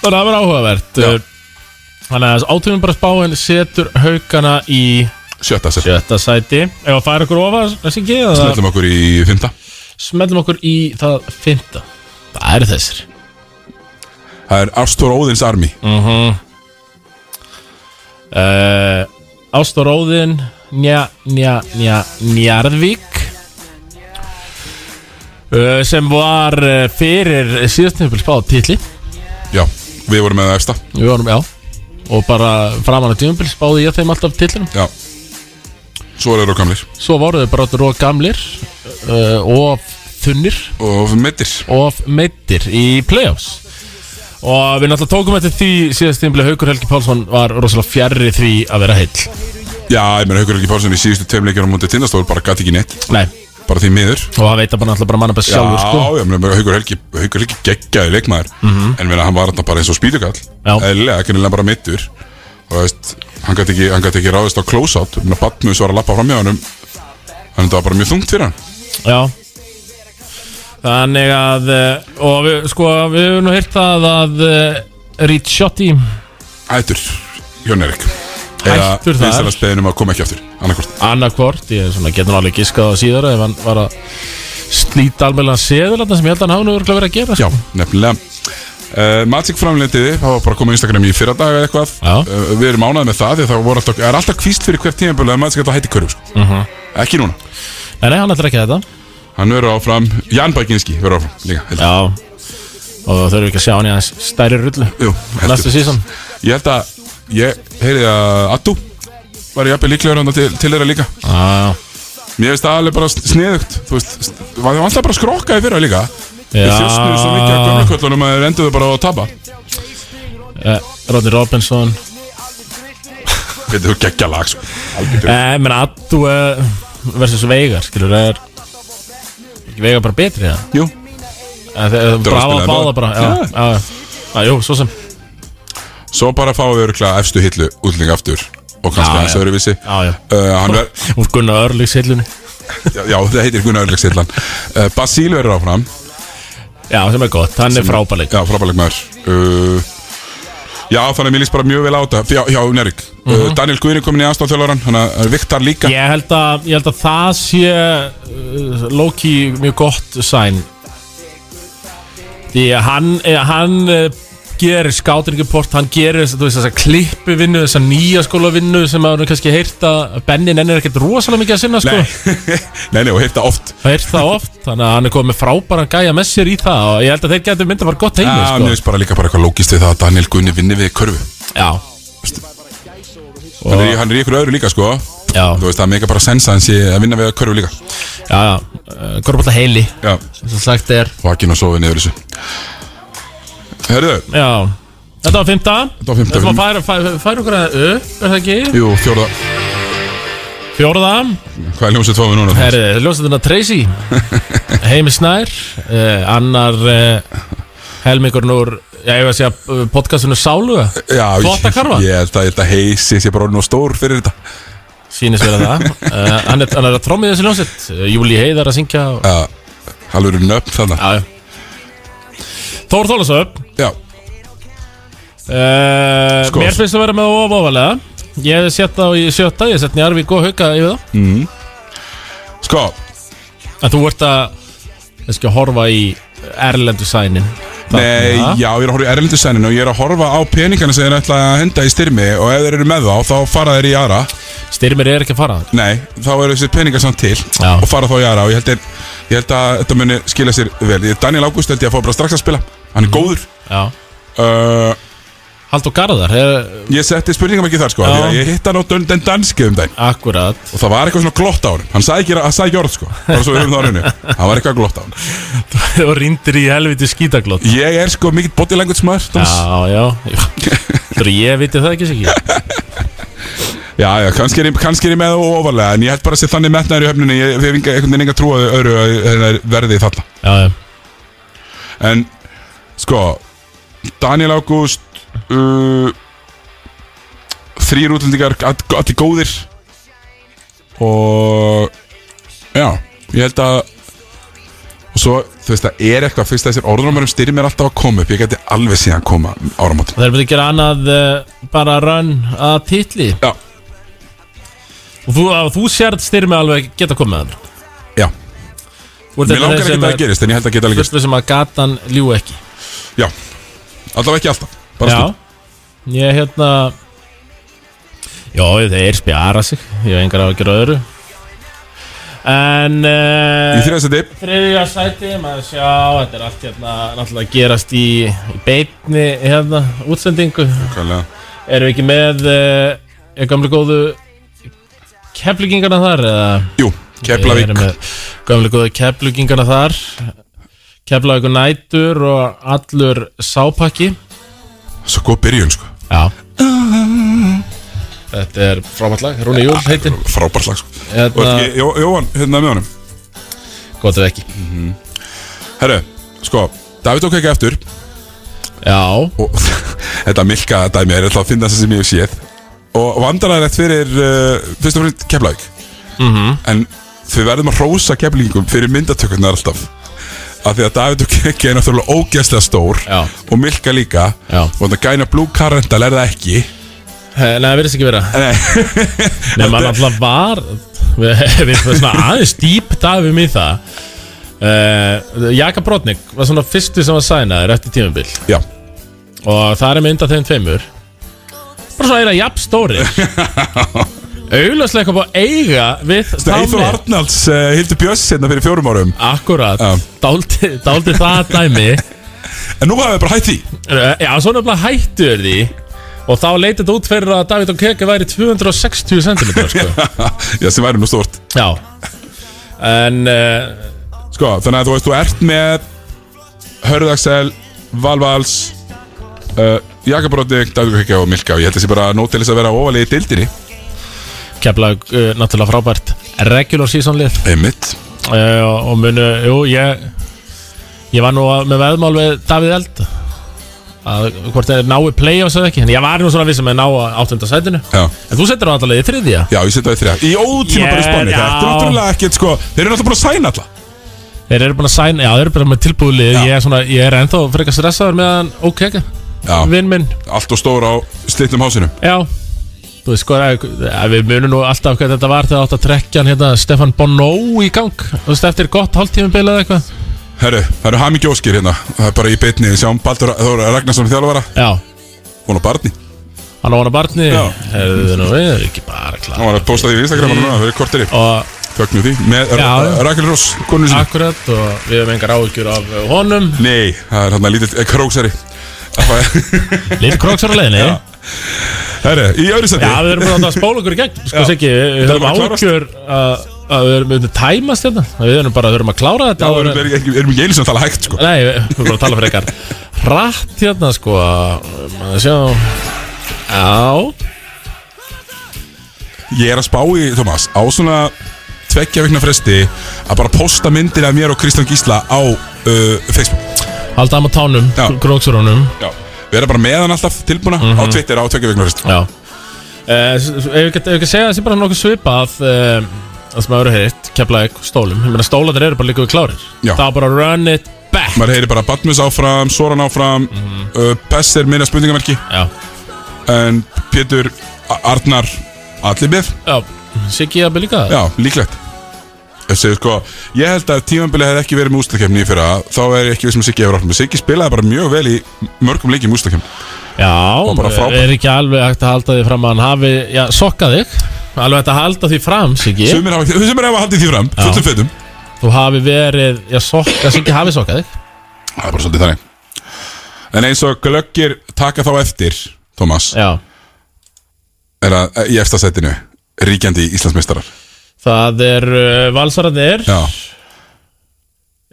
Það er að vera áhugavert Já. Eh, Þannig að átöfum bara spáin setur haugana í Sjötta sér sjötta sæti Ef að færa okkur ofar, þessi ekki eða Smetlum okkur í fymta Smellum okkur í það fynda Það eru þessir Það er Ástór Óðins Army uh, Ástoróðin Nja, nja, nja, njarðvík uh, Sem var uh, fyrir síðastunumfél spáð titli Já, við vorum með það efsta Við vorum, já Og bara framan að tímumpil spáði ég þeim alltaf titlinum Já Svo eru okamlir Svo voru þau bara áttur og gamlir uh, Og þunnir Og meittir Og meittir í playoffs Og við náttúrulega tókum eftir því síðastunumfél Haukur Helgi Pálsson var rosalega fjarrri því að vera heill Já, ég meina Haukur Helgi Pálsson í síðustu tveimleikjum á mútið tindastól bara gæti ekki neitt Nei, bara því miður og það veit að bara náttúrulega bara manna bara Já, sjálfur sko Mhm. já, menn, Haukur Helgi, Haukur Helgi geggjaði leikmaður En meina, hann var þarna bara eins og spýtukall Já. Eðlilega, ekki nefnilega bara mittur Og það veist, hann gæti ekki, hann gæti ekki ráðist á close-out Ég Meina, Batmus var að lappa fram hjá hann Þannig það var bara mjög þungt fyrir hann Já Þannig að eh, og við, sko, við höfum nú hýrt það að eh, Ricciotti Ættur, Jón Erik Hættur þar. Vinstæðan speðinum að koma ekki aftur Annarkvort annarkvort, ég svona, getur nú alveg giskað á síðara ef hann var að slíta almennlega seðul þarna sem ég held að hann hafa nú örugglega verið að gera sko. Já, nefnilega Uh, Matic framlindiði, það var bara að koma á Instagram í fyrra dag eða eitthvað Já. uh, Við erum ánæðið með það því að það voru alltaf, er alltaf kvíst fyrir hvert tímabölu að Matic ætla að hætti körfu sko. Mhm. Ekki núna Nei, nei, hann ætlar ekki þetta Hann verður áfram, Jan Bækinski verður áfram líka held ég. Já og þau þurfum ekki að sjá hann í hans stærri rullu Jú, heldur. næstu sísón Ég held að, ég heyrði að Addu var jafnvel líklegur hann til, til þeirra líka Já, Mér finnst það alveg bara sniðugt Þú veist, st- var þeim alltaf bara skrokkaði fyrra líka Þeir Já. þjóstnuðu svo mikið að gömleköllunum að þeir enduðu bara á að tapa eh, Rodney Robinson Veitir þú geggja lag sko Algjör djöfull. Nei, menn Addu eh, versus Veigar, skilur, er ekki Veigar bara betri það? Jú, Það var er að bara spila að báða þetta. bara Já, Já. já, já Já, jú, svo sem svo bara fáum við örgulega efstu hillu útlinga aftur Og kannski Já, hans já. öðruvísi Já, já Uh, hann ver, Úr Gunnar Örlíks heilunni já, já, það heitir Gunnar Örlegstillan uh, Basíl verður áfram Já, sem er gott, hann er frábæleik Já, frábæleik maður uh, Já, þannig að mér líst bara mjög vel á þetta Já, já Nerik uh, Daniel Guðni komin í aðstofþjólaran Þannig að það er Viktar líka Ég held að, ég held að það sé uh, Loki mjög gott sæn Því að hann, eh, hann eh, gerir skátinguport Hann gerir þess að, þú veist, þessa klippu vinnu Þessa nýja skóla vinnu sem maður hefur kannski heyrt að Benni nennir ekkert rosalega mikið að sinna sko Nei, nei, nei, og heyrta oft Heyrt það oft, þannig að hann er komið með frábæran gæja með sér í það og ég held að þeir getur myndið bara gott heimi Já, sko. mér finnst bara líka bara eitthvað lógist við það að Daniel Gunni vinni við körfu Já Hann er, í- hann er í ykkur öðru líka, sko Já, Þú veist, það meika bara sensa hans í að vinna við körfu líka já, já Eh, Korfbólta heili Já, Svo sagt er vakin og sofið niður þessu Herðu, Já Þetta var fymta Þetta var fimmta. Þetta var færa, færa, færa okkur að upp Er það ekki? jú, fjórða Fjórða Hvað er ljómsið tófið núna? Herri, ljósaðuna Tracy Heimi Snær uh, Annar uh, Helmingurinn úr Já, ég var að segja eh, podcastinu Sáluga Já, Þvottakarfa? ég, ég held að, ég held að heisi sé bara orðinn of stór fyrir þetta Sýnist vera það uh, hann, er, hann er að trommið þessi ljósett Júli Eh, Heiðar að syngja og... Já, halvur nöfn þannig Já, já Þór Þólasöp Já, Uh, Skål. mér finnst að vera með of ofalega Ég hef sett þá í sjötta, ég hef sett Njarvík og Hauka yfir það sko, En þú ert að, ég skal horfa í erlendu sænin Nei, já, ég er að horfa í erlendisæninu og ég er að horfa á peningana sem þeir ætla að henda í styrmi og ef þeir eru með þá, þá fara þeir í aðra Styrmir er ekki að fara þangað. Nei, þá eru þessi peningar samt til Já. og fara þá í aðra og ég held, er, ég held að þetta muni skila sér vel Ég- Daniel Ágúst held ég að fá bara strax að spila Hann Mhm. er góður Já uh, Haldur Garðar, er, Ég setti spurningum ekki þar sko Já. því að Ég hitt hann á dön- den danski um daginn akkurat og það var eitthvað svona glott á hann Hann sagði ekki, hann sagði ekki orð sko bara svo við höfum það á hennu Hann var eitthvað glott á hann Og rindir í helviti skítaglót Ég er sko mikill body language maður Thomas. Já, já Þú ég viti það ekki sér ekki Já, já, kannski er, ég- kannski er ég með og ofarlega En ég held bara að sé þannig metnaður í höfninni Ég hef enga- einhvern veginn enga trú að öðru að að verði þarna Já, já En, sko Daniel Ágúst uh, Þrýr útlendingar all- Allir góðir Og Já, ég held að og svo, þú veist, það er eitthvað fyrst að þessir orðnumörum styrir mér alltaf að koma upp ég geti alveg síðan koma um áramót Það er bara að gera annað uh, bara run að titli já, og þú, að þú sérð styrmi alveg geta komið að hann já, Þú ert mér einn af langar ekki þeim sem að það er- gerist en ég held að geta alveg gerist, Fyrstu sem að gatan ljú ekki já allavega ekki alltaf, bara stund Já Ég hérna Já, þeir spjara sig Ég hef engar á að gera öðru En í uh, þriðast þetta, Þriðja sæti Maður sjá Þetta er allt hérna Náttúrulega gerast í, í Beitni Hérna Útsendingu kallega Erum við ekki með uh, Er gamlu góðu Keflingarna þar eða jú, Við Keflavík erum með Gamlega góða keflugingarna þar Keflavík og nætur og allur sápakki svo góð byrjun, sko Já Þetta er frábært lag, Rúni Júl heitir frábært lag, sko Og hérna, er ekki- Jó- Jóhann, hérna með honum Gott ef ekki herru, sko, Davíð tók ekki eftir Já, og þetta milka dæmi er alltaf að finna þess sem ég hef séð og vandraræðilegt fyrir uh, fyrst og fyrir keflavík Mhm. -hmm. en við verðum að hrósa keflingum fyrir myndatökurnar alltaf af því að David og Kekki er náttúrulega ógeðslega stór Já. og milka líka Já. og þannig að gæna Blue Currental er það ekki Eh, Nei, það verðist ekki vera Nei, maður alltaf var Við við erum svona aðeins dýp dafum í það uh, Jaka Brotnik var svona fyrstu sem var sænaður eftir tímabil já, og það er mynd af þeim tveimur bara svona eira jafn stóri auðvitað eitthvað búið að eiga við Eithor Arnalds uh, hildur Björns hérna fyrir fjórum árum akkurat, Já. dáldi, dáldi það dæmi en nú hafa við bara hætt því Eh, já, svo nefnilega hættu er því og þá leitið þetta út fyrir að David og Keke væri 260 cm sko. já, sem væri nú stórt já en uh, Sko, þannig að þú veist, þú ert með Hörðaksel, Valvals uh, Jakabróti, Dagdugkvækja og Milka og ég held þessi bara nót til þess að vera ofalega í dildinni kemla uh, náttúrulega frábært regular season lið Einmitt uh, og munu, jú, ég ég var nú að- með veðmál við Davíð Eld að hvort þeir nái play-offs eða ekki en ég var nú svona vissum að ná áttunda sætinu Já, en þú setur hann alltaf í þriðja já ég setja það í þrjá Í ótíma bara í Yeah, spáni, já. þetta er náttúrulega ekkert sko Þeir eru náttúrulega búin að sæna alla þeir eru búin að sæna, já þeir eru bara með tilbúðlið Já. ég er svona, ég er ennþá frekar stressaður meðan ok, ekki, Já, vinn minn allt og stór á slitnum hásinum já, þú veist sko að við munum nú alltaf hvað þetta var þegar átt að trekja hann hérna Stefan Bonó í gang þú veist eftir gott hálftífum bilað eitthvað Herru, það eru hami gjóskir hérna Það er bara í beinni, við sjáum Baldur Þóra Ragnarsson þjálfara já, Hún á barni, hann á hana barni Já. hefðu nú, við erum ekki bara hann klar var að posta því í Instagram núna Þau eru kortir í, og fögnum því Með Já. Ragnar Ross, konu sinni Akkurat og við hefum engar áhyggjur af uh, honum Nei, það er hann að lítið króksari Lill Kroks er á leiðinni Já, Herru, í öðru seti við erum bara að spóla okkur í gegn Sko Já. sé ekki, Þetta er við höfum bara að klárast. áhyggjur að að við erum við erum tæmast hérna að Við erum bara að við erum að klára þetta Já, áður erum en- við ekki, erum ekki einu sem tala hægt sko Nei, við við erum bara að tala fyrir ykkar Rætt hérna sko Maður sjá Já, Ég er að spá í, Thomas, á svona tveggja vikna fresti að bara posta myndir af mér og Kristján Gísla á uh, Facebook halda hann á tánum Já. Kroksur honum Já Við erum bara meðan alltaf tilbúna á Twitter á tveggja vikna fresti Já Eh, s- s- Ef ég get- ef ég ekki segja þessi bara nokkuð svipað eh, Það sem að vera heitt, keflaði stólum Ég meina stólandir eru bara líka við klárir Já. Það er bara run it back Maður heyri bara Badmus áfram, Soran áfram uh, Bess er minna spurningamerki Já, En Pétur, A- Arnar, allir með já, Siggi að byrja líka Já, líklegt Ég segi sko, ég held að tímanbilið hefði ekki verið með ústakefni í fyrra Þá er ég ekki við sem Siggi hefur átt með Siggi spilaði bara mjög vel í mörgum leikjum ústakefni Já, Og bara frábært. er ekki alveg hægt að halda því fram að hann hafi Já, sokka þig Alveg hægt að halda því fram, Siggi Sumir hafa, sumir hafa haldið því fram, fullum fötum Þú hafi verið, já, sokka, Siggi hafi sokka þig Það er bara svolítið þannig En eins og glöggir taka þá eftir Thomas, Já, er að eh, í efstasettinu Ríkjandi Íslandsmeistarar það er uh, valsararnir Já,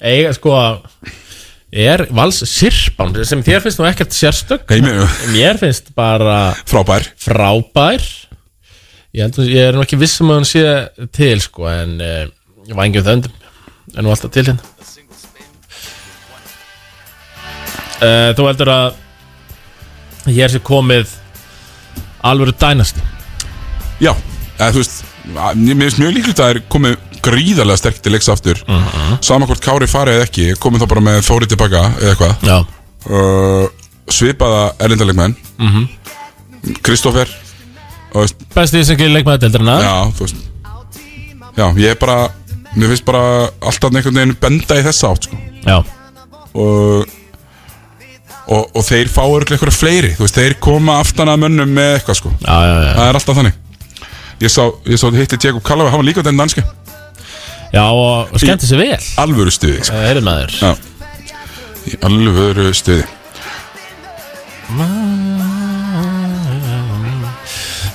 Eiga, sko Er vals sirpan Sem þér finnst nú ekkert sérstök heimi Mér finnst bara Frábær frábær Ég, held, að- ég er nú ekki viss um að hann sé til, sko En uh, ég vængjum þöndum En nú alltaf til hérna uh, Þú heldur að Hér sé komið Alvöru dænast Já, eða, þú veist að- Mér mér finnst mjög líklegt að það er komið gríðarlega sterk til leiks aftur mm -hmm. Samakvort Kári farið eða ekki Komið þá bara með Þóri tilbaka eða eitthvað Já, uh, Svipaða erlendalegmenn mm -hmm. Kristoffer og, veist, besti sem gerir leikmaðadeldrina Já, þú veist Já, ég er bara Mér finnst bara alltaf einhvern veginn benda í þessa átt sko. Já, og, og, og þeir fá örglega einhverja fleiri Þú veist, þeir koma aftan að mönnum með eitthvað sko. já, já, já. Það er alltaf þannig Ég sá, ég sá hitti Jakob Kallavi, hann var líka þennan danski já og skemmti sér vel Eh, Alvöru stuði sko. Heyrðu maður Já. Í alvöru stuði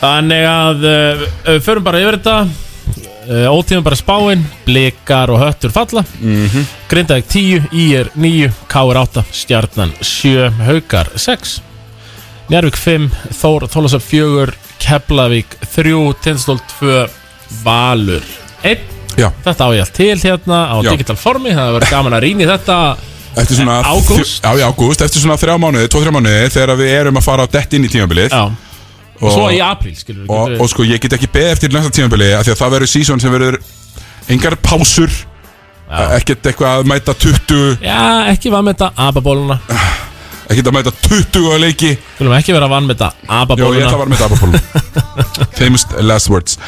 Þannig að uh, uh, förum bara yfir þetta uh, Ótíðum bara spáin Blikar og höttur falla mm Mhm. -hmm. Grindavík 10, IR 9 KR 8, Stjarnan 7 Haukar 6 Njárvík 5, Þór Þólasaf 4 Keflavík 3 Tindstól 2, Valur 1 Já, Þetta á ég allt til hérna á Já. digital formi Það hefur verið gaman að rýna í þetta eftir svona En ágúst? þjó- Já, í ágúst, eftir svona þrjá mánuði, tvo-þrjá mánuði Þegar við erum að fara á dett inn í tímabilið Já, og, svo í apríl skilur við og, getum við- og sko, ég get ekki beðið eftir næsta tímabili af Því að það verður sísón sem verður engar pásur Ekkert eitthvað að mæta 20 Já, ekki var með þetta ababóluna Ekkert að mæta 20 á leiki Skulum ekki vera vann með þetta Jó, ég ababóluna ætla að vara með dabapólum Famous last words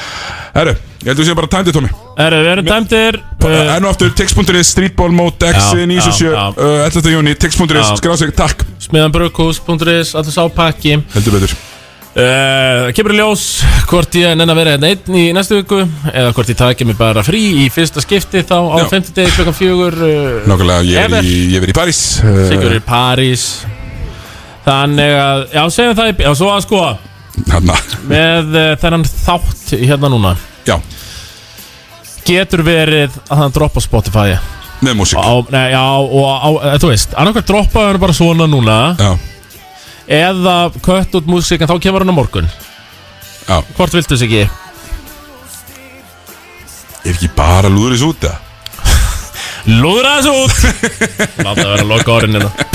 Herru, ég heldur sér bara tæmdi, Tómi Herru, við erum dæmdir Uh, uh, Enn og aftur, tix.is, streetball, mót, x, Já, 97, já, já. uh, 11. júni, tix.is, Já. skráð sig, takk, Smiðanbrukhús.is, allir sá pakki uh, heldur betur. Kemur í ljós hvort ég nenn að vera hérna einn í næstu viku Eða hvort ég taki mig bara frí í fyrsta skipti þá á Já. 50 degi klokkan fjögur uh, Nákvæmlega, ég Ever. er í, ég er í París. Uh, Sigur í París Þannig að, já, segjum það í Já, svo að sko, Hanna, með uh, þennan þátt hérna núna já, Getur verið að hann droppa á Spotify með músík. á, nei, Já, og á, eh, þú veist, annarkvæmt droppaði hann bara svona núna Já, eða kött út músík en þá kemur hann á morgun já, hvort viltu þess ekki? ef ekki bara lúður þessu út, eða? Lúðra þessu út Láta vera hérna. að loka orðinina